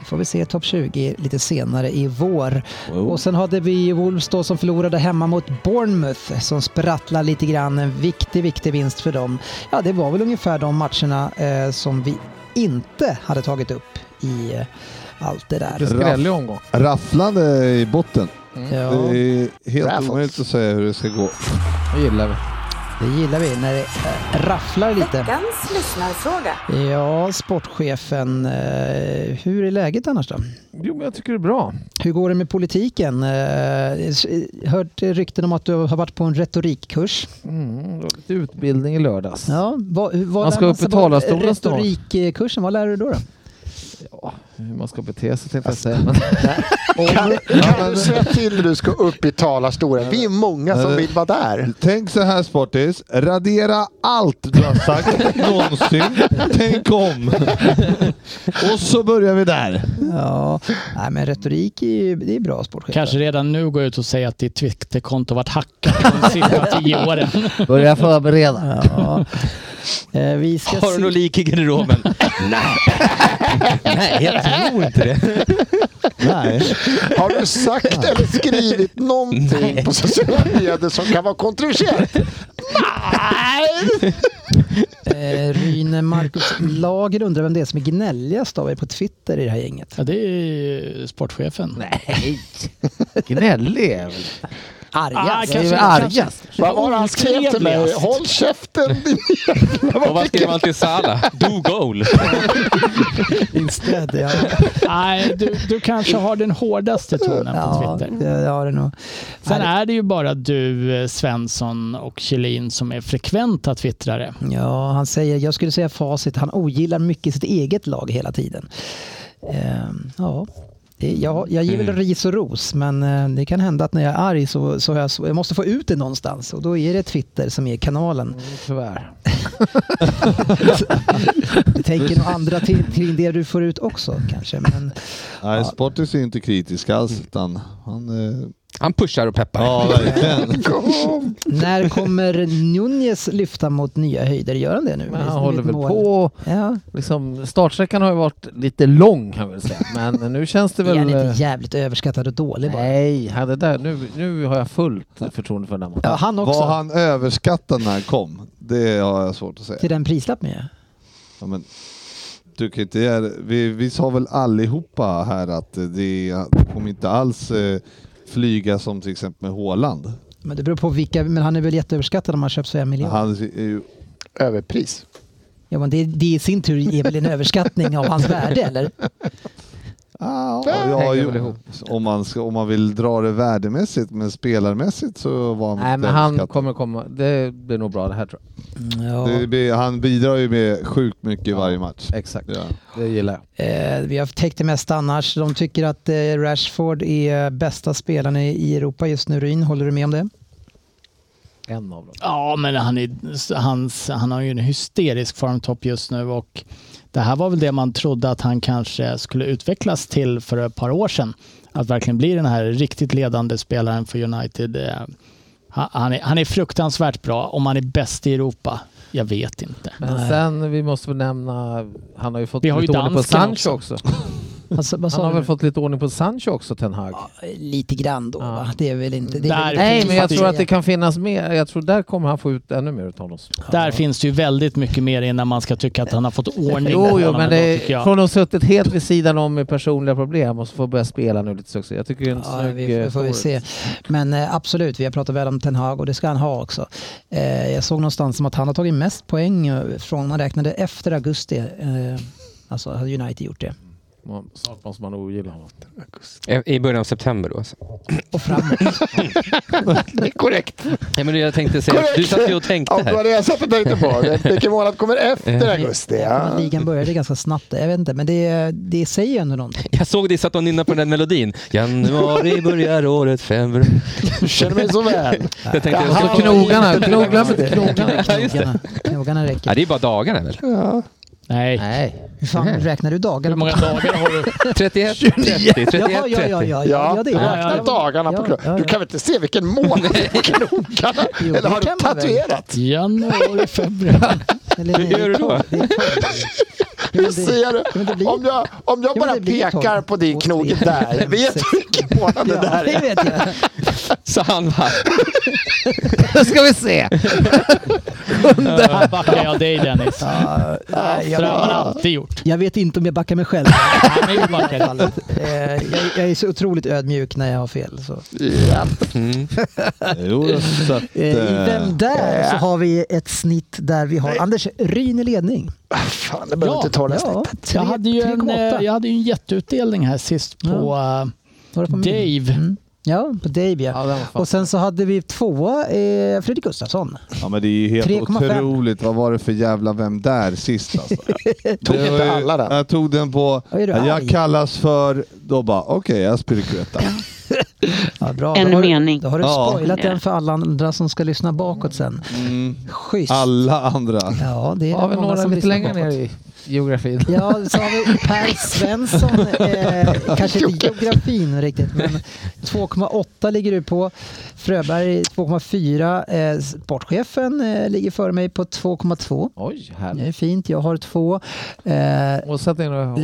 Speaker 3: Får vi se topp 20 lite senare i vår. Och sen hade vi Wolves då som förlorade hemma mot Bournemouth som sprattlar lite grann. En viktig, viktig vinst för dem. Ja, det var väl ungefär de matcherna eh, som vi inte hade tagit upp i eh, allt det där.
Speaker 2: Skrällig omgång.
Speaker 6: Rafflande i botten.
Speaker 3: Ja.
Speaker 6: Det är helt
Speaker 5: Raffles.
Speaker 6: omöjligt att säga hur det ska gå.
Speaker 2: Det gillar vi.
Speaker 3: Det gillar vi när det eh, rafflar lite.
Speaker 13: Veckans lyssnarfråga.
Speaker 3: Ja, sportchefen, eh, hur är läget annars då?
Speaker 14: Jo, men jag tycker det är bra.
Speaker 3: Hur går det med politiken? Eh, s- Hört rykten om att du har varit på en retorikkurs.
Speaker 14: Mm, det var lite utbildning i lördags.
Speaker 3: Ja, vad, hur- vad
Speaker 14: Man
Speaker 3: lär
Speaker 14: ska
Speaker 3: man
Speaker 14: upp
Speaker 3: sig
Speaker 14: i
Speaker 3: på
Speaker 14: talarstolen snart.
Speaker 3: Retorikkursen, vad lär du då? Alltså, då?
Speaker 14: Hur man ska bete sig tänkte jag säga. Men,
Speaker 5: Kan, kan du säga till när du ska upp i talarstolen? Vi är många som vill vara där.
Speaker 6: Tänk så här Sportis, radera allt du har sagt någonsin. Tänk om. Och så börjar vi där.
Speaker 3: Ja, nej, men retorik är, ju- det är bra sportchef.
Speaker 9: Kanske redan nu gå ut och säga att ditt Twitterkonto varit hackat de sista tio åren.
Speaker 2: Börja förbereda.
Speaker 3: Ja. Eh, vi ska
Speaker 8: Har du
Speaker 3: se-
Speaker 8: något lik i garderoben? Nej. Nej, jag tror inte det.
Speaker 6: Nej.
Speaker 5: Har du sagt eller skrivit någonting på sociala medier som kan vara kontroversiellt? Nej!
Speaker 3: Eh, Rune Marcus Lager undrar vem det är som är gnälligast av er på Twitter i det här gänget.
Speaker 9: Ja, det är ju sportchefen.
Speaker 2: Nej, gnällig är jag väl.
Speaker 9: Ah,
Speaker 3: Argast.
Speaker 2: Jag är
Speaker 9: kanske-
Speaker 2: väl argast.
Speaker 5: Vad var det han skrev till mig?
Speaker 9: Otrevligast.
Speaker 5: Håll käften din
Speaker 8: Och vad skrev man till Salah? Do goal.
Speaker 3: Instead, ja.
Speaker 9: Nej, du, du kanske har den hårdaste tonen på
Speaker 3: Ja,
Speaker 9: Twitter.
Speaker 3: det har det nog.
Speaker 9: Sen är det ju bara du, eh, Svensson och Kjellin som är frekventa twittrare.
Speaker 3: Ja, han säger, jag skulle säga facit, han ogillar mycket sitt eget lag hela tiden. Eh, ja, det, jag, jag ger
Speaker 11: Mm.
Speaker 3: väl ris och ros, men eh, det kan hända att när jag är arg så, så, har jag, så jag måste jag få ut det någonstans och då är det Twitter som är kanalen.
Speaker 11: Mm,
Speaker 14: tyvärr.
Speaker 3: Jag tänker nog andra till, till det du får ut också kanske. Men,
Speaker 6: Nej, Sportis är inte kritisk alls. Utan han, eh,
Speaker 8: Han pushar och peppar.
Speaker 6: ja, verkligen.
Speaker 5: kom.
Speaker 3: när kommer Nunez lyfta mot nya höjder? Gör han det nu?
Speaker 11: Men
Speaker 3: Med-
Speaker 11: han
Speaker 3: med
Speaker 11: håller
Speaker 3: ett
Speaker 11: väl
Speaker 3: mål?
Speaker 11: på.
Speaker 3: Ja,
Speaker 11: Liksom, startsträckan har ju varit lite lång kan man väl säga. Men nu känns det
Speaker 3: är han
Speaker 11: väl... eh,
Speaker 3: inte jävligt överskattad och dålig bara?
Speaker 11: Nej, ja, det där, nu, nu har jag fullt förtroende för den här matchen.
Speaker 3: Ja, han också.
Speaker 6: Var han överskattad när han kom? Det har jag svårt att säga.
Speaker 3: Till den prislappen ju.
Speaker 6: Ja, men, du kan inte, göra- vi, vi sa väl allihopa här att eh, det, det kommer inte alls eh, flyga som till exempel med Haaland.
Speaker 3: Men det beror på vilka, men han är väl jätteöverskattad om han köps för en miljon.
Speaker 6: Han är ju
Speaker 5: Överpris.
Speaker 3: Ja, men det, det i sin tur är väl en överskattning av hans värde, eller? Ah,
Speaker 6: Ja, ja,
Speaker 11: hänger
Speaker 6: ju-
Speaker 11: väl ihop.
Speaker 6: om, man ska, om man vill dra det värdemässigt, men spelarmässigt så var han
Speaker 11: Nej,
Speaker 6: inte
Speaker 11: men han
Speaker 6: överskattad.
Speaker 11: kommer komma. Det blir nog bra det här tror
Speaker 3: Ja.
Speaker 6: Det blir- han bidrar ju med sjukt mycket i varje match.
Speaker 11: jag. Exakt.
Speaker 6: Ja.
Speaker 11: Det gillar jag.
Speaker 3: Eh, vi har täckt det mesta annars. De tycker att eh, Rashford är bästa spelaren i- i Europa just nu. Ryn, håller du med om det?
Speaker 11: En av dem.
Speaker 9: Ja, men han, är, hans, han har ju en hysterisk formtopp just nu och det här var väl det man trodde att han kanske skulle utvecklas till för ett par år sedan. Att verkligen bli den här riktigt ledande spelaren för United. Eh, ha- Han är, han är fruktansvärt bra. Om han är bäst i Europa? Jag vet inte.
Speaker 11: Men sen, vi måste väl nämna, han har ju fått
Speaker 9: Vi har ju
Speaker 11: lite ordning på
Speaker 9: dansken
Speaker 11: Sancho också.
Speaker 3: Alltså, vad
Speaker 11: Han
Speaker 3: sa
Speaker 11: har
Speaker 3: du?
Speaker 11: väl fått lite ordning på Sancho också, Ten Hag.
Speaker 3: Lite grann då,
Speaker 11: Ja.
Speaker 3: va? Det är väl inte... Det är
Speaker 9: Där
Speaker 3: väl
Speaker 11: Nej, men jag
Speaker 9: Precis.
Speaker 11: tror att det kan finnas mer. Jag tror där kommer han få ut ännu mer utav oss.
Speaker 9: Där finns det ju väldigt mycket mer innan man ska tycka att han har fått ordning
Speaker 11: Jo,
Speaker 9: på
Speaker 11: jo,
Speaker 9: honom
Speaker 11: men
Speaker 9: ändå,
Speaker 11: det,
Speaker 9: tycker jag.
Speaker 11: från att ha suttit helt vid sidan om med personliga problem och så får börja spela nu lite succé. Jag tycker det är en
Speaker 3: Ja,
Speaker 11: snygg...
Speaker 3: vi får,
Speaker 11: eh,
Speaker 3: får vi
Speaker 11: forward.
Speaker 3: se. Men eh, absolut, vi har pratat väl om Ten Hag och det ska han ha också. Eh, jag såg någonstans som att han har tagit mest poäng eh, från, man räknade efter augusti. Eh, alltså hade United gjort det.
Speaker 11: Ja, Snart måste man ogilla honom.
Speaker 8: I början av september då. Alltså.
Speaker 3: Och framåt.
Speaker 5: Det är korrekt.
Speaker 8: Ja, men jag tänkte säga, du satt ju och tänkte
Speaker 5: Ja, det var
Speaker 8: här.
Speaker 5: det jag satt och tänkte på. Vilken månad kommer efter augusti?
Speaker 3: Ja.
Speaker 5: Ja.
Speaker 3: Ligan började ganska snabbt, jag vet inte, men det, det säger ju ändå någonting.
Speaker 8: Jag såg dig satt och nynnade på den där melodin. Januari börjar året februari.
Speaker 5: Du känner mig så väl.
Speaker 8: Jag tänkte, jag
Speaker 11: Han
Speaker 8: skulle-
Speaker 11: knogarna, knogla med knogarna.
Speaker 8: Ja, just det.
Speaker 3: Knogarna
Speaker 8: Ja,
Speaker 3: räcker.
Speaker 8: det är bara dagarna väl?
Speaker 9: Nej.
Speaker 11: Nej.
Speaker 3: Hur fan räknar du dagarna?
Speaker 9: Hur många dagar har du?
Speaker 8: 31, 30, 31,
Speaker 3: Ja, ja, ja,
Speaker 8: 30.
Speaker 3: ja, ja,
Speaker 5: Ja,
Speaker 3: ja, det
Speaker 5: du
Speaker 3: är
Speaker 9: Ja,
Speaker 5: räknar
Speaker 9: ja.
Speaker 5: dagarna på
Speaker 3: Ja,
Speaker 5: klockan.
Speaker 3: ja,
Speaker 5: Du
Speaker 3: ja.
Speaker 5: kan väl inte se vilken månad det är på knogarna?
Speaker 3: Jo,
Speaker 5: Eller
Speaker 3: det
Speaker 5: har du
Speaker 3: kan man väl.
Speaker 5: tatuerat?
Speaker 9: Januari, februari.
Speaker 3: Eller, nej,
Speaker 8: Hur gör du då?
Speaker 3: det är tolv. Jo,
Speaker 5: Du
Speaker 3: det-
Speaker 5: ser,
Speaker 3: men det
Speaker 5: det.
Speaker 3: blir-
Speaker 5: om jag, om jag
Speaker 3: men
Speaker 5: bara
Speaker 3: det blir
Speaker 5: pekar
Speaker 3: tolv.
Speaker 5: på din
Speaker 3: Och
Speaker 5: knog
Speaker 3: tre,
Speaker 5: där,
Speaker 3: fem,
Speaker 5: vet du
Speaker 3: sex.
Speaker 5: vilken månad det
Speaker 3: Ja,
Speaker 5: där
Speaker 3: det
Speaker 5: är?
Speaker 3: vet jag.
Speaker 8: Så han bara,
Speaker 11: Då ska vi se. kunde.
Speaker 9: Här backar jag dig Dennis.
Speaker 3: nej, jag-
Speaker 9: För det har man alltid gjort.
Speaker 3: Jag vet inte om jag backar mig själv.
Speaker 9: men jag backar.
Speaker 3: Eh, jag, jag är så otroligt ödmjuk när jag har fel. Så.
Speaker 6: Mm. Jo, så att,
Speaker 3: Eh, I
Speaker 6: eh,
Speaker 3: Vem där? Så har vi ett snitt där vi har Anders Ryn i ledning.
Speaker 5: Fan,
Speaker 3: behöver inte ta det här snittet.
Speaker 9: jag, hade ju en,
Speaker 3: 3,8.
Speaker 9: eh, jag hade ju en jätteutdelning här sist på, eh, Dave.
Speaker 11: Mm.
Speaker 3: Ja, på Dave ja. Och sen så hade vi tvåa eh, Fredrik Gustafsson.
Speaker 6: Ja men det är ju helt
Speaker 3: 3,5.
Speaker 6: otroligt. Vad var det för jävla Vem där sist alltså? tog inte alla den? Jag tog den på,
Speaker 3: är du arg?
Speaker 6: jag kallas för, då bara okej jag spirikuetta.
Speaker 3: Ja, bra.
Speaker 6: En
Speaker 3: då har
Speaker 6: mening.
Speaker 3: Du, då har du
Speaker 6: Ja.
Speaker 3: spoilat den för alla andra som ska lyssna bakåt sen.
Speaker 6: Mm.
Speaker 3: Schysst.
Speaker 6: Alla andra.
Speaker 3: Ja, det är
Speaker 11: Har vi
Speaker 3: många
Speaker 11: några
Speaker 3: som
Speaker 11: lite
Speaker 3: lyssnar
Speaker 11: längre
Speaker 3: bakåt.
Speaker 11: ner i geografin?
Speaker 3: Ja, så har vi Per Svensson, eh, kanske inte geografin riktigt, men 2,8 ligger du på. Fröberg 2,4. Eh, sportchefen eh, ligger före mig på 2,2.
Speaker 11: Oj,
Speaker 3: Det är fint, jag har två. Eh,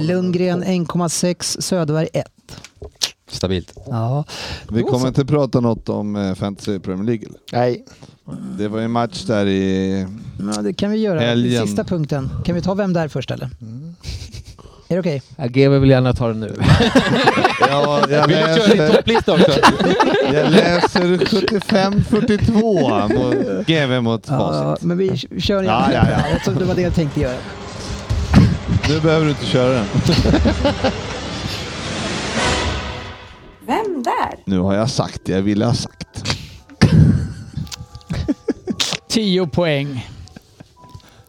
Speaker 3: Lundgren 1,6, Söderberg 1.
Speaker 8: Stabilt.
Speaker 3: Ja.
Speaker 6: Vi kommer inte prata något om eh, Fantasy Premier League eller?
Speaker 5: Nej.
Speaker 6: Det var ju en match där i...
Speaker 3: Ja, det kan vi göra.
Speaker 6: Helgen. Mm.
Speaker 3: Sista punkten. Kan vi ta vem där först eller? Är det okej?
Speaker 11: Ja, GW vill gärna ta det nu.
Speaker 6: Ja, jag
Speaker 11: Vill du köra din topplista också?
Speaker 6: jag läser 75-42 mot GV mot
Speaker 3: Ja,
Speaker 6: facit.
Speaker 3: men vi k- kör igen.
Speaker 6: Ja, ja, ja.
Speaker 3: Jag trodde det var det jag tänkte göra.
Speaker 6: Nu behöver du inte köra den.
Speaker 12: Vem där?
Speaker 6: Nu har jag sagt det jag ville ha sagt.
Speaker 9: 10 poäng.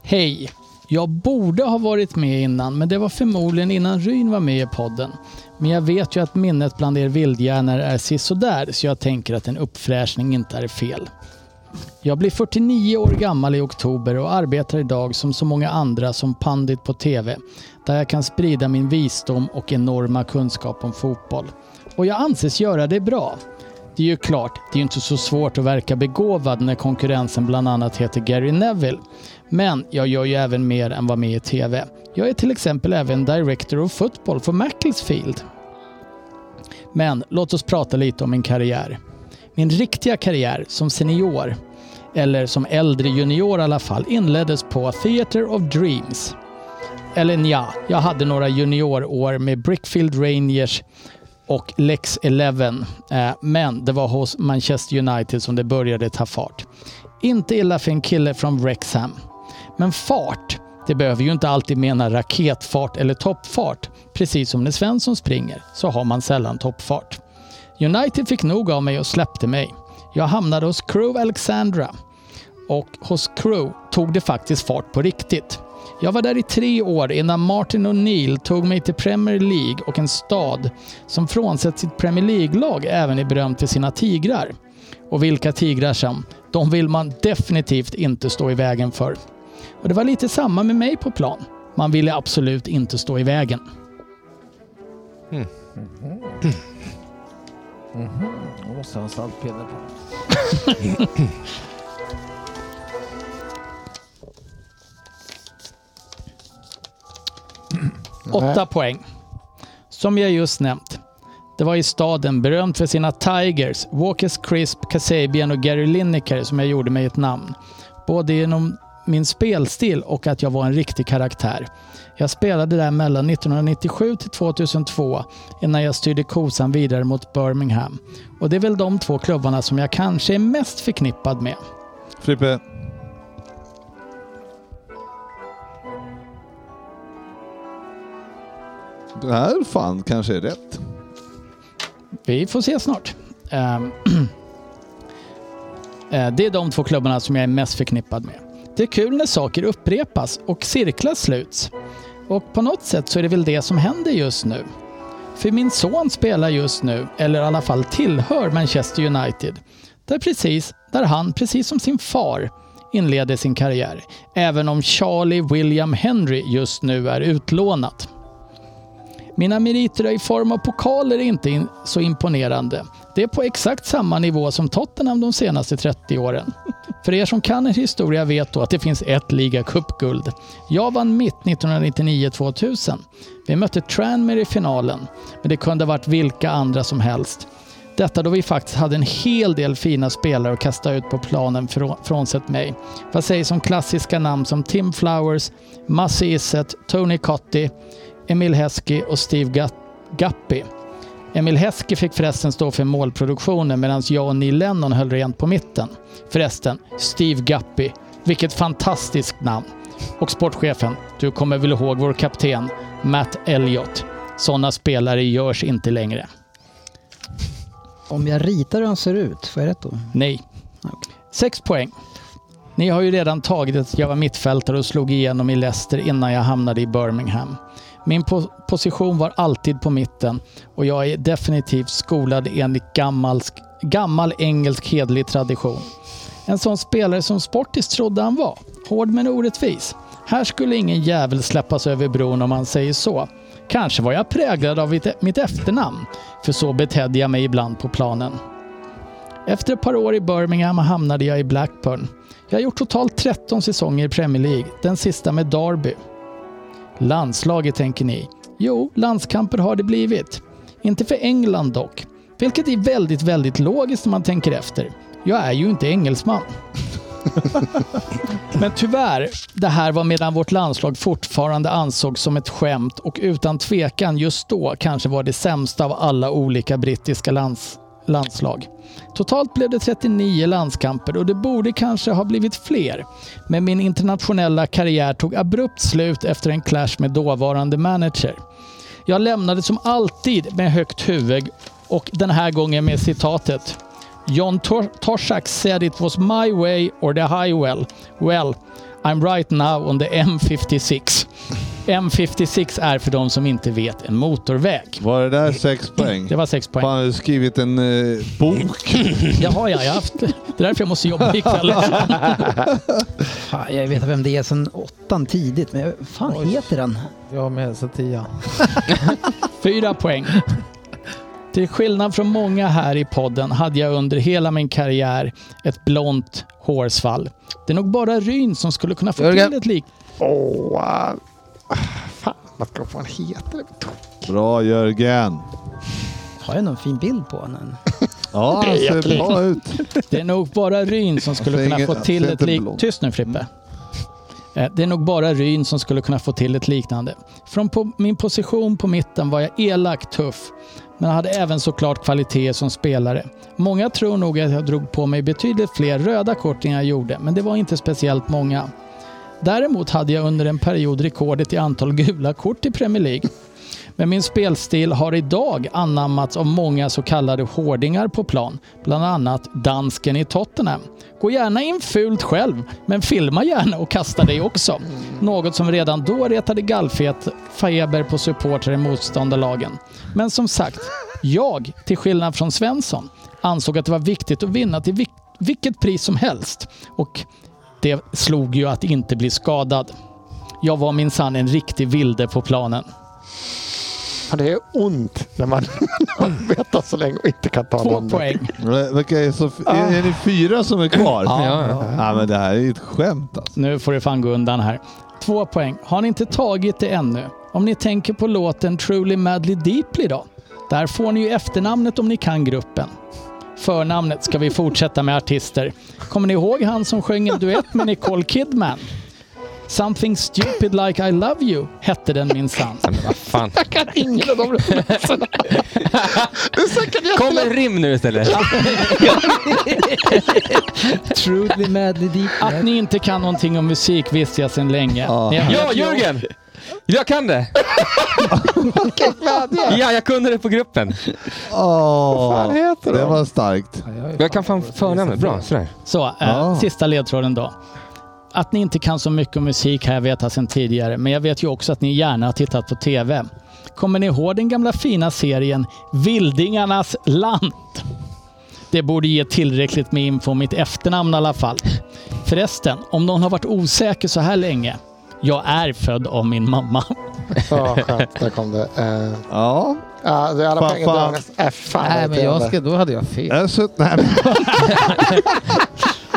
Speaker 9: Hej! Jag borde ha varit med innan, men det var förmodligen innan Ryn var med i podden. Men jag vet ju att minnet bland er vildhjärnor är sisådär, så jag tänker att en uppfräschning inte är fel. Jag blir 49 år gammal i oktober och arbetar idag som så många andra som pandit på TV, där jag kan sprida min visdom och enorma kunskap om fotboll. Och jag anses göra det bra. Det är ju klart, det är ju inte så svårt att verka begåvad när konkurrensen bland annat heter Gary Neville. Men jag gör ju även mer än vad med i TV. Jag är till exempel även director of football för Macclesfield. Men låt oss prata lite om min karriär. Min riktiga karriär som senior, eller som äldre junior i alla fall, inleddes på Theatre of Dreams. Eller nja, jag hade några juniorår med Brickfield Rangers och Lex 11. Eh, Men det var hos Manchester United som det började ta fart. Inte illa för en kille från Wrexham. Men fart, det behöver ju inte alltid mena raketfart eller toppfart. Precis som när Svensson springer så har man sällan toppfart. United fick nog av mig och släppte mig. Jag hamnade hos Crew Alexandra och hos Crew tog det faktiskt fart på riktigt. Jag var där i tre år innan Martin O'Neill tog mig till Premier League och en stad som frånsett sitt Premier League-lag även är berömt för sina tigrar. Och vilka tigrar som, de vill man definitivt inte stå i vägen för. Och det var lite samma med mig på plan. Man ville absolut inte stå i vägen.
Speaker 11: Mhm. Då Mm-hmm. måste jag ha en saltpinne på.
Speaker 9: Åtta poäng. Som jag just nämnt. Det var i staden berömt för sina Tigers, Walkers Crisp, Kasabian och Gary Lineker som jag gjorde mig ett namn. Både genom min spelstil och att jag var en riktig karaktär. Jag spelade där mellan 1997 till 2002 innan jag styrde kosan vidare mot Birmingham. Och det är väl de två klubbarna som jag kanske är mest förknippad med.
Speaker 6: Frippe. Det här fan kanske är rätt.
Speaker 9: Vi får se snart. Ehm, eh, Det är de två klubbarna som jag är mest förknippad med. Det är kul när saker upprepas och cirklar sluts. Och på något sätt så är det väl det som händer just nu. För min son spelar just nu, eller i alla fall tillhör Manchester United. Där, precis, där han, precis som sin far, inleder sin karriär. Även om Charlie William Henry just nu är utlånat. Mina meriter i form av pokaler är inte in så imponerande. Det är på exakt samma nivå som Tottenham de senaste 30 åren. För er som kan er historia vet då att det finns ett ligacupguld. Jag vann mitt 1999-2000. Vi mötte Tranmere i finalen, men det kunde ha varit vilka andra som helst. Detta då vi faktiskt hade en hel del fina spelare att kasta ut på planen frå- frånsett mig. Vad sägs om klassiska namn som Tim Flowers, Massi Isset, Tony Cotti, Emil Heskey och Steve Gat- Guppy. Emil Heskey fick förresten stå för målproduktionen medan jag och Neil Lennon höll rent på mitten. Förresten, Steve Guppy. Vilket fantastiskt namn. Och sportchefen, du kommer väl ihåg vår kapten Matt Elliott. Sådana spelare görs inte längre.
Speaker 3: Om jag ritar hur han ser ut, får jag rätt då?
Speaker 9: Nej. Sex poäng. Ni har ju redan tagit att jag var mittfältare och slog igenom i Leicester innan jag hamnade i Birmingham. Min po- position var alltid på mitten och jag är definitivt skolad enligt gammal, gammal engelsk hedlig tradition. En sån spelare som Sportis trodde han var. Hård men orättvis. Här skulle ingen jävel släppas över bron om man säger så. Kanske var jag präglad av mitt- mitt efternamn, för så betedde jag mig ibland på planen. Efter ett par år i Birmingham hamnade jag i Blackburn. Jag har gjort totalt 13 säsonger i Premier League, den sista med Derby. Landslaget tänker ni? Jo, landskamper har det blivit. Inte för England dock, vilket är väldigt, väldigt logiskt om man tänker efter. Jag är ju inte engelsman. Men tyvärr, det här var medan vårt landslag fortfarande ansågs som ett skämt och utan tvekan just då kanske var det sämsta av alla olika brittiska lands, landslag. Totalt blev det 39 landskamper och det borde kanske ha blivit fler. Men min internationella karriär tog abrupt slut efter en clash med dåvarande manager. Jag lämnade som alltid med högt huvud och den här gången med citatet. John Tor- Torsak said it was my way or the highway. Well, I'm right now on the M56. M56 är för de som inte vet en motorväg.
Speaker 6: Var det där sex poäng?
Speaker 9: Det var sex poäng.
Speaker 6: Fan, har du skrivit en eh, bok?
Speaker 9: Jaha, ja, jag har haft... Det är därför jag måste jobba ikväll.
Speaker 3: Fan, jag vet vem det är sen åttan tidigt, men vad fan heter den?
Speaker 11: Jag med, så tia.
Speaker 9: Fyra poäng. Till skillnad från många här i podden hade jag under hela min karriär ett blont hårsvall. Det är nog bara Ryn som skulle kunna få
Speaker 5: Jörgen.
Speaker 9: till ett lik.
Speaker 5: Åh, ah, fan vad fan heter det?
Speaker 6: Bra Jörgen!
Speaker 3: Har jag någon fin bild på honom?
Speaker 6: Ja, han ser bra ut.
Speaker 9: Det är nog bara Ryn som skulle
Speaker 6: ser
Speaker 9: kunna
Speaker 6: inget-
Speaker 9: få
Speaker 6: jag
Speaker 9: till
Speaker 6: ser
Speaker 9: ett
Speaker 6: inte Mm.
Speaker 9: liknande.
Speaker 6: blå.
Speaker 9: Tyst nu Frippe. Eh, Det är nog bara Ryn som skulle kunna få till ett liknande. Från po- min position på mitten var jag elak tuff, men hade även såklart kvaliteter som spelare. Många tror nog att jag drog på mig betydligt fler röda kort än jag gjorde, men det var inte speciellt många. Däremot hade jag under en period rekordet i antal gula kort i Premier League. Men min spelstil har idag anammats av många så kallade hårdingar på plan, bland annat dansken i Tottenham. Gå gärna in fult själv, men filma gärna och kasta dig också. Något som redan då retade gallfet Faeber på supportrar i motståndarlagen. Men som sagt, jag, till skillnad från Svensson, ansåg att det var viktigt att vinna till vil- vilket pris som helst. Och det slog ju att inte bli skadad. Jag var minsann en riktig vilde på planen.
Speaker 5: Ja, det är ont när man, när man vetar så länge och inte kan ta
Speaker 9: Två
Speaker 5: någon.
Speaker 9: poäng.
Speaker 6: Vilka är, så, är, är ni fyra som är kvar?
Speaker 9: Ja, ja, ja.
Speaker 6: ja men det här är ju ett skämt alltså.
Speaker 9: Nu får du fan gå undan här. Två poäng. Har ni inte tagit det ännu? Om ni tänker på låten Truly Madly Deeply då? Där får ni ju efternamnet om ni kan gruppen. Förnamnet ska vi fortsätta med artister. Kommer ni ihåg han som sjöng en duett med Nicole Kidman? Something stupid like I love you hette den minsann.
Speaker 8: Vad fan.
Speaker 5: Jag kan ingen av de referenserna. Det är säkert
Speaker 8: Kom en
Speaker 5: jättelätt.
Speaker 8: rim nu istället.
Speaker 3: Truly Madly Deep.
Speaker 9: Att ni inte kan någonting om musik visste jag sedan länge. Ni har-
Speaker 8: Ja, Jörgen! Jag kan det! Ja, jag kunde det på gruppen.
Speaker 6: Åh,
Speaker 5: heter
Speaker 6: det
Speaker 5: de?
Speaker 6: var starkt.
Speaker 8: Jag kan fan förnamnet. Bra, sådär.
Speaker 9: Så, eh,
Speaker 6: Ja.
Speaker 9: sista ledtråden då. Att ni inte kan så mycket om musik har jag vetat sedan tidigare, men jag vet ju också att ni gärna har tittat på TV. Kommer ni ihåg den gamla fina serien Vildingarnas land? Det borde ge tillräckligt med info om mitt efternamn i alla fall. Förresten, om någon har varit osäker så här länge. Jag är född av min mamma.
Speaker 5: Ja, skönt. Där kom det. Uh,
Speaker 6: Ja.
Speaker 5: ja, det är alla
Speaker 6: Fan,
Speaker 5: pengar du har
Speaker 6: fan.
Speaker 5: nästan. Äh, fan,
Speaker 11: Nej, men jag ska, då hade jag fel.
Speaker 6: Jag sutt, nej, men,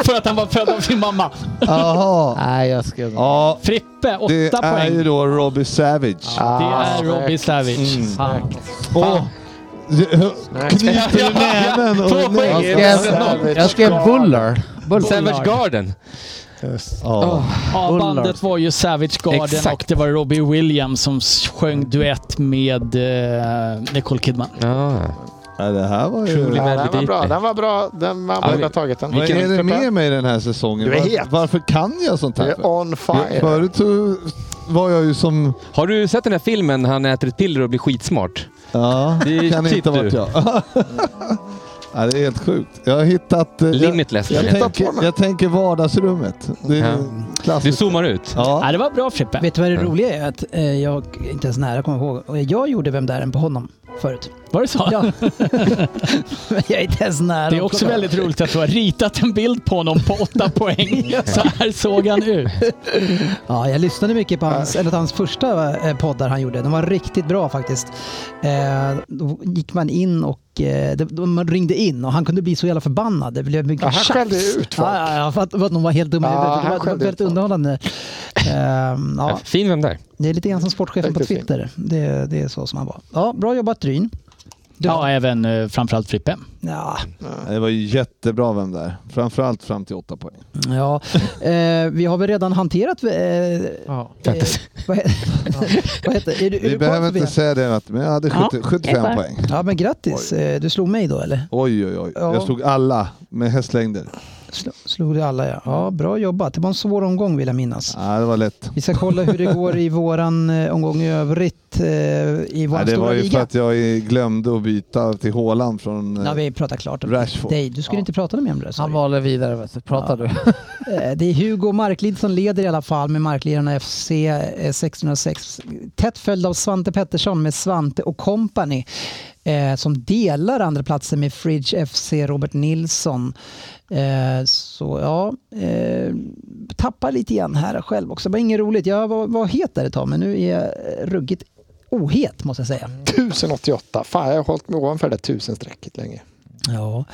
Speaker 9: För att han var född av sin mamma.
Speaker 6: aha.
Speaker 11: Nej, jag skrev
Speaker 6: Ja,
Speaker 9: Frippe, åtta
Speaker 6: det är
Speaker 9: poäng.
Speaker 5: Ah,
Speaker 9: Ah,
Speaker 6: ju då Robbie Savage. Mm.
Speaker 9: Det är Robbie Savage.
Speaker 11: Fan.
Speaker 6: Och Knyter du näven och
Speaker 2: Jag skrev- jag skrev Buller. Buller.
Speaker 8: Savage Garden.
Speaker 6: Ja.
Speaker 9: Ja, bandet var ju Savage Garden och
Speaker 8: Exakt.
Speaker 9: det var Robbie Williams som sjöng duett med eh, Nicole Kidman.
Speaker 6: Ja, det här var ju...
Speaker 5: Ja, den var bra, den var bra. Den, man borde ha tagit den.
Speaker 6: Vad är det med mig den här säsongen?
Speaker 5: Du är
Speaker 6: Var-
Speaker 5: het.
Speaker 6: Varför kan jag sånt här?
Speaker 5: Du är on fire.
Speaker 6: Förut så var jag ju som...
Speaker 8: Har du sett den här filmen när han äter ett piller och blir skitsmart?
Speaker 6: Ja,
Speaker 8: Det är
Speaker 6: kan
Speaker 8: typ
Speaker 6: inte ha varit
Speaker 8: du.
Speaker 6: jag. ja, det är helt sjukt. Jag har hittat... eh,
Speaker 8: Limitless.
Speaker 6: Jag, jag, tänker, jag tänker vardagsrummet. Det är
Speaker 8: Ja. Du zoomar ut.
Speaker 6: Ja.
Speaker 9: det var bra Frippe.
Speaker 3: Vet du vad det roliga är? Att eh, jag inte ens nära kommer ihåg. Och Jag gjorde Vem där är på honom förut.
Speaker 9: Var det så?
Speaker 3: Ja. Men jag är inte ens nära.
Speaker 9: Det är också väldigt roligt att du har ritat en bild på honom på åtta poäng. Så här såg han ut.
Speaker 3: Ja, jag lyssnade mycket på hans, en av hans första eh, poddar han gjorde. De var riktigt bra faktiskt. Eh, då gick man in och eh, det- då man ringde in och han kunde bli så jävla förbannad. Det blev mycket
Speaker 5: Ja, han skällde
Speaker 3: tjafs.
Speaker 5: ut folk.
Speaker 3: ja, ja, ja, för, att, för att de var helt dumma i
Speaker 5: Ja,
Speaker 3: huvudet. Det
Speaker 5: han
Speaker 3: var, det var
Speaker 5: skällde
Speaker 3: väldigt
Speaker 5: ut folk.
Speaker 3: underhållande. Ehm, ja,
Speaker 8: Fin vem där.
Speaker 3: det är lite grann som sportchefen på
Speaker 5: Riktigt fin.
Speaker 3: Twitter. Det, det är så som han var. Ja, bra jobbat Ryn.
Speaker 9: Ja, även eh, framförallt Frippe.
Speaker 3: Ja,
Speaker 6: Det var ju jättebra vem där. Framförallt fram till åtta poäng.
Speaker 3: ja. Eh, vi har väl redan hanterat... Eh,
Speaker 11: Ja.
Speaker 3: eh, vad, he- vad heter är du, är
Speaker 6: Vi
Speaker 3: du
Speaker 6: behöver
Speaker 3: kvar,
Speaker 6: inte
Speaker 3: Sofia?
Speaker 6: säga det, men jag hade
Speaker 3: Ja,
Speaker 6: 70, 75 poäng.
Speaker 3: Ja, men grattis. Eh, Du slog mig då, eller?
Speaker 6: Oj, oj, oj.
Speaker 3: Ja.
Speaker 6: Jag slog alla med hästlängder.
Speaker 3: Sl- slog du alla, ja. Ja, bra jobbat. Det var en svår omgång, vill jag minnas.
Speaker 6: Ja, det var lätt.
Speaker 3: Vi ska kolla hur det går i våran eh, omgång i övrigt eh, i vår
Speaker 6: Ja, det
Speaker 3: stora
Speaker 6: var ju för
Speaker 3: liga.
Speaker 6: att jag eh, glömde att byta till Haaland från... eh,
Speaker 3: Ja, vi pratar klart om
Speaker 6: Rashford.
Speaker 3: dig. Du skulle inte prata med mig om det.
Speaker 11: Han
Speaker 3: sorry.
Speaker 11: valde vidare. vet du. Pratar du?
Speaker 3: Eh, Det är Hugo Marklid som leder i alla fall med Marklirarna FC eh, 606. Tätt följd av Svante Pettersson med Svante och Company eh, som delar andra platsen med Fridge FC Robert Nilsson. Eh, så ja, eh, tappar lite igen här själv också. Det var inget roligt. Jag var, var het där ett tag men nu är jag eh, ruggigt ohet måste jag säga.
Speaker 5: 1088. Fan, jag har hållit mig ovanför det där tusenstrecket länge.
Speaker 3: Ja.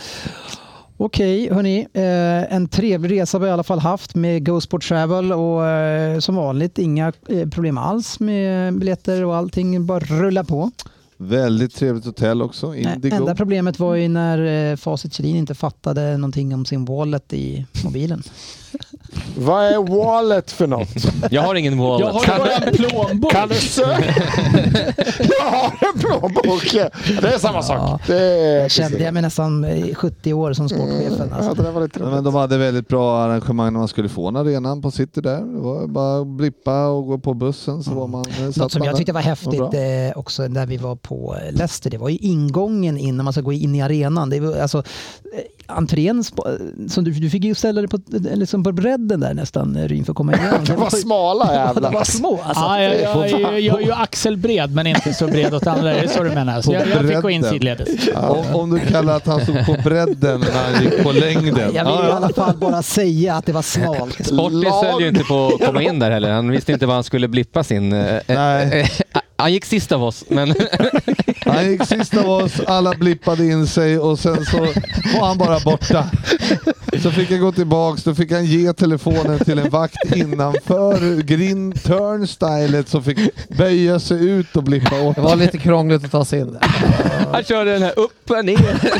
Speaker 3: Okej, hörni. Eh, en trevlig resa har vi i alla fall haft med Go Sport Travel och eh, som vanligt inga eh, problem alls med biljetter och allting. Bara rulla på.
Speaker 6: eh, Väldigt trevligt hotell också. Indigo.
Speaker 3: Enda problemet var ju när eh, Facit Kjellin inte fattade någonting om sin wallet i mobilen.
Speaker 5: Vad är wallet för något?
Speaker 8: Jag har ingen
Speaker 9: Jag
Speaker 8: wallet.
Speaker 9: har bara en plånbok.
Speaker 5: Kan du söka? jag har en plånbok! Det är samma sak. Det är
Speaker 3: Jag kände jag mig nästan eh, 70 år som sportchefen.
Speaker 5: Ja,
Speaker 3: Alltså.
Speaker 5: det där var lite
Speaker 6: Nej, Men
Speaker 5: roligt.
Speaker 6: de hade väldigt bra arrangemang när man skulle få en arenan på City där. Det var bara att blippa och gå på bussen så var man... eh, satt
Speaker 3: Något som
Speaker 6: man
Speaker 3: jag
Speaker 6: där.
Speaker 3: tyckte var
Speaker 6: Vad
Speaker 3: häftigt
Speaker 6: bra.
Speaker 3: eh, också när vi var på eh, Leicester, det var ju ingången in när man ska gå in i arenan. Det var, alltså, eh, entrén, sp- eh, som du, du fick ju ställa dig på, eh, liksom på bredden där nästan, eh, Ryn, för att komma igenom.
Speaker 5: De var smala
Speaker 3: De var
Speaker 5: jävlar.
Speaker 3: små alltså.
Speaker 9: Ja, jag, jag, jag, jag, jag är ju axelbred, men inte så bred åt andra. Är det så du menar? Så jag, jag fick gå in sidledes.
Speaker 6: Om, om du kallar att han stod på bredden när han gick på
Speaker 3: Jag
Speaker 6: längden.
Speaker 3: vill i
Speaker 6: Ja, ja.
Speaker 3: alla fall bara säga att det var smalt.
Speaker 8: Sportis höll ju inte på att komma in där heller. Han visste inte vad han skulle blippa sin... eh,
Speaker 6: Nej.
Speaker 8: eh, han gick sist av oss, men
Speaker 6: Han gick sist av oss, alla blippade in sig och sen så var han bara borta. Så fick jag gå tillbaks, då fick han ge telefonen till en vakt innanför grind turnstylet som fick böja sig ut och blippa åt.
Speaker 11: Det var lite krångligt att ta sig in där.
Speaker 8: han körde den här upp och ner.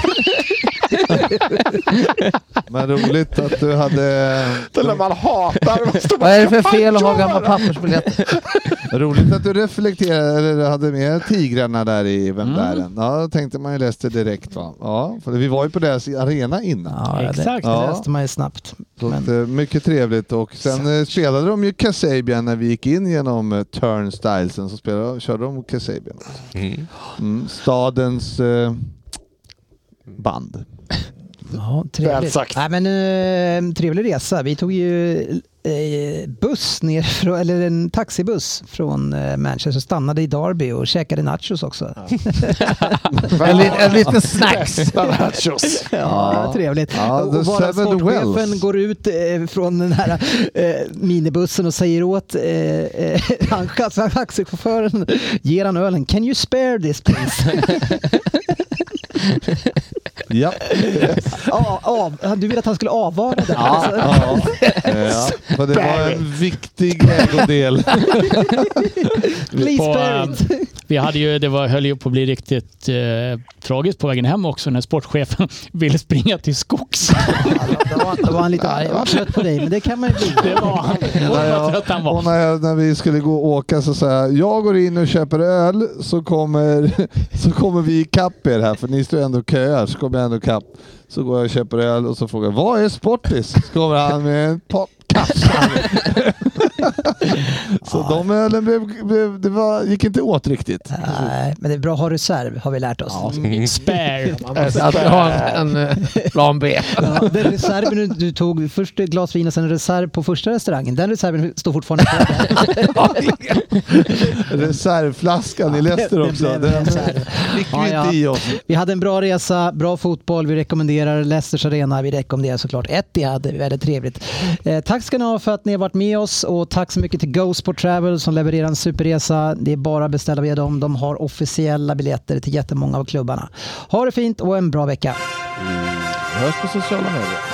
Speaker 6: Men roligt att du hade...
Speaker 5: Det där man hatar. Man står bara,
Speaker 11: Vad är det för
Speaker 5: "Fan,
Speaker 11: fel att ha
Speaker 5: gör
Speaker 11: gamla
Speaker 5: det?"
Speaker 11: pappersbiljetter?
Speaker 6: Roligt att du reflekterade, eller hade med tigrarna där i Vem där än.
Speaker 3: Mm.
Speaker 6: Ja, då tänkte man ju läste direkt va. Ja, för vi var ju på deras arena innan.
Speaker 3: Ja, det-
Speaker 9: Exakt.
Speaker 3: Det
Speaker 6: Ja.
Speaker 3: läste man ju snabbt.
Speaker 6: Så
Speaker 3: Men-
Speaker 6: att, eh, mycket trevligt och sen eh, spelade de ju Kasabian när vi gick in genom eh, turnstylesen så spelade, körde de Kasabian.
Speaker 8: Mm.
Speaker 6: Mm, stadens eh, band.
Speaker 3: Ja, trevligt.
Speaker 5: Väl sagt.
Speaker 3: Nej, men, eh, trevlig resa. Vi tog ju eh, buss ner från, eller en taxibuss från eh, Manchester, stannade i Derby och käkade nachos också. Ja,
Speaker 11: En, li- en liten snacks.
Speaker 5: Bästa nachos.
Speaker 3: trevligt.
Speaker 6: Ja, the
Speaker 3: och bara
Speaker 6: seven
Speaker 3: sportchefen
Speaker 6: wells.
Speaker 3: går ut eh, från den här eh, minibussen och säger åt eh, eh, han- taxichauffören, ger han ölen, can you spare this please?
Speaker 6: Ja.
Speaker 3: ja, av, du ville att han skulle avvara den.
Speaker 6: ja. ja. För det var en viktig ägodel.
Speaker 9: På, eh, vi hade ju, det var, höll ju på att bli riktigt eh, tragiskt på vägen hem också när sportchefen ville springa till skogs.
Speaker 3: Då var han lite arg. Jag var trött på dig, men det kan man ju bli.
Speaker 9: Det var han.
Speaker 6: när, jag, och när, jag, när vi skulle gå och åka så sa jag, jag går in och köper öl så kommer, så kommer vi ikapp er här för ni står ändå och köar så kommer jag ändå ikapp. Så går jag och köper öl och så frågar jag, vad är Sportis? Så kommer han med en podcast. så de ölen blev, blev, det var, gick inte åt riktigt.
Speaker 3: Nej, men det är bra att ha reserv har vi lärt oss.
Speaker 6: Mm.
Speaker 9: Spare.
Speaker 3: Man
Speaker 11: Eh,
Speaker 3: måste
Speaker 11: så att vi har en,
Speaker 3: spare.
Speaker 11: en, eh, plan B.
Speaker 3: Ja, den reserven du, du tog, först ett glas vin och sen en reserv på första restaurangen, den reserven står fortfarande kvar.
Speaker 6: Reservflaskan i Leicester
Speaker 3: den
Speaker 6: också.
Speaker 3: blev
Speaker 6: Den
Speaker 3: reserv.
Speaker 6: fick
Speaker 3: Ja,
Speaker 6: vi
Speaker 3: ja.
Speaker 6: inte i oss.
Speaker 3: Vi hade en bra resa, bra fotboll, vi rekommenderar Leicesters arena, vi rekommenderar såklart Etihad, väldigt trevligt. Eh, tack ska ni ha för att ni har varit med oss och tack så mycket till Gosport Travel som levererar en superresa. Det är bara att beställa via dem, de har officiella biljetter till jättemånga av klubbarna. Ha det fint och en bra vecka.
Speaker 6: Mm. Hörs på sociala medier.